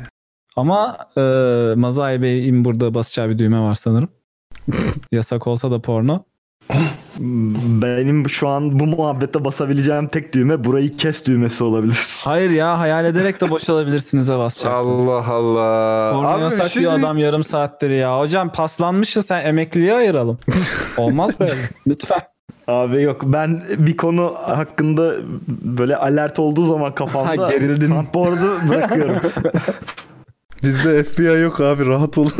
Ama e, Mazai Bey'in burada basacağı bir düğme var [laughs] sanırım. Yasak olsa da porno.
Benim şu an bu muhabbette basabileceğim tek düğme burayı kes düğmesi olabilir. [laughs]
Hayır ya hayal ederek de boşalabilirsinize basacak.
Allah Allah.
Porno
Abi
yasak
şimdi-
diyor adam yarım saattir ya. Hocam paslanmışsın sen emekliye ayıralım. [laughs] Olmaz böyle. Lütfen.
Abi yok ben bir konu hakkında böyle alert olduğu zaman kafamda
Ha, gerildin.
soundboard'u bırakıyorum.
Bizde FBI yok abi rahat
[laughs]
olun.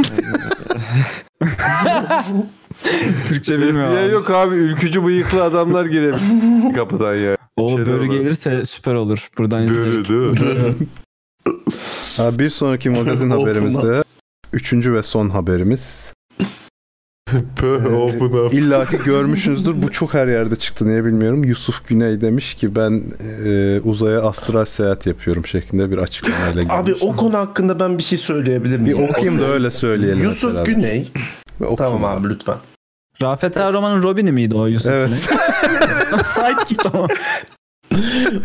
Türkçe bilmiyor.
Ya yok abi ülkücü bıyıklı adamlar girebilir [laughs] kapıdan ya.
Oğlum börü gelirse süper olur. Buradan
Börü değil mi?
Ha, bir sonraki magazin haberimizde üçüncü ve son haberimiz.
open up.
İlla ki görmüşsünüzdür. Bu çok her yerde çıktı. Niye bilmiyorum. Yusuf Güney demiş ki ben e, uzaya astral seyahat yapıyorum şeklinde bir açıklamayla gelmiş.
Abi o konu hakkında ben bir şey söyleyebilir
bir
miyim?
okuyayım da öyle söyleyelim.
Yusuf
mesela.
Güney.
Tamam
abi lütfen.
Rafet Erroman'ın Robin'i miydi o Yusuf?
Evet.
Sidekick.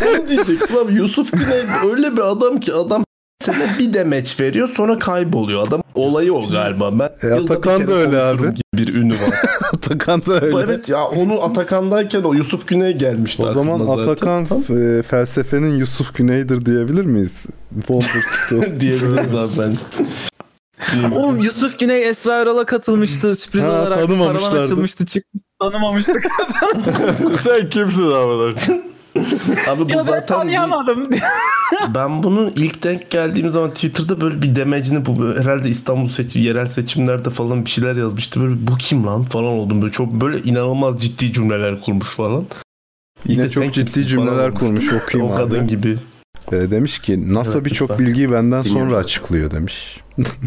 Ne diyecektim abi? Yusuf Güney öyle bir adam ki adam sene bir demeç veriyor sonra kayboluyor. Adam olayı o galiba. Ben
E,
yılda bir
Atakan
kere
da öyle
konuşurum
abi.
gibi Bir ünü var.
Atakan da [laughs] öyle.
Evet ya onu Atakan'dayken o Yusuf Güney gelmişti.
O zaman
aklıma zaten.
Atakan f- e, felsefenin Yusuf Güney'dir diyebilir miyiz?
[laughs]
Wonderkid'e.
[laughs] diyebiliriz abi ben.
Oğlum Yusuf Güney Esra Erol'a katılmıştı sürpriz
Ha,
olarak.
tanımamışlardı.
Paravan açılmıştı çık. Tanımamıştık.
Sen kimsin abi?
Abi bu
ya ben
zaten bir-
tanıyamadım.
ben bunun ilk denk geldiğim zaman Twitter'da böyle bir demecini bu böyle herhalde İstanbul seçim yerel seçimlerde falan bir şeyler yazmıştı. Böyle bu kim lan falan oldum böyle çok böyle inanılmaz ciddi cümleler kurmuş falan.
Yine
de sen
çok ciddi
kimsin
cümleler
falan
kurmuş okuyayım
O
abi.
kadın gibi.
E, demiş ki NASA
Evet,
birçok
lütfen.
bilgiyi benden sonra
Dinliyorum.
açıklıyor demiş.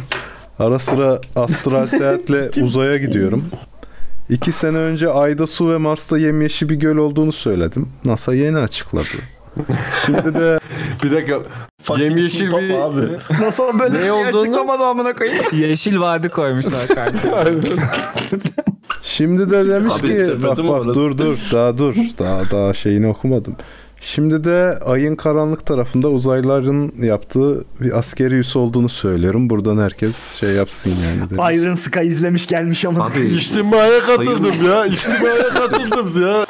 [laughs] Ara sıra astral seyahatle uzaya gidiyorum. İki sene önce Ay'da su ve Mars'ta yemyeşil bir göl olduğunu söyledim. NASA yeni açıkladı. Şimdi de
Bir dakika. Yemyeşil bir...
Abi.
Nasıl böyle
Ne
bir
olduğunu-
açıklamadı amına koyayım.
Yeşil vadi koymuşlar kanka.
Şimdi de demiş
Abi,
ki
tepedim
bak bak
orası.
dur dur daha dur daha daha şeyini okumadım. Şimdi de ayın karanlık tarafında uzaylıların yaptığı bir askeri üs olduğunu söylüyorum. Buradan herkes şey yapsın yani. demiş.
Iron Sky izlemiş gelmiş ama.
Abi,
İçtimaiye
sayın-
katıldım ya. İçtimaiye katıldım ya.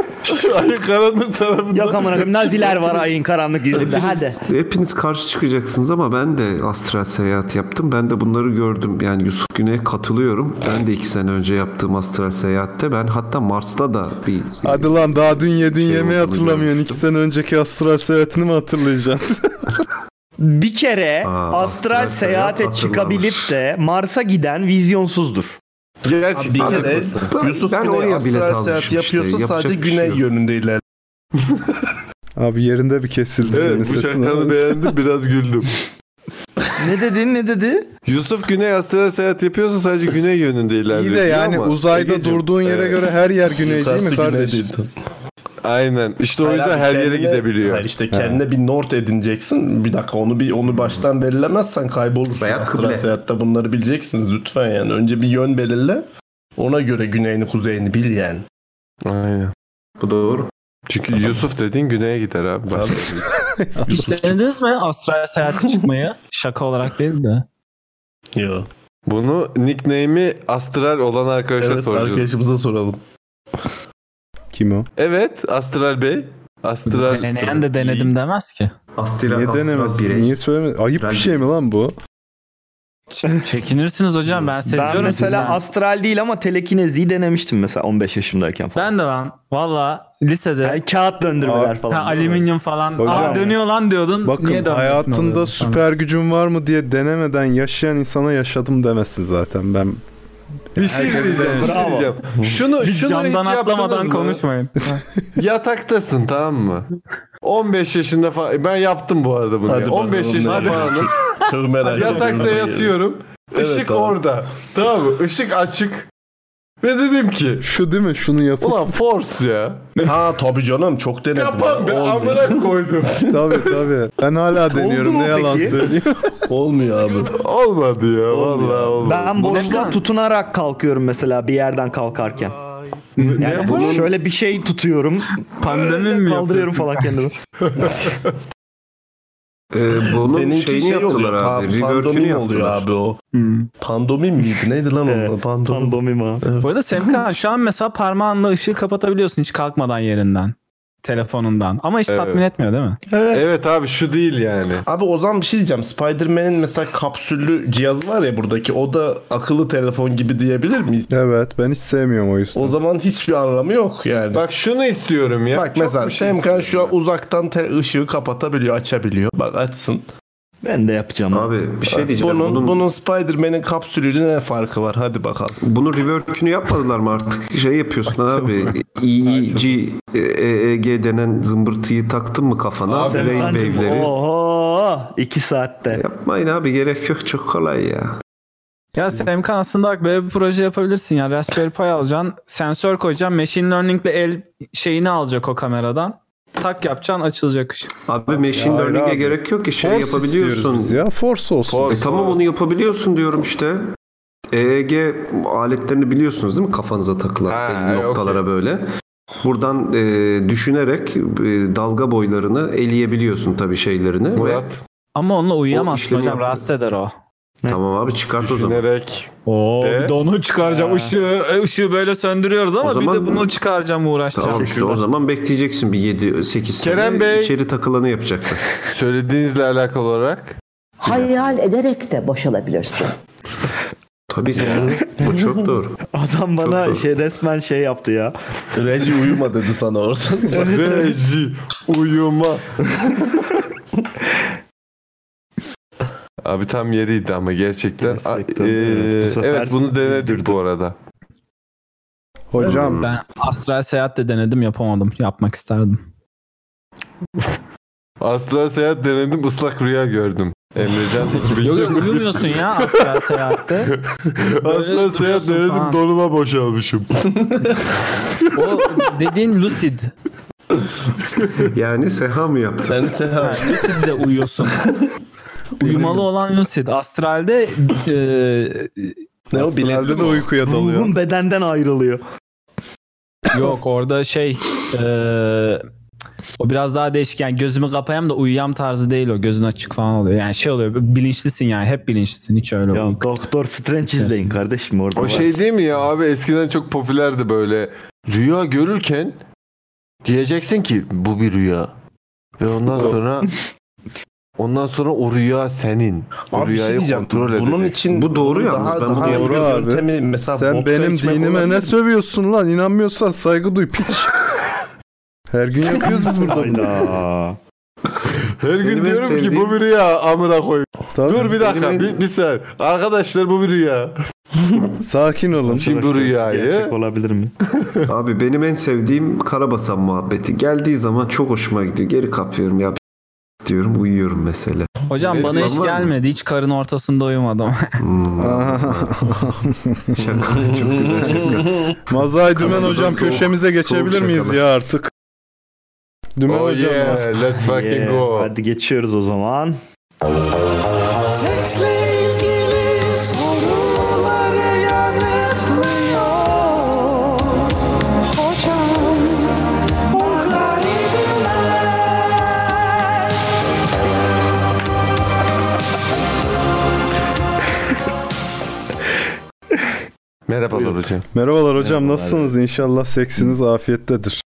Ayın karanlık tarafında.
Yok amına koyayım naziler var ayın karanlık yüzünde hadi.
Siz Hepiniz karşı çıkacaksınız ama ben de astral seyahat yaptım. Ben de bunları gördüm. Yani Yusuf Güney'e katılıyorum. Ben de iki sene önce yaptığım astral seyahatte ben hatta Mars'ta da bir
Hadi lan daha dün yediğin yemeği
olduğunu
hatırlamıyorsun. İki sene önceki astral seyahatini mi hatırlayacaksın?
Bir kere
Aa,
astral,
astral
seyahate
seyahat
çıkabilip de Mars'a giden vizyonsuzdur.
Gerçi
bir kere Yusuf Güney astral seyahat yapıyorsa sadece
şey
şey
güney yönünde ilerler.
[laughs] Abi yerinde bir kesildi senin
Evet bu
sesin.
şakanı beğendim biraz güldüm.
ne dedin ne dedi?
Yusuf Güney astral seyahat yapıyorsa sadece güney yönünde ilerliyor.
İyi de
diyor
yani
ama-
uzayda durduğun yere göre her yer güney değil mi
Yukarısı güney
kardeş?
değil, tamam. Aynen. İşte o
Hayır
yüzden
abi,
her yere
kendine-
gidebiliyor.
Hayır işte kendine bir north edineceksin. Bir dakika onu bir onu baştan belirlemezsen kaybolursun. Veya
kıble.
seyahatte bunları bileceksiniz lütfen yani. Önce bir yön belirle. Ona göre güneyini kuzeyini bil yani.
Aynen.
Bu doğru.
Çünkü Yusuf dediğin güneye gider abi. Başka bir-
Hiç denediniz mi astral seyahate çıkmayı? Şaka olarak değil de.
Yo.
Bunu nickname'i astral olan arkadaşa
Evet
soracağız.
arkadaşımıza soralım.
Kim o?
Evet astral bey. Astral.
Deneyen de denedim demez ki.
Astral,
Niye denemez? Niye söyleme? Ayıp bir şey mi lan bu?
Çekinirsiniz hocam ben seziyorum.
Ben mesela astral değil ama telekineziyi denemiştim mesela 15 yaşımdayken falan.
Ben de lan. Valla lisede.
kağıt döndürmeler falan.
Ha, alüminyum falan.
Hocam-
Aa, dönüyor lan diyordun.
Bakın
Niye dönmesin
hayatında
oluyordu?
süper gücün var mı diye denemeden yaşayan insana yaşadım demesin zaten ben.
Bir şey
Herkes
diyeceğim. Bir
denemiş.
şey diyeceğim. Şunu,
Biz
şunu
camdan
hiç
atlamadan
yaptınız mı?
konuşmayın.
Yataktasın tamam
[laughs]
mı? 15 yaşında falan. Ben yaptım bu arada bunu.
Hadi
ya.
bakalım
15 yaşında
nerede?
falanım.
[laughs] Çok merak ediyorum.
Yatakta yatıyorum.
Evet,
Işık
tamam.
orada. Tamam mı? Işık açık. Ve dedim ki
Şu değil mi? Şunu yap.
ulan force ya.
Ha tabii canım çok denedim.
Yapan be
Olmuyor.
amına koydum.
[laughs] tabii tabii. Ben hala deniyorum
mu
ne yalan
peki?
söyleyeyim. [laughs]
Olmuyor abi.
Olmadı ya. Vallahi olmadı.
Ben boşluğa tutunarak kalkıyorum mesela bir yerden kalkarken. Yani
yapalım?
şöyle bir şey tutuyorum. Pandemi mi Kaldırıyorum falan kendimi.
Ee, bunun
Seninki
şeyini
şey
yaptılar
oluyor,
abi.
pa-
Rework'ünü
pandomim oluyor
yaptılar.
abi o. Pandomim miydi? Neydi lan o? Pandomim.
Pandomim ha.
Bu arada [laughs] Semkan şu an mesela parmağınla ışığı kapatabiliyorsun hiç kalkmadan yerinden. Telefonundan. Ama hiç
Evet.
tatmin etmiyor değil mi?
Evet. abi şu değil yani.
Abi o zaman bir şey diyeceğim. Spider-Man'in mesela kapsüllü cihaz var ya buradaki. O da akıllı telefon gibi diyebilir miyiz?
Evet ben hiç sevmiyorum o yüzden.
O zaman hiçbir anlamı yok yani.
Bak şunu istiyorum ya. şey
Bak mesela Semkan şu an uzaktan te- ışığı kapatabiliyor, açabiliyor. Bak açsın.
Ben de yapacağım.
Abi bir şey diyeceğim.
Bunun, bunun,
bunun
Spider-Man'in kapsülüyle ne farkı var? Hadi bakalım.
Bunu rework'ünü yapmadılar mı artık? Şey yapıyorsun abi. E EEG, EEG E denen zımbırtıyı taktın mı kafana?
Abi,
Brain
Semkancığım,
wave'leri.
Oho! iki saatte.
Yapmayın abi gerek yok çok kolay ya.
Ya Semkan aslında bak böyle bir proje yapabilirsin ya. Raspberry Pi alacaksın. Sensör koyacaksın. Machine Learning'le el şeyini alacak o kameradan. Tak yapacaksın açılacak ışık.
Abi machine
Ya öyle
learning'e
abi.
gerek yok ki şey
Force
istiyoruz biz
yapabiliyorsun.
ya force olsun.
E tamam onu yapabiliyorsun diyorum işte. EEG aletlerini biliyorsunuz değil mi? Kafanıza takılan belli noktalara böyle. Buradan e, düşünerek e, dalga boylarını eleyebiliyorsun tabii şeylerini. Ve
Ama onunla uyuyamazsın
işlemi
hocam.
yaptım.
Rahatsız eder o.
Tamam abi çıkart o zaman.
Düşünerek.
Oo,
De.
bir de onu çıkaracağım.
Ha.
Işığı, e, ışığı böyle söndürüyoruz ama
E? O
bir de
zaman-
bunu çıkaracağım uğraşacağım.
Tamam işte o zaman bekleyeceksin bir 7-8 sene.
Kerem Bey.
İçeri takılanı yapacaktır.
Söylediğinizle alakalı olarak.
Hayal ederek de boşalabilirsin.
Tabii ki. Bu çok doğru.
Adam bana şey resmen şey yaptı ya.
Reji uyuma dedi sana orada.
Reji uyuma. Abi tam yeriydi ama gerçekten. A- ee,
evet. Bu
evet,
sefer
bunu denedik bu arada.
Hocam
Ben astral seyahat de denedim yapamadım. Yapmak isterdim.
Astral seyahat denedim ıslak rüya gördüm. Emrecan ekibi.
Yok yok uyumuyorsun ya astral seyahatte.
Astral seyahat
duruyorsun
denedim
falan.
donuma boşalmışım.
O dediğin lucid.
Yani seha mı yaptın?
Sen seha.
Yani lucid'de uyuyorsun. Uyumalı olan lucid. Astralde e,
Ne o
astralde de uykuya dalıyor.
Ruhun bedenden ayrılıyor.
yok orada şey e, o biraz daha değişik yani gözümü kapayam da uyuyam tarzı değil o gözün açık falan oluyor. Yani şey oluyor bilinçlisin yani hep bilinçlisin hiç öyle
Ya
olmuyor.
Doktor Strange izleyin kardeşim orada.
O
var.
şey değil mi ya abi eskiden çok popülerdi böyle. Rüya görürken
Diyeceksin ki bu bir rüya. Ve ondan sonra ondan sonra o rüya senin. O
Abi bir şey
rüyayı
diyeceğim.
kontrol
Bunun
edeceksin.
için Bu doğru yalnız. daha- Ben bunu daha yapıyorum.
Doğru abi.
Yöntemi mesela
Sen
vodka
benim
içmek
dinime ne
olabilir.
sövüyorsun lan? İnanmıyorsan saygı duy piç. [laughs] Her gün yapıyoruz biz burada bunu.
Her gün
Benim en
diyorum ki
sevdiğim-
bu bir rüya amına koyayım. Dur bir dakika
Benim en-
bir, bir sen. Arkadaşlar bu bir rüya.
Sakin olun.
Şimdi bu rüyayı.
olabilir mi? Abi benim en sevdiğim karabasan muhabbeti. Geldiği zaman çok hoşuma gidiyor. Geri kapıyorum ya diyorum uyuyorum mesela.
Hocam bana hiç gelmedi. Hiç karın ortasında uyumadım. [laughs]
Hmm. şaka. Çok güzel şaka.
Mazay Dümen
Kanadadan
hocam
soğuk-
köşemize geçebilir
soğuk
miyiz
şakalar.
ya artık? Dümen
Oh
hocam.
yeah,
let's
fucking go. Ee, Hadi geçiyoruz o zaman.
Seksle ilgili soruları yanıtlıyor Hocam Bulgari Güler
Merhabalar hocam.
Merhabalar hocam nasılsınız? İnşallah seksiniz afiyettedir.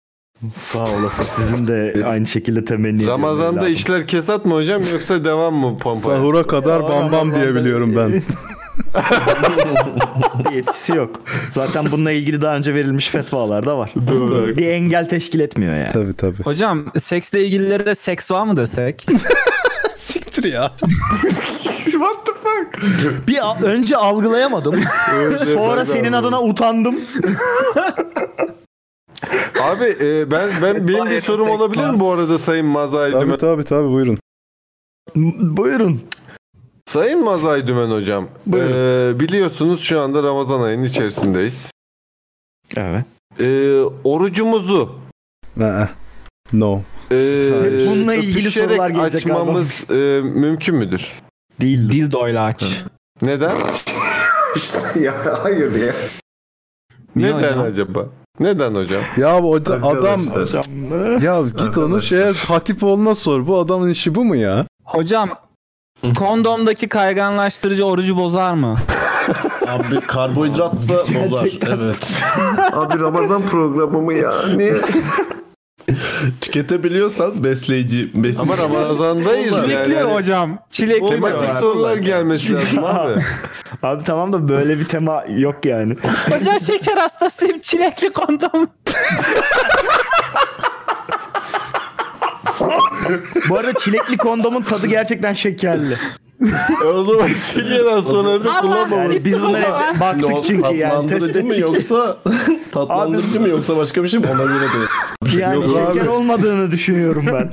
Sağ olasın. Sizin de aynı şekilde temenni ediyorum.
Ramazan'da
evladım.
İşler kesat mı hocam yoksa devam mı pompa?
Sahura kadar bam bam diye biliyorum
[laughs]
ben.
bir etkisi yok. Zaten bununla ilgili daha önce verilmiş fetvalar da var. bir engel teşkil etmiyor yani.
Tabii
[laughs]
tabii.
Hocam seksle ilgililere seks var mı desek?
Siktir ya.
What the fuck? Bir a- önce algılayamadım.
Önce ben de
Sonra senin adına utandım.
Abi e, ben ben benim bir sorum olabilir mi bu arada Sayın Mazay Dümen?
Tabii tabii tabii buyurun.
Buyurun.
Sayın Mazay Dümen hocam. e, biliyorsunuz şu anda Ramazan ayının içerisindeyiz. E,
Evet.
orucumuzu
Aa, Ee, eh. no.
e,
bununla
ilgili
öpüşerek
sorular gelecek galiba.
açmamız e, mümkün müdür?
Değil.
Dil doyla aç.
Neden?
ya hayır ya.
Neden acaba? Neden hocam?
Ya bu ad- adam
Arkadaşlar.
ya git onu şeye Hatipoğlu'na sor. Bu adamın işi bu mu ya?
Hocam kondomdaki kayganlaştırıcı orucu bozar mı?
Abi karbonhidratsa bozar. Evet.
Abi Ramazan programımı ya. Ne?
Tüketebiliyorsan besleyici. besleyici.
Ama Ramazan'dayız yani.
Bozar.
hani
Yani-
hocam.
Çilekli
Tematik sorular gelmesi lazım abi.
Abi tamam da böyle bir tema yok yani.
Hocam şeker hastasıyım çilekli kondom.
Bu arada çilekli kondomun tadı gerçekten şekerli.
o zaman
[laughs]
şeker hastalarını
kullanmamalı.
Yani biz bunlara hep baktık
No,
çünkü yani test
Tatlandırıcı mı
ettik.
yoksa
[laughs]
tatlandırıcı mı yoksa başka bir şey mi ona göre de.
Yani
Yok
şeker
abi.
olmadığını düşünüyorum
[laughs]
ben.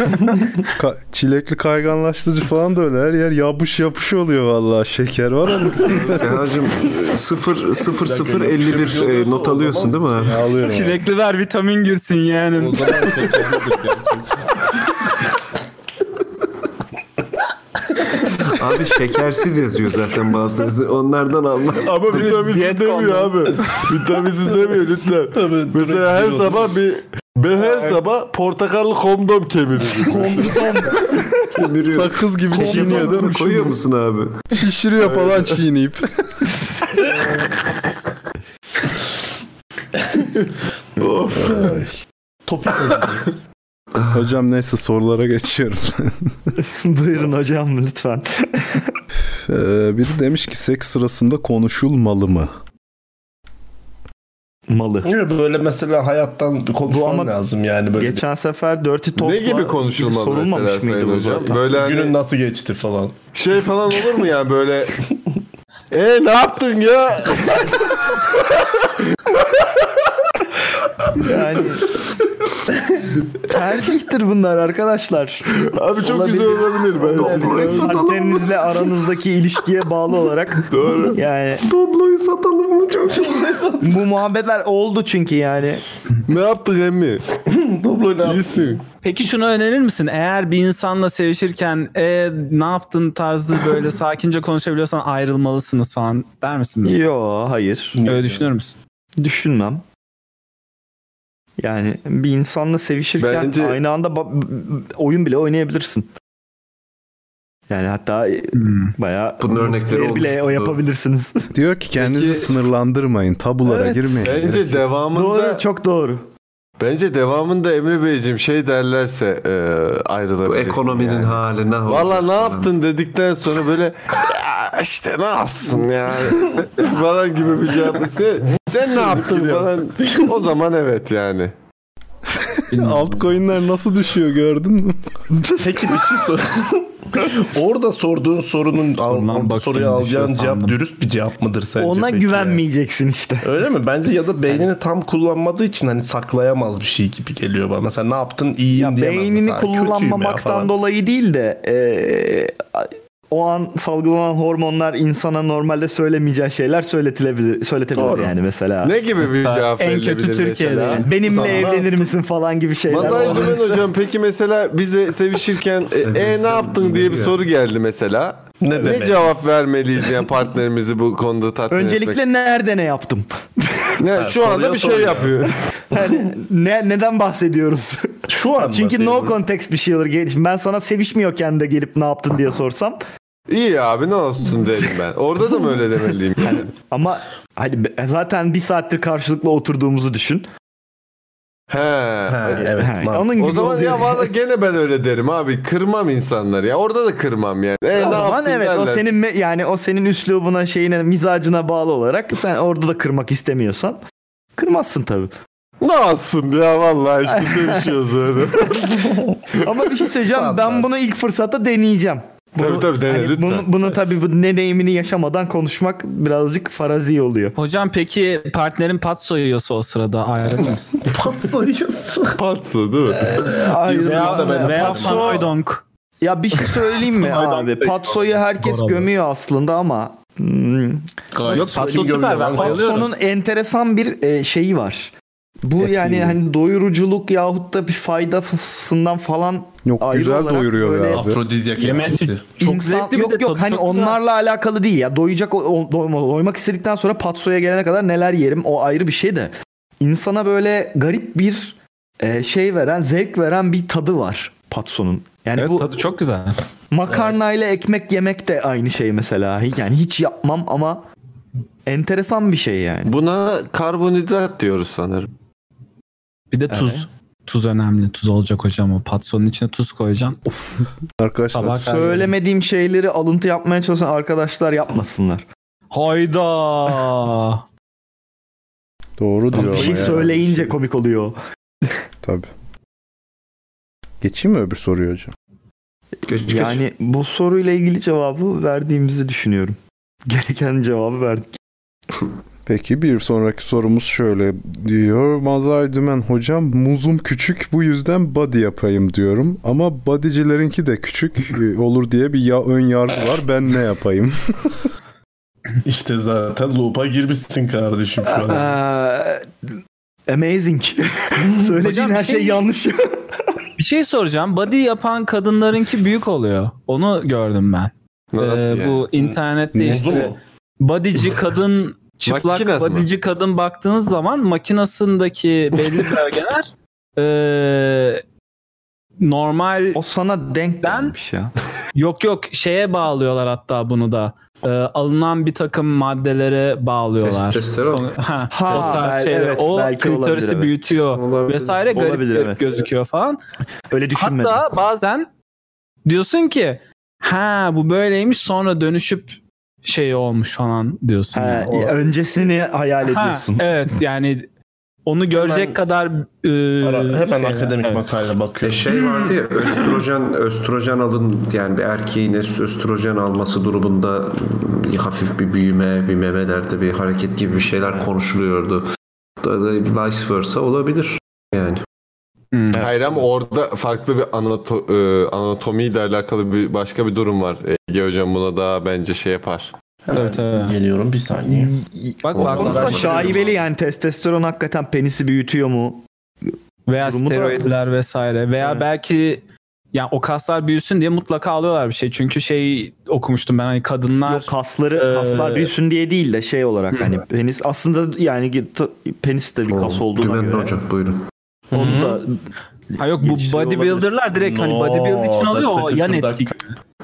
Ka- çilekli kayganlaştırıcı falan da öyle her yer yapış yapış oluyor vallahi. Şeker var ama.
Sehacım 0 0 0 51 e, not alıyorsun değil mi?
Ya alıyorum.
Çilekli ver vitamin girsin yani.
Abi şekersiz yazıyor zaten bazıları. Onlardan alma.
Ama vitaminsiz demiyor abi. Vitaminsiz demiyor
[laughs]
lütfen. Mesela her
direkt
sabah bir ben her sabah portakallı kondom kemiririm.
Kemiriyor.
Sakız gibi çiğniyor değil mi?
Koyuyor musun abi?
Şişiriyor falan çiğneyip.
Of. Topik
Hocam neyse sorulara geçiyorum.
Buyurun hocam lütfen.
Ee, biri demiş ki seks sırasında konuşulmalı mı?
Malı.
Böyle mesela hayattan bir konuşman lazım yani böyle.
Geçen sefer Dirty Talk'la
Ne gibi konuşulmalı
sorulmamış
mesela
mıydı
Sayın
bu
Hocam?
zaten?
Böyle hani- Günün nasıl
[laughs]
geçti falan.
Şey falan olur mu yani
[laughs]
böyle E ne yaptın ya?
Yani tercihtir bunlar arkadaşlar.
Abi çok güzel olabilir
bence. Partnerinizle aranızdaki ilişkiye bağlı olarak. Doğru. Yani
Tabloyu satalım mı çok
bu muhabbetler oldu çünkü yani.
ne yaptın
[laughs]
emmi?
Doblo ne
İyisin.
Peki şunu önerir misin? Eğer bir insanla sevişirken e, ne yaptın tarzı [laughs] böyle sakince konuşabiliyorsan ayrılmalısınız falan der misin? bize?
Yo hayır.
Öyle düşünür müsün?
Düşünmem. Yani bir insanla sevişirken
Bence-
aynı anda ba- oyun bile oynayabilirsin. Yani hatta
Hmm.
bayağı
Bunun örnekleri
multiplayer bile o
olmuştu.
yapabilirsiniz.
Diyor ki kendinizi sınırlandırmayın. Tabulara girmeyin.
Bence devamında
Doğru çok doğru.
Bence devamında Emre Beyciğim şey derlerse e, ayrılabilirsin.
Bu ekonominin
yani.
hali ne olacak
Valla ne yaptın dedikten sonra böyle "Ya işte ne yapsın yani [laughs] falan gibi bir cevap. Sen, sen ne yaptın falan. O zaman evet yani.
Altcoin'ler nasıl düşüyor gördün mü?
Peki bir şey sor. Orada sorduğun sorunun al, al- soruya alacağın cevap dürüst bir cevap mıdır sence?
şey Ona
peki
güvenmeyeceksin işte.
Öyle mi? Bence ya da beynini tam kullanmadığı için hani saklayamaz bir şey gibi geliyor bana. Sen ne yaptın iyiyim diyemez
Beynini
mesela. Kötüyüm ya
kullanmamaktan
falan.
dolayı değil de e, o an salgılanan hormonlar insana normalde söylemeyeceği şeyler söyletilebilir, söyletebilir
Doğru.
yani mesela.
Ne gibi bir
Mesela
cevap
En
verilebilir
kötü Türkiye'de.
mesela?
yani. Benimle
Sana-
evlenir misin falan gibi şeyler.
Mazay
olabilir.
Dümen hocam peki mesela bize sevişirken e, e, ne yaptın diye bir soru geldi mesela. Ne,
demek?
cevap vermeliyiz yani partnerimizi bu konuda tatmin etmek?
Öncelikle nerede ne yaptım? [laughs]
Ne, şu anda bir şey yapıyor.
Yani ne
[laughs]
neden bahsediyoruz?
Şu an
Çünkü no context bir şey olur. Gel- Ben sana sevişmiyorken de gelip ne yaptın diye sorsam.
İyi abi ne olsun derim ben. Orada da mı öyle demeliyim
[laughs]
yani?
Ama hani be- zaten bir saattir karşılıklı oturduğumuzu düşün.
He.
evet.
onun gibi
o zaman
oluyor.
ya valla gene ben öyle derim abi. Kırmam insanları ya. Orada da kırmam yani. E,
o
ne
zaman
yaptın
evet o
derler.
senin me- yani o senin üslubuna şeyine mizacına bağlı olarak sen orada da kırmak istemiyorsan kırmazsın tabii.
Ne olsun ya vallahi işte sevişiyoruz
[laughs]
öyle.
Ama bir
[laughs]
şey söyleyeceğim ben bunu ilk fırsatta deneyeceğim.
Tabii,
Bunu,
tabii, dene, lütfen.
hani Bunu, bunu tabii bu deneyimini yaşamadan konuşmak birazcık farazi oluyor.
Hocam peki partnerin pat soyuyorsa o sırada ayrılır mısın?
Patso değil mi?
Hayır,
Veya-
ya, ben-
veya
Patso-
Fanoydonk.
Ya bir şey söyleyeyim mi
Fanoydonk
abi?
pek-
Patso'yu herkes
Doğru.
gömüyor aslında ama hmm,
Gayet
Yok,
Patso kim gömüyor? Ben bayılıyorum.
Patso'nun enteresan bir e, şeyi var. Bu yani hani doyuruculuk yahut da bir faydasından falan
Yok
ayrı
güzel
olarak
doyuruyor
böyle
ya abi.
Afrodizyak etkisi.
Çok zevkli yok yok hani onlarla alakalı değil ya doyacak o- o- doyma- doymak istedikten sonra patsoya gelene kadar neler yerim o ayrı bir şey de insana böyle garip bir e, şey veren zevk veren bir tadı var patsonun. Yani bu
tadı çok güzel.
makarnayla ekmek yemek de aynı şey mesela. Yani hiç yapmam ama enteresan bir şey yani.
Buna karbonhidrat diyoruz sanırım.
Bir de tuz. Tuz önemli. Tuz olacak hocam o. Patsonun içine tuz koyacaksın.
Arkadaşlar
Sabah kahve-
Söylemediğim şeyleri alıntı yapmaya çalışan arkadaşlar yapmasınlar.
[laughs] Hayda.
Doğru diyor
Bir
ama
şey
ya.
söyleyince komik oluyor.
Tabii. Geçeyim mi öbür soruyu hocam?
Yani bu soruyla ilgili cevabı verdiğimizi düşünüyorum. [laughs] Gereken cevabı verdik.
Peki bir sonraki sorumuz şöyle diyor. Mazay Dümen hocam muzum küçük bu yüzden body yapayım diyorum. Ama bodycilerinki de küçük e, olur diye bir ya ön yargı var. Ben ne yapayım?
İşte zaten loop'a girmişsin kardeşim şu
Ee,
an.
Eee,
[laughs]
amazing. Söylediğin
Hocam,
her şey
şey- [laughs]
yanlış.
Bir şey soracağım. Body yapan kadınlarınki büyük oluyor. Onu gördüm ben. Ee,
Nasıl
Ee,
yani?
Bu internette
Neyse.
işte bodyci
[laughs]
kadın
Makinesi mi?
çıplak bodyci kadın baktığınız zaman makinasındaki
[laughs]
belli bölgeler eee, normal
o sana denk gelmiş ya.
Yok yok şeye bağlıyorlar hatta bunu da. Eee, alınan bir takım maddelere bağlıyorlar.
Testosteron.
Sonra- ha,
Ha,
o tarz
bel-
şeyler.
evet,
o
belki olabilir,
kliterisi
evet.
büyütüyor vesaire garip,
Olabilir,
garip
evet.
gözüküyor falan.
Öyle düşünmedim.
Hatta bazen diyorsun ki ha bu böyleymiş sonra dönüşüp şey olmuş falan diyorsun.
Ha,
yani. O-
öncesini hayal
Ha,
ediyorsun.
evet yani onu görecek kadar e,
Hemen
şeyler,
akademik
evet.
makale
E
bakıyorum.
Hmm.
şey vardı ya östrojen östrojen alın yani bir erkeğin es- östrojen alması durumunda bir hafif bir büyüme bir memelerde bir hareket gibi bir şeyler konuşuluyordu. Da- da Vice versa olabilir yani.
Hayır ama orada farklı bir anato e, anatomiyle alakalı bir başka bir durum var. Ege hocam buna daha bence şey yapar.
Tabii, tabii.
Geliyorum bir saniye.
Bak bak,
Ama
bak.
da şaibeli yani testosteron hakikaten penisi büyütüyor mu?
veya
durumu da-
steroidler vesaire veya belki yani o kaslar büyüsün diye mutlaka alıyorlar bir şey. Çünkü şey okumuştum ben hani kadınlar
Kasları
Ee,
kaslar büyüsün diye değil de şey olarak
Hı.
hani penis aslında yani ki- t- penis de bir kas olduğuna
Dümenli
göre.
hocam buyurun.
Onu da
Ha yok bu
Gelişiyor olabilir.
bodybuilderlar direkt hani
No,
bodybuild için alıyor
that's a
o
good
yan
duck.
etki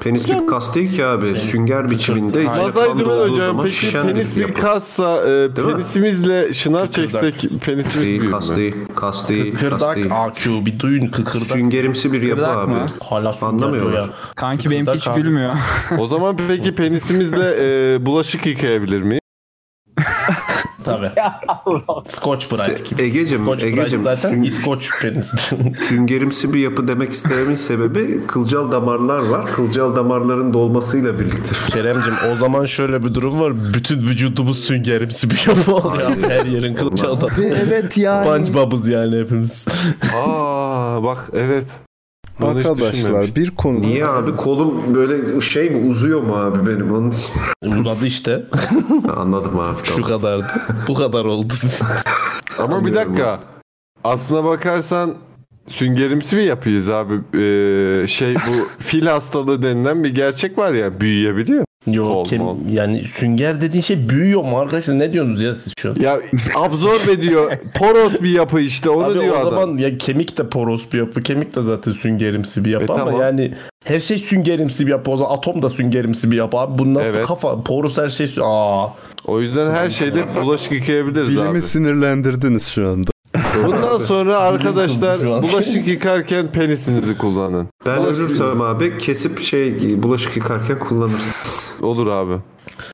Penis bir kas değil ki abi. Sünger biçiminde.
Nazar
Masay
Güven hocam peki penis bir kassa e, penisimizle şınav çeksek penisimiz
değil,
büyür
kas
mü?
değil, kas değil, kas
Kıkırdak
değil.
AQ bir duyun kıkırdak.
Süngerimsi bir yapı
Kıkırdak
abi.
mı? Hala sünger
Anlamıyorlar.
diyor ya.
Kanki benimki hiç
Kıkırdak abi.
gülmüyor.
[laughs] O zaman peki penisimizle e, bulaşık yıkayabilir miyiz?
Tabii. Scotch Brite gibi.
Egecim,
Scotch Brite
Egecim.
zaten
sün-
İskoç penis.
Süngerimsi bir yapı demek istememin sebebi kılcal damarlar var. Kılcal damarların dolmasıyla birlikte.
Keremcim o zaman şöyle bir durum var. Bütün vücudumuz süngerimsi bir yapı oluyor. abi. Her yerin kılçağı da.
Evet yani.
Punch yani hepimiz.
Aa bak evet. Bunu hiç düşünmemiştim.
bir konu.
Niye abi kolum böyle şey mi uzuyor mu abi benim onun için? [laughs]
Uzadı işte.
Anladım abi.
Şu kadardı. Bu kadar oldu.
Ama bir dakika. Aslına bakarsan süngerimsi bir yapıyız abi. Ee, şey [laughs] bu fil hastalığı denilen bir gerçek var ya büyüyebiliyor.
[laughs] Yok yani sünger dediğin şey büyüyor mu arkadaşlar? Ne diyorsunuz ya siz şu an?
Ya absorbe ediyor. Poros bir yapı işte onu
Abi
diyor
o
adam.
zaman ya kemik de poros bir yapı. Kemik de zaten süngerimsi bir yapı ama
tamam.
yani her şey süngerimsi bir yapı. O zaman atom da süngerimsi bir yapı. Abi bundan sonra kafa poros her şey. sü- Aa.
O yüzden her şeyde bulaşık yıkayabiliriz abi.
Bilimi sinirlendirdiniz şu anda.
Bundan sonra
kızdı şu
arkadaşlar
an.
bulaşık yıkarken penisinizi kullanın.
Ben
Bulaşık-
ölürsem abi kesip şey bulaşık yıkarken kullanırsın.
Olur abi.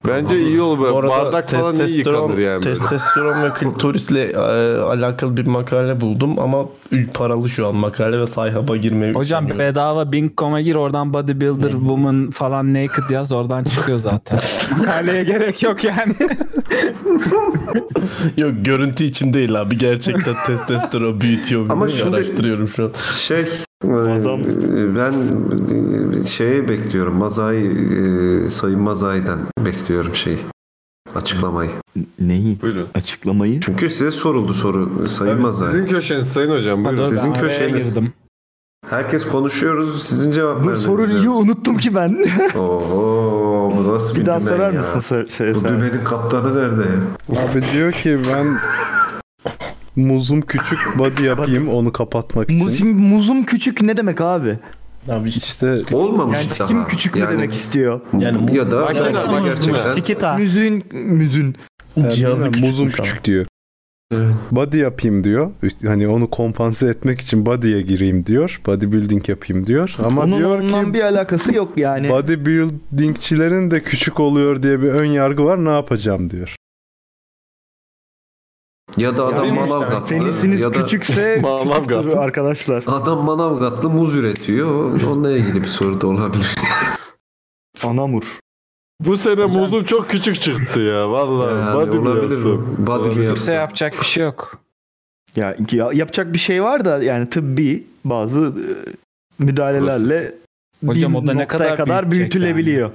Bence iyi olur.
Bu
böyle.
arada
Bardak falan iyi
testosteron-
yıkanır yani. böyle.
Testosteron ve klitorisle e, alakalı bir makale buldum ama ü- paralı şu an makale ve sayhaba girmeye
Hocam
üşeniyorum.
bedava Bing.com'a gir oradan bodybuilder woman falan naked yaz oradan çıkıyor zaten. Makaleye gerek yok yani.
[laughs] Yok görüntü için değil abi gerçekten testosteron büyütüyor.
Ama
Ama
şimdi-
araştırıyorum şu an.
Şey e, ben e, şeye bekliyorum. Mazay e, Sayın Mazay'dan bekliyorum şeyi. Açıklamayı.
Neyi? Açıklamayı.
Çünkü size soruldu soru Sayın Mazay.
Sizin köşeniz sayın hocam. Buyurun.
Sizin köşeniz. Herkes konuşuyoruz. Sizin cevaplarınız.
Bu soruyu unuttum ki ben.
Oo, bu nasıl bir,
Bir daha
dümen
sorar
ya?
mısın sor- şey-
Bu
sor-
dümenin kaptanı nerede?
Abi diyor ki ben muzum küçük body yapayım onu kapatmak için.
Muzum, muzum küçük ne demek abi?
Abi
işte
olmamış
yani Kim küçük mü demek istiyor?
Yani
ya da
Makine-
belki de
makine-
gerçekten
Şikita. Müzün müzün.
Yani bilmem, Ee, muzum küçük diyor. Body yapayım diyor. Üst- Hani onu kompanse etmek için body'ye gireyim diyor. Bodybuilding yapayım diyor. Ama
Onun
diyor
onunla
ki
bir hani- alakası yok yani.
bodybuildingçilerin de küçük oluyor diye bir ön yargı var. Ne yapacağım diyor.
Ya da adam
bilmiyorum işte.
Manavgatlı.
Penisiniz
ya da...
küçükse küçüktür arkadaşlar.
Adam Manavgatlı muz üretiyor. Onunla ilgili bir soru da olabilir.
Anamur.
Bu sene muzum çok küçük çıktı ya vallahi.
Yani
Body mi
hani olabilir
yapsın?
mi? Body mi yapsın?
yapacak bir şey yok.
Ya, ya yapacak bir şey var da yani tıbbi bazı e, müdahalelerle
Hocam
bir
o da ne
noktaya
kadar
kadar
büyütecek
büyütülebiliyor.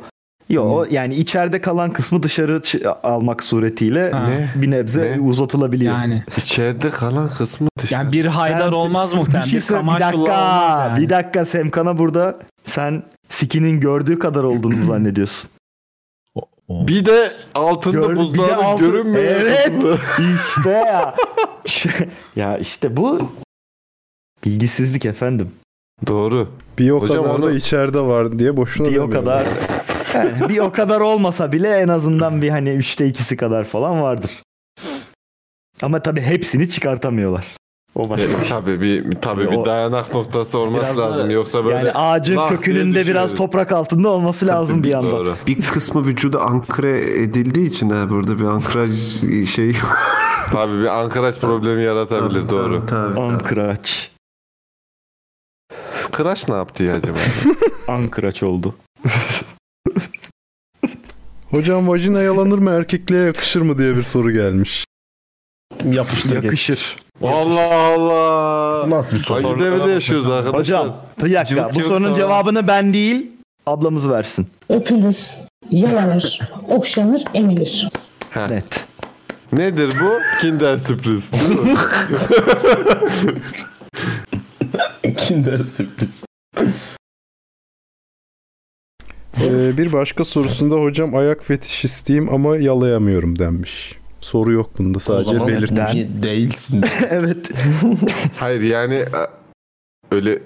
Yo o yani içeride kalan kısmı dışarı ç- almak suretiyle
Ha. Ne?
bir nebze uzatılabiliyor.
Yani.
İçeride kalan kısmı dışarı.
Yani bir haydar olmaz muhtemelen.
Bir, şey
Bir
söyle- bir
Kamaşlı
dakika,
olmaz yani.
bir dakika Semkan'a burada sen Siki'nin gördüğü kadar olduğunu mu zannediyorsun?
Bir de altında
Gördü- bir de
buzdağının
altı-
görünmeyen
Evet.
kısmı.
işte ya. [laughs] Şey, ya işte bu bilgisizlik efendim.
Doğru.
Bir o
Hocam
kadar
onu-
da içeride var diye boşuna
Bir o
demiyorum.
kadar yani bir o kadar olmasa bile en azından bir hani üçte ikisi kadar falan vardır. Ama tabii hepsini çıkartamıyorlar. O başka bir
Evet,
şey.
E, tabii bir tabii
O-
bir dayanak noktası olması
Biraz da-
lazım yoksa böyle
yani ağacın
laf diye
kökünün de biraz
düşüyoruz.
toprak altında olması lazım bir yandan.
Bir kısmı vücuda ankre edildiği için ha burada bir ankraj şey
Tabii bir ankraç problemi yaratabilir doğru.
Tabii,
Ankraç.
Kıraç ne yaptı ya acaba?
Ankraç oldu.
Hocam vajina yalanır mı erkekliğe yakışır mı diye bir soru gelmiş.
Yapıştır.
Yakışır.
Allah Allah.
Nasıl bir
Hangi devirde yaşıyoruz arkadaşlar?
Hocam bir dakika
Cıvık
bu
cıvık
sorunun
sonra-
cevabını ben değil ablamız versin.
Öpülür, yalanır, okşanır, emilir.
Net. [laughs]
Nedir bu? Kinder sürpriz. Değil mi?
Kinder sürpriz.
Ee, bir başka sorusunda hocam ayak fetişistiyim ama yalayamıyorum denmiş. Soru yok bunda sadece
zaman
[laughs]
belirtmiş.
Değilsin.
evet.
Hayır yani e, öyle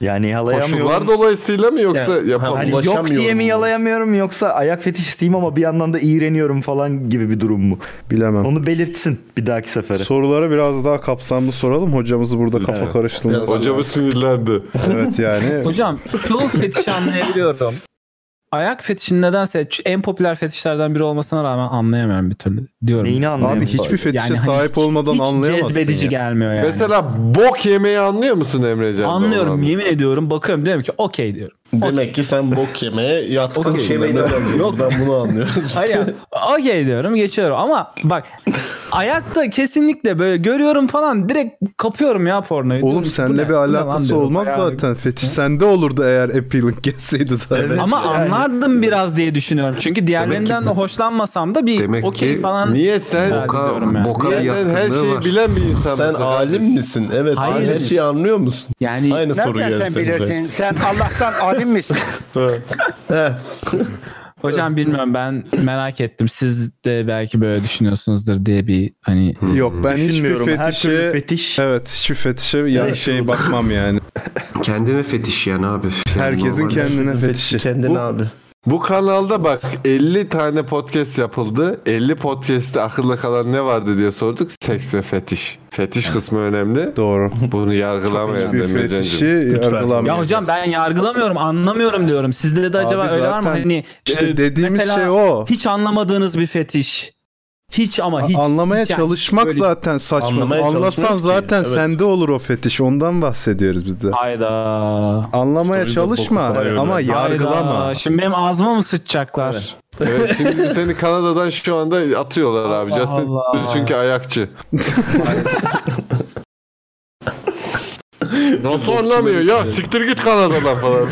Yani yalayamıyorum.
Koşullar dolayısıyla mı yoksa yani,
Hani yok diye mi yalayamıyorum yoksa ayak fetişistiyim ama bir yandan da iğreniyorum falan gibi bir durum mu?
Bilemem.
Onu belirtsin bir dahaki sefere.
Sorulara biraz daha kapsamlı soralım. Hocamızı burada kafa
Evet.
karıştırmak.
Biraz Hocamız sinirlendi.
[laughs] Evet yani.
[laughs] Hocam çoğu fetiş anlayabiliyorum. Ayak fetişini nedense ç- en popüler fetişlerden biri olmasına rağmen anlayamıyorum bir türlü diyorum.
Neyini
Abi hiçbir fetişe sahip olmadan anlayamazsın.
hani Hiç cezbedici
ya.
gelmiyor yani.
Mesela bok yemeği anlıyor musun Emrecan?
Anlıyorum yemin ediyorum bakıyorum diyorum ki okey diyorum.
Demek ki sen bok yemeye yatkın
Okey.
şeyden Yok ben bunu anlıyorum.
Hayır
[laughs]
ya, okey diyorum geçiyorum ama bak ayakta kesinlikle böyle görüyorum falan direkt kapıyorum ya pornoyu. Diyorum
Oğlum
ki, bu
seninle
ne?
bir
Bu ne lan
alakası
diyorum.
olmaz
Ayağı-
zaten. Fetiş sende olurdu eğer appealing gelseydi zaten.
Ama anlardım biraz diye düşünüyorum. Çünkü diğerlerinden
Demek
hoşlanmasam da bir
Demek
okey
ki
falan.
Niye sen
boka,
boka bir Niye sen her yakınlığı şeyi var. bilen bir insansın Sen kardeşim? alim misin? Evet, Hayır. her şeyi anlıyor musun?
Yani
Aynı soru
Nereden
geldi
sen
senin de.
bilirsin? Sen Allah'tan alim misin?
e-
Hocam bilmiyorum ben merak ettim. Siz de belki böyle düşünüyorsunuzdur diye bir hani
Yok ben hiçbir
Düşünmüyorum. Her türlü
fetişe...
fetiş.
Evet hiçbir fetişe ya
Evet.
şey bakmam yani.
Kendine fetiş yani abi. Yani
Herkesin
[laughs]
normal.
kendine fetişi.
Kendine abi.
Bu kanalda bak 50 tane podcast yapıldı. 50 podcast'te akılda kalan ne vardı diye sorduk. Seks ve fetiş. Fetiş kısmı önemli.
Doğru.
Bunu yargılamayız
Çok önemli.
Emre Can'cığım.
Fetişi
Lütfen.
yargılamayız.
Ya hocam ben yargılamıyorum, anlamıyorum diyorum. Sizde de acaba
Abi
öyle var mı?
zaten
Hani
işte
e,
dediğimiz
mesela
şey o.
Hiç anlamadığınız bir fetiş. Hiç ama hiç.
Anlamaya
hiç yani
çalışmak
böyle-
zaten saçma.
Anlamaya
Anlasan
çalışmak ki,
zaten
evet.
sende olur o fetiş. Ondan bahsediyoruz biz de.
Hayda.
Anlamaya çalışma ama yargılama.
Hayda, Şimdi benim ağzıma mı sıçacaklar?
Evet şimdi seni Kanada'dan şu anda atıyorlar abi.
Allah
Justin
Allah.
[laughs]
çünkü ayakçı. Nasıl anlamıyor ya siktir git Kanada'dan
[laughs]
falan.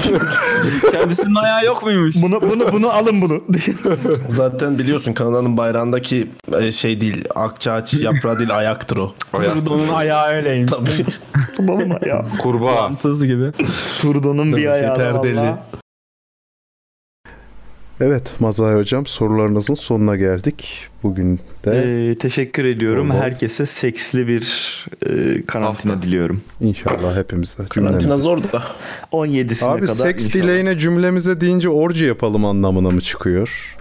Kendisinin ayağı yok muymuş?
Bunu bunu bunu
[laughs]
alın bunu.
Zaten biliyorsun Kanada'nın bayrağındaki e, şey değil, akçaağaç yaprağı değil ayaktır o.
Trudon'un ayağı öyleymiş.
[laughs] Tabii.
Babam ayağı.
Kurbağa.
Tız gibi.
Trudon'un bir
Tabii,
ayağı. da
perdeli.
valla.
Evet Mazay hocam sorularınızın sonuna geldik. Bugün de
Ee, teşekkür ediyorum.
Bol bol.
Herkese seksli bir e, karantina diliyorum.
inşallah hepimize
Karantina
cümlemize.
zor da.
17'sine
Abi
kadar
seks
inşallah.
dileğine cümlemize deyince orcu yapalım anlamına mı çıkıyor?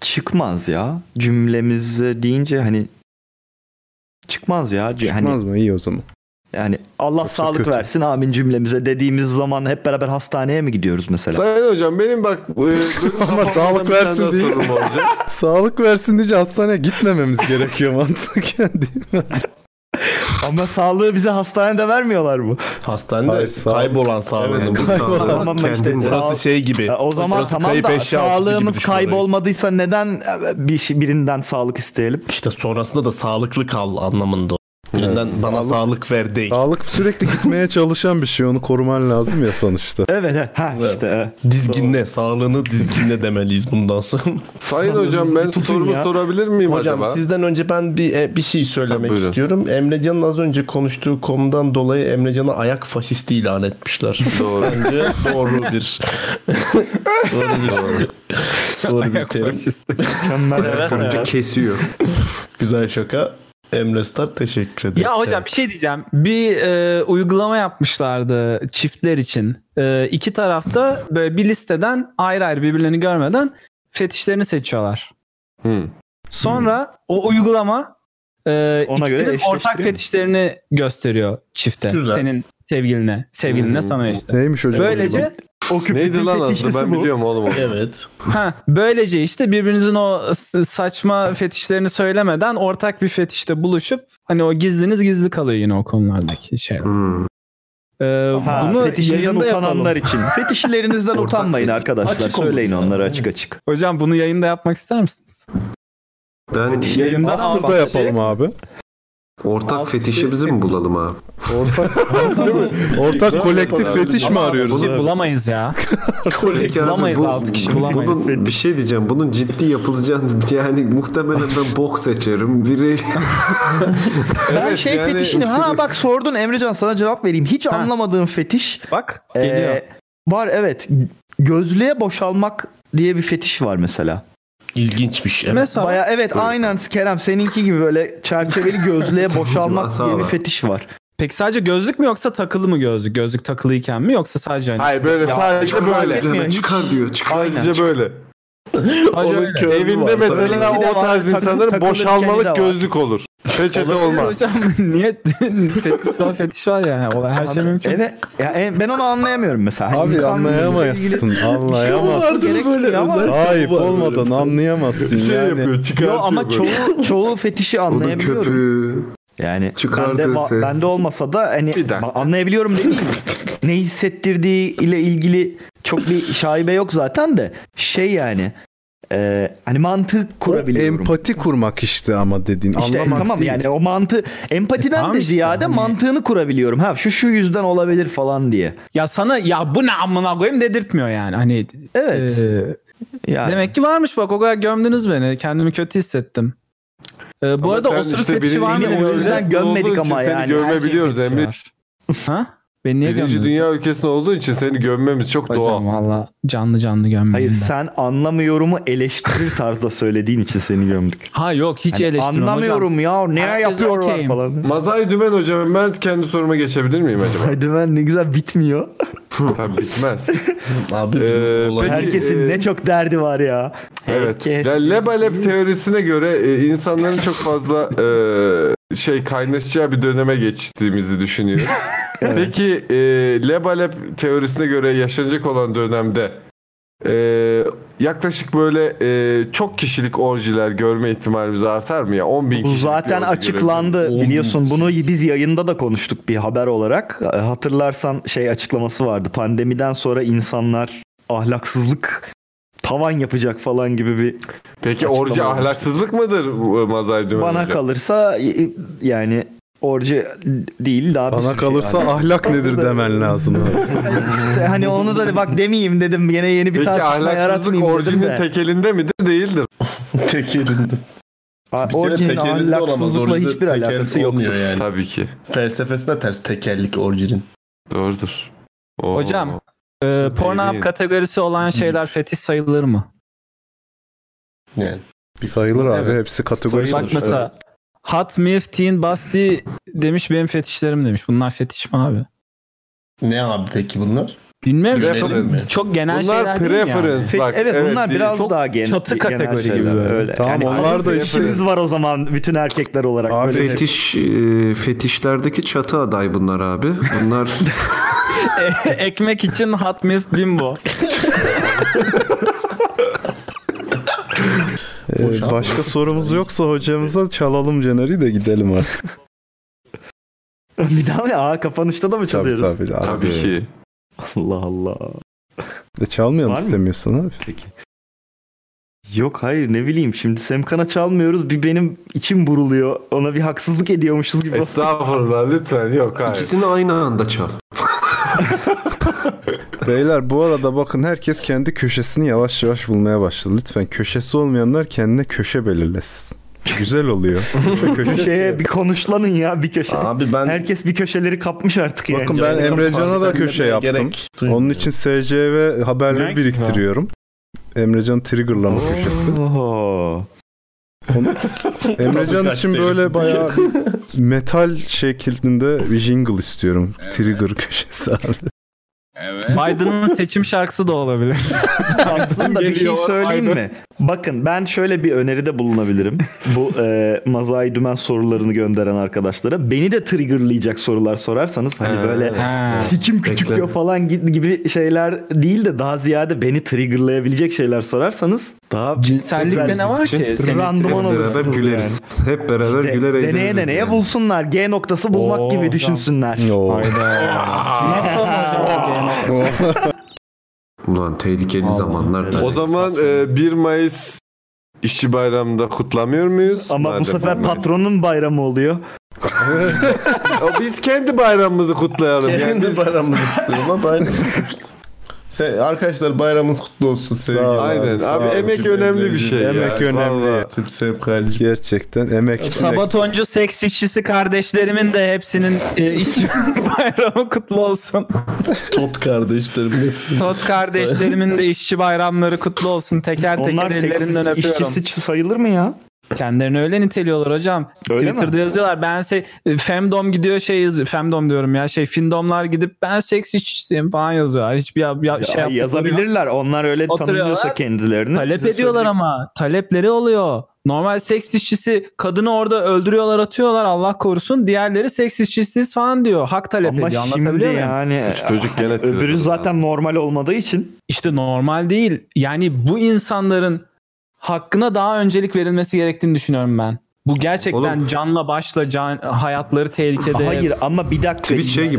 çıkmaz ya. Cümlemize deyince hani çıkmaz ya.
Hani-
Çıkmaz
Çıkmaz mı? İyi o zaman.
Yani Allah sağlık
kötü.
versin amin cümlemize dediğimiz zaman hep beraber hastaneye mi gidiyoruz mesela?
Sayın hocam benim bak e, benim
Ama
kafamda
sağlık
bir tane daha
versin diye.
sorum olacak.
Sağlık versin diye hastaneye
[laughs]
gitmememiz gerekiyor mantıken değil mi?
Ama sağlığı bize hastanede vermiyorlar mı?
Hastanede
Hayır, sağ-
kaybolan sağlığın.
Evet,
bu
kaybolan.
[laughs]
sağlığı.
Tamam ama işte
Kendin-
sağ-
burası şey gibi.
Ya O zaman
burası
tamam
kayıp
da
eşya ofisi gibi
sağlığımız
düşün orayı.
kaybolmadıysa neden e, bir şey- birinden sağlık isteyelim?
İşte sonrasında da sağlıklı kal anlamında. o. Birinden bana sağlık, ver değil.
Sağlık sürekli gitmeye çalışan bir şey. Onu koruman lazım ya sonuçta.
Evet he, ha işte. e.
Dizginle, sağlığını dizginle demeliyiz bundan sonra.
Sayın hocam ben sorumu sorabilir miyim
Hocam
acaba?
sizden önce ben bir e, bir şey söylemek
buyurun.
istiyorum. Emrecan'ın az önce konuştuğu konudan dolayı Emrecan'a ayak faşisti ilan etmişler.
[laughs] Doğru.
Bence doğru
[laughs]
bir doğru bir doğru bir terim.
Önce kesiyor.
Güzel şaka. Emre Star teşekkür ederim.
Ya hocam bir şey diyeceğim. Bir e, uygulama yapmışlardı çiftler için. E, iki tarafta böyle bir listeden ayrı ayrı birbirlerini görmeden fetişlerini seçiyorlar. Sonra o uygulama e,
Ona göre
ikisinin ortak
eşleştiriyor mu?
fetişlerini gösteriyor çifte.
Güzel.
Senin sevgiline, sevgiline sana işte.
Neymiş hocam?
Böylece
Neydi lan aslında ben
bu.
biliyorum oğlum onu.
Evet.
ha böylece işte birbirinizin o s- saçma fetişlerini söylemeden ortak bir fetişte buluşup hani o gizliniz gizli kalıyor yine o konulardaki şey. şeyler.
Hmm.
Ee,
Ha,
bunu
fetişinden
yayında
utananlar
yapalım.
için. Fetişlerinizden utanmayın arkadaşlar.
Açık olun.
Söyleyin onlara açık açık.
Hocam bunu yayında yapmak ister misiniz?
Ben
Yayında
After'da yapalım abi.
ortak fetişimizi mi bulalım abi?
Ortak, ortak kolektif fetiş mi arıyoruz?
Bunu
abi?
bulamayız [laughs] ya.
Peki abi,
bulamayız
bu-
altı kişi bulamayız.
Bunun, bir şey diyeceğim. Bunun ciddi yapılacağını [laughs] yani muhtemelen ben bok seçerim. Biri
Ben şey
[laughs]
fetişini ha bak sordun Emrecan sana cevap vereyim. Hiç anlamadığım fetiş.
Bak e,
Ee,
geliyor.
var evet. Gözlüğe boşalmak diye bir fetiş var mesela.
İlginçmiş. Evet.
Mesela
Baya
[laughs]
evet aynen Kerem seninki gibi böyle çerçeveli gözlüğe boşalmak
Asa
diye bir
var.
fetiş var.
Peki sadece gözlük mü yoksa takılı mı gözlük? Gözlük takılıyken mi yoksa sadece hani?
Hayır böyle
[laughs]
sadece böyle. Çıkar diyor. Çıkar sadece böyle.
Sadece
Onun
öyle.
körlüğü
Evinde
var.
mesela
Tabii.
o
İkisi de
tarz
var. Takı-
insanların
takılırken
boşalmalık
de var.
gözlük
olur. Peçete
Olabilir
olmaz.
Hocam [laughs] niye fetiş var fetiş var yani. Olay her şey mümkün.
Evet. Ya, e, ben onu anlayamıyorum mesela.
Abi
İnsan-
anlayamazsın,
Bir şey
anlayamazsın.
vardır
Böyle
ama-
özel Sahip yapı var olmadan böyle. anlayamazsın Şey yani. yapıyor, çıkartıyor
Yo, ama
böyle.
çoğu, çoğu fetişi anlayabiliyorum. Yani bende,
Çıkardığı
va-
ses.
bende olmasa da hani ba- anlayabiliyorum değil ne hissettirdiği ile ilgili çok bir şaibe yok zaten de şey yani e, hani mantık kurabiliyorum.
Empati kurmak işte ama dediğin.
İşte e,
anlamak
tamam
değil.
yani o mantı empatiden
E,
tamam
de
işte,
ziyade
hani-
mantığını kurabiliyorum. Ha şu şu yüzden olabilir falan diye.
Ya sana ya bu ne amına koyayım dedirtmiyor yani. Hani
Evet.
Demek ki varmış bak o kadar gömdünüz beni. Kendimi kötü hissettim. Ee, bu
Ama
arada
sen
osuruk
işte
fetişi var mı?
birinci dünya ülkesinde olduğu için seni Gömebiliyoruz
Her şey
Emre.
fetişi var. Ha? Ben niye
Birinci
gömdün?
dünya ülkesinde olduğu için seni gömmemiz çok doğal.
valla canlı canlı gömmedim.
Hayır sen anlamıyorumu eleştirir tarzda söylediğin için seni gömdük.
Ha yok hiç
Hani
eleştirmem
Anlamıyorum ya ne
Herkes
yapıyorlar
okeyim.
falan. [laughs]
Mazay Dümen hocam ben kendi soruma geçebilir miyim [laughs] acaba?
Dümen ne güzel bitmiyor.
Tabii bitmez.
Abi
Ee,
Herkesin ne çok derdi var ya.
Evet. Yani Lebalep teorisine göre e, insanların çok fazla e, şey kaynaşacağı bir döneme geçtiğimizi
[laughs]
düşünüyorum. Peki e, Lebalep teorisine göre yaşanacak olan dönemde e, yaklaşık böyle e, çok kişilik orjiler görme ihtimalimiz artar mı ya? 10 bin
Bu zaten açıklandı biliyorsun bunu biz yayında da konuştuk bir haber olarak. E, Hatırlarsan şey açıklaması vardı. Pandemiden sonra insanlar ahlaksızlık tavan yapacak falan gibi bir
Peki
açıklama
orji
olmuştu.
ahlaksızlık mıdır e, Mazay Dümen
Bana
hocam?
kalırsa y- y- yani orcu değil daha bir
Bana
sürü
kalırsa
şey var.
ahlak nedir demen lazım.
İşte hani onu da bak demeyeyim dedim gene yeni bir
Peki
tartışma
ahlaksızlık
yaratmayayım dedim
orijinin
de.
tekelinde midir değildir?
[laughs] tekelinde.
Bir kere orijinin tekelinde olamaz. ahlaksızlıkla Orijinde hiçbir tekel alakası olmuyor yoktur.
Yani.
Tabii ki.
Felsefesine ters tekellik orjinin.
Doğrudur.
Hocam e, porno
Derin.
kategorisi olan şeyler fetiş sayılır mı?
Yani.
[laughs] Sayılır abi hepsi kategori.
Bak
sonuçta.
mesela Hot Milf Teen Basti demiş benim fetişlerim demiş. Bunlar fetiş mi abi?
Ne abi peki bunlar?
Bilmiyorum.
Preference
Çok,
mi?
çok genel
Bunlar
şeyler değil yani.
preference, bak,
Evet, bunlar biraz
Çok
daha gen-
Çatı
genel
kategori gibi
şeyler,
böyle.
Öyle. Yani
onlar da
işimiz
işte-
var o zaman bütün erkekler olarak.
Abi
Böyle-
fetiş e, fetişlerdeki çatı aday bunlar abi. Bunlar
[laughs] E- Ekmek için Hot Milf Bimbo.
Ee, başka sorumuz yoksa hocamıza çalalım Caner'i de gidelim artık.
[laughs] bir daha mı? Aa kapanışta da mı çalıyoruz?
tabii, tabii. Tabii ki.
Allah Allah.
De çalmayalım
Var mı?
istemiyorsan abi.
Peki. Yok hayır ne bileyim şimdi Semkan'a çalmıyoruz bir benim içim buruluyor ona bir haksızlık ediyormuşuz gibi.
Estağfurullah lütfen yok hayır.
ikisini aynı anda çal.
Beyler bu arada bakın herkes kendi köşesini yavaş yavaş bulmaya başladı. Lütfen köşesi olmayanlar kendine köşe belirlesin. Güzel
[laughs]
oluyor.
Köşeye bir konuşlanın ya bir köşe.
Abi ben
herkes bir köşeleri kapmış artık yani.
Bakın ben Emrecan'a da köşe yaptım. Onun için SCV haberleri
Gerek-
biriktiriyorum. Emrecan triggerlama köşesi. Onu- Emrecan
Kaç
için
değil.
böyle bayağı bir metal şeklinde bir jingle istiyorum. Trigger köşesi abi.
Biden'ın seçim şarkısı da olabilir.
Aslında bir şey söyleyeyim mi? Bakın ben şöyle bir öneride bulunabilirim. Bu e, Mazai Dümen sorularını gönderen arkadaşlara. Beni de triggerlayacak sorular sorarsanız hani
Ha,
böyle
ha.
sikim küçük
Bekle.
yo falan gi- gibi şeyler değil de daha ziyade beni triggerlayabilecek şeyler sorarsanız daha
[laughs] cinsellikte ne var ki? Seni
Random
trigger-
olursunuz
Hep beraber güleriz.
Hep beraber
İşte
güler
Deneye
eğleniriz
deneye bulsunlar. G noktası bulmak
Oo,
gibi
hocam.
düşünsünler.
Ulan tehlikeli zamanlar.
O zaman e, 1 Mayıs işçi bayramında kutlamıyor muyuz?
Ama bu sefer patronun bayramı oluyor.
patron... Biz kendi bayramımızı kutlayalım.
Kendi
Yani
bayramını
[laughs]
kutluyorum ama aynı Se- arkadaşlar bayramınız kutlu olsun sevgili.
ol abi,
Aynen. Abi emek önemli bir şey ya.
Emek önemli. Gerçekten emek.
Sabatoncu seks işçisi kardeşlerimin de hepsinin e, işçi [laughs] bayramı kutlu olsun.
Tot kardeşlerim hepsi.
Tot kardeşlerimin de işçi bayramları kutlu olsun. Teker teker
Onlar
ellerinden
seks
öpüyorum.
işçisi sayılır mı ya?
Kendilerini öyle niteliyorlar hocam.
Öyle
Twitter'da
mi?
yazıyorlar ben se e, femdom gidiyor şey yazıyor. Femdom diyorum ya şey findomlar gidip ben seks işçiyim falan yazıyorlar. Hiçbir ya, ya-
Ya,
şey yaptıkları yok.
yazabilirler. Onlar öyle
Oturuyorlar,
tanımlıyorsa kendilerini.
Talep
bize
ediyorlar ama talepleri oluyor. Normal seks işçisi kadını orada öldürüyorlar atıyorlar Allah korusun. Diğerleri seks işçisiz falan diyor. Hak talep
Ama
ediyor
şimdi
anlatabiliyor muyum?
yani
çocuk gene
öbürü zaten normal olmadığı için
İşte normal değil. Yani bu insanların hakkına daha öncelik verilmesi gerektiğini düşünüyorum ben. Bu gerçekten canla başla can, hayatları tehlikede.
Hayır ama bir dakika.
şey
seks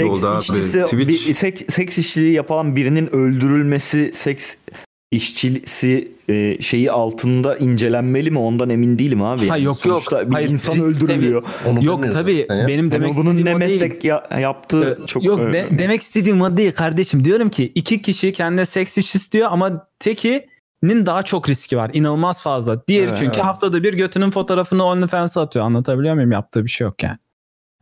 işçisi- bir- seks, seks işçiliği yapan birinin öldürülmesi seks işçisi e, şeyi altında incelenmeli mi? Ondan emin değilim abi.
Ha,
Yani
yok, yok.
sonuçta Bir
Hayır,
insan
risk
öldürülüyor.
sevi- Onu Yok, bilmiyorum tabii. zaten ya. Benim demek
yani bunun ne
istediğim o değil. Ee,
meslek ya- yaptığı çok
Yok
e,
de- demek istediğim o değil kardeşim. Diyorum ki iki kişi kendine seks işçisi diyor ama tekinin daha çok riski var. İnanılmaz fazla. Diğeri
Evet,
çünkü
evet.
haftada bir götünün fotoğrafını OnlyFans'a atıyor. Anlatabiliyor muyum? Yaptığı bir şey yok yani.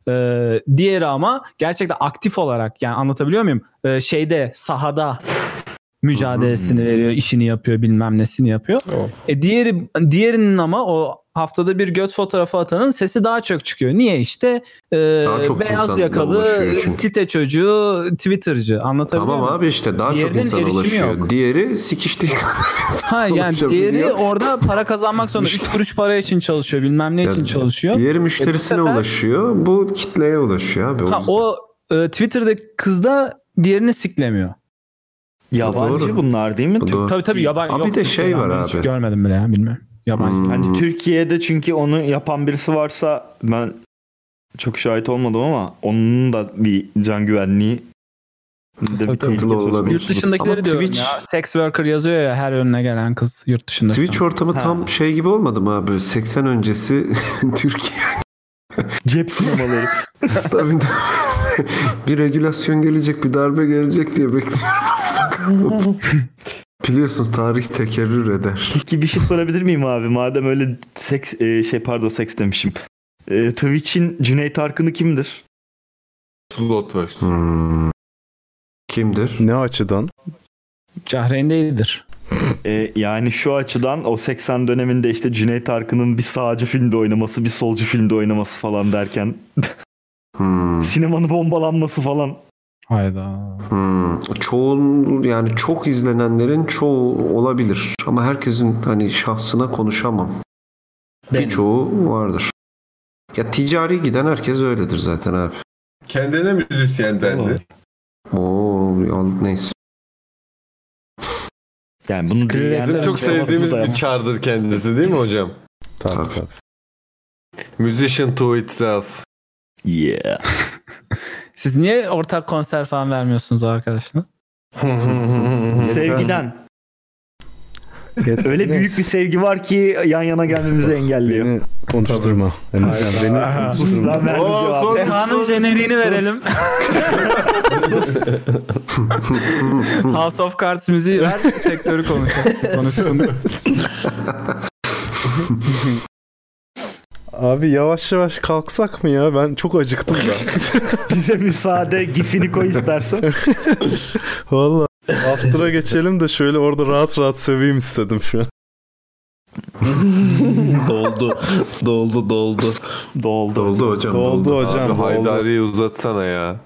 Ee, diğeri ama gerçekten aktif olarak yani anlatabiliyor muyum? Ee, şeyde sahada
Hmm.
mücadelesini veriyor, işini yapıyor, bilmem nesini yapıyor. E diğeri diğerinin ama o haftada bir göt fotoğrafı atanın sesi daha çok çıkıyor. Niye işte e,
Daha çok
beyaz
insanla
yakalı
ulaşıyor çünkü.
site çocuğu, Twitter'cı anlatabiliyor
Tamam
muyum?
abi işte daha çok
Diğerinin
insana
erişimi
ulaşıyor.
yok.
Diğeri sikiştiği kadar
Ha [laughs] yani
ulaşabiliyor.
diğeri orada para kazanmak zorunda. 3 kuruş para için çalışıyor, bilmem ne için çalışıyor.
Diğeri
E bu
müşterisine
sefer-
ulaşıyor. Bu kitleye ulaşıyor abi. O
Ha,
yüzden.
o e, Twitter'daki kız da diğerini siklemiyor.
yabancı
doğru.
bunlar değil mi?
Bu doğru.
Tabii tabii yabancı.
Abi bir
yok,
de şey
ben
var
hiç
abi. Hmm,
Görmedim bile ya bilmiyorum. Yabancı.
Hani Türkiye'de çünkü onu yapan birisi varsa ben çok şahit olmadım ama onun da bir can güvenliği de bir tehlike söz konusu.
Yurt dışındakileri diyorum ya. Sex worker yazıyor ya her önüne gelen kız yurt dışında.
Twitch ortamı
Ha.
tam şey gibi olmadı mı abi? 80 öncesi [laughs] Türkiye.
[laughs]
Cep sinemaları.
Tabii tabii. [laughs] bir regülasyon gelecek, bir darbe gelecek diye bekliyorum. [laughs] Biliyorsunuz tarih tekerrür eder.
Peki bir şey sorabilir miyim abi? Madem öyle seks e, şey pardon seks demişim. E, Twitch'in Cüneyt Arkın'ı kimdir?
Slotworks. Hmm. Kimdir?
Ne açıdan?
Cahreyn değildir.
E, yani şu açıdan o 80 döneminde işte Cüneyt Arkın'ın bir sağcı filmde oynaması, bir solcu filmde oynaması falan derken sinemanın bombalanması falan.
Hayda.
Hmm. Çoğun yani çok izlenenlerin çoğu olabilir ama herkesin hani şahsına konuşamam. Birçoğu vardır. Ya ticari giden herkes öyledir zaten abi.
Kendine müzisyen dendi.
Oo al neyse.
Yani bunu
Bizim çok sevdiğimiz bir çardır kendisi değil mi hocam?
Tabii tabii.
Musician to itself.
Yeah.
Siz niye ortak konser falan vermiyorsunuz o arkadaşına?
Sevgiden. Öyle büyük bir
Neyse,
sevgi var ki yan yana gelmemizi engelliyor.
Beni konuşturma. Yani beni konuşturma.
Ben verdim cevabı.
Seha'nın jeneriğini verelim. House of Cards müziği ver. Sektörü konuşalım. konuşsun.
Abi yavaş yavaş kalksak mı ya? Ben çok acıktım da.
Bize müsaade gifini koy istersen.
Valla. After'a geçelim de şöyle orada rahat rahat söveyim istedim şu an.
[laughs] doldu. Doldu doldu.
Doldu.
Doldu hocam.
Doldu hocam,
Abi
doldu.
Haydari'yi uzatsana ya.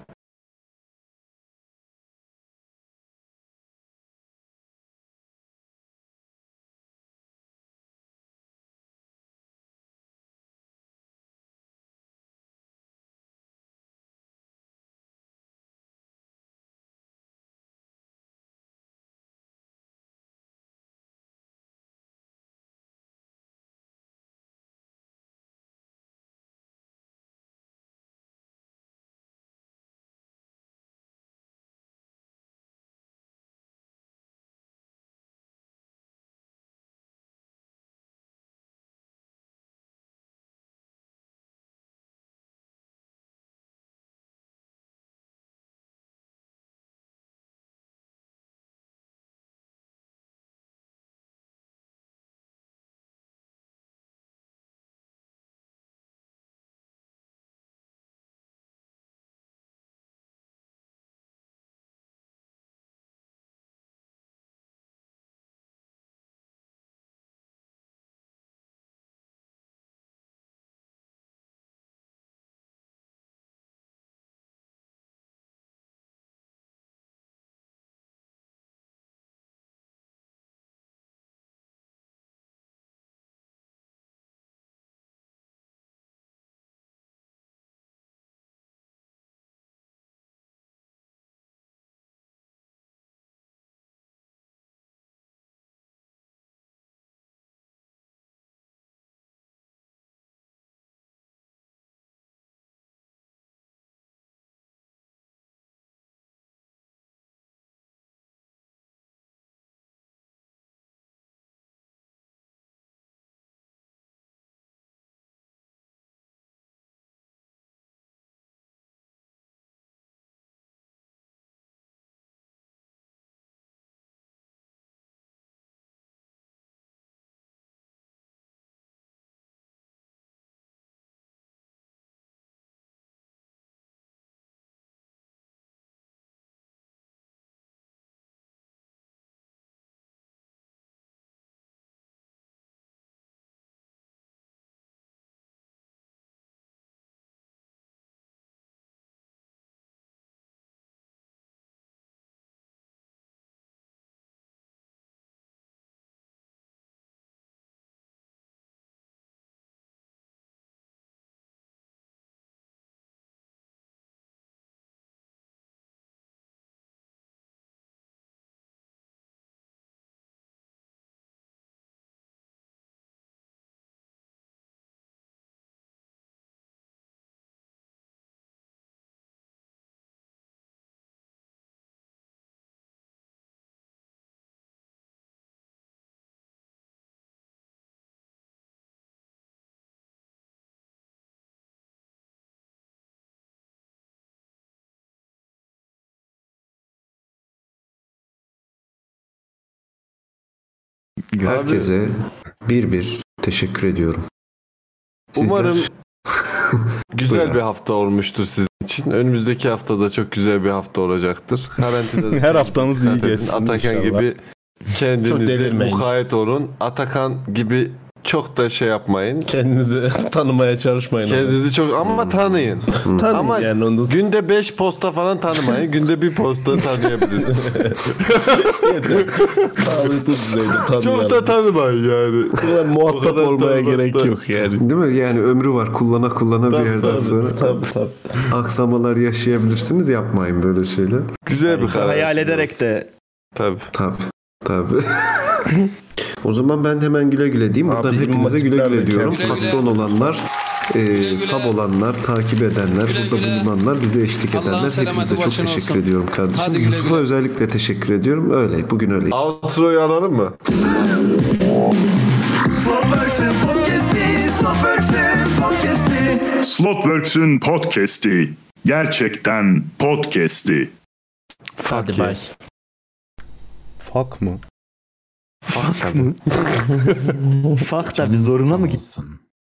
Herkese bir bir teşekkür ediyorum. [laughs]
Umarım
Buyurun.
güzel bir hafta olmuştur sizin için. Önümüzdeki haftada çok güzel bir hafta olacaktır. Karantinada
Her haftamız iyi
Zaten
geçsin
Atakan
inşallah.
gibi
Çok
kendinize
delirmeyin.
mukayyet olun. Atakan gibi çok da şey yapmayın.
Kendinizi tanımaya çalışmayın.
Kendinizi çok ama tanıyın.
Tanıyın
ama
yani
günde 5 posta falan tanımayın. günde bir posta tanıyabilirsiniz. [laughs]
Sağlıklı düzeyde
çok
tanıyalım.
da tanımayın yani.
muhatap olmaya gerek yok yani.
Değil mi? Yani ömrü var kullana kullana bir yerden sonra. Aksamalar yaşayabilirsiniz yapmayın böyle şeyler.
Güzel bir karar.
Hayal ederek de.
Tabii.
Tabii. Tabii. [laughs] o zaman ben hemen güle güle diyeyim. Buradan
bizim
hepinize güle güle
matematiklerle
diyorum.
kendisi- Güle güle.
Patron olanlar, e, sab olanlar, takip edenler, burada bulunanlar, bize eşlik edenler.
selameti
Hepinize çok
başına
teşekkür
olsun.
ediyorum kardeşim.
Hadi güle
Yusuf'a özellikle teşekkür ediyorum. Öyle. Bugün öyle.
Outro'yu alalım mı?
Slotworks'ün podcast'i, Slotworks'ün podcast'i.
Slotworks'ün podcast'i gerçekten podcast'i.
Hadi yes.
Fuck mı?
Fak da bir zoruna mı gitsin?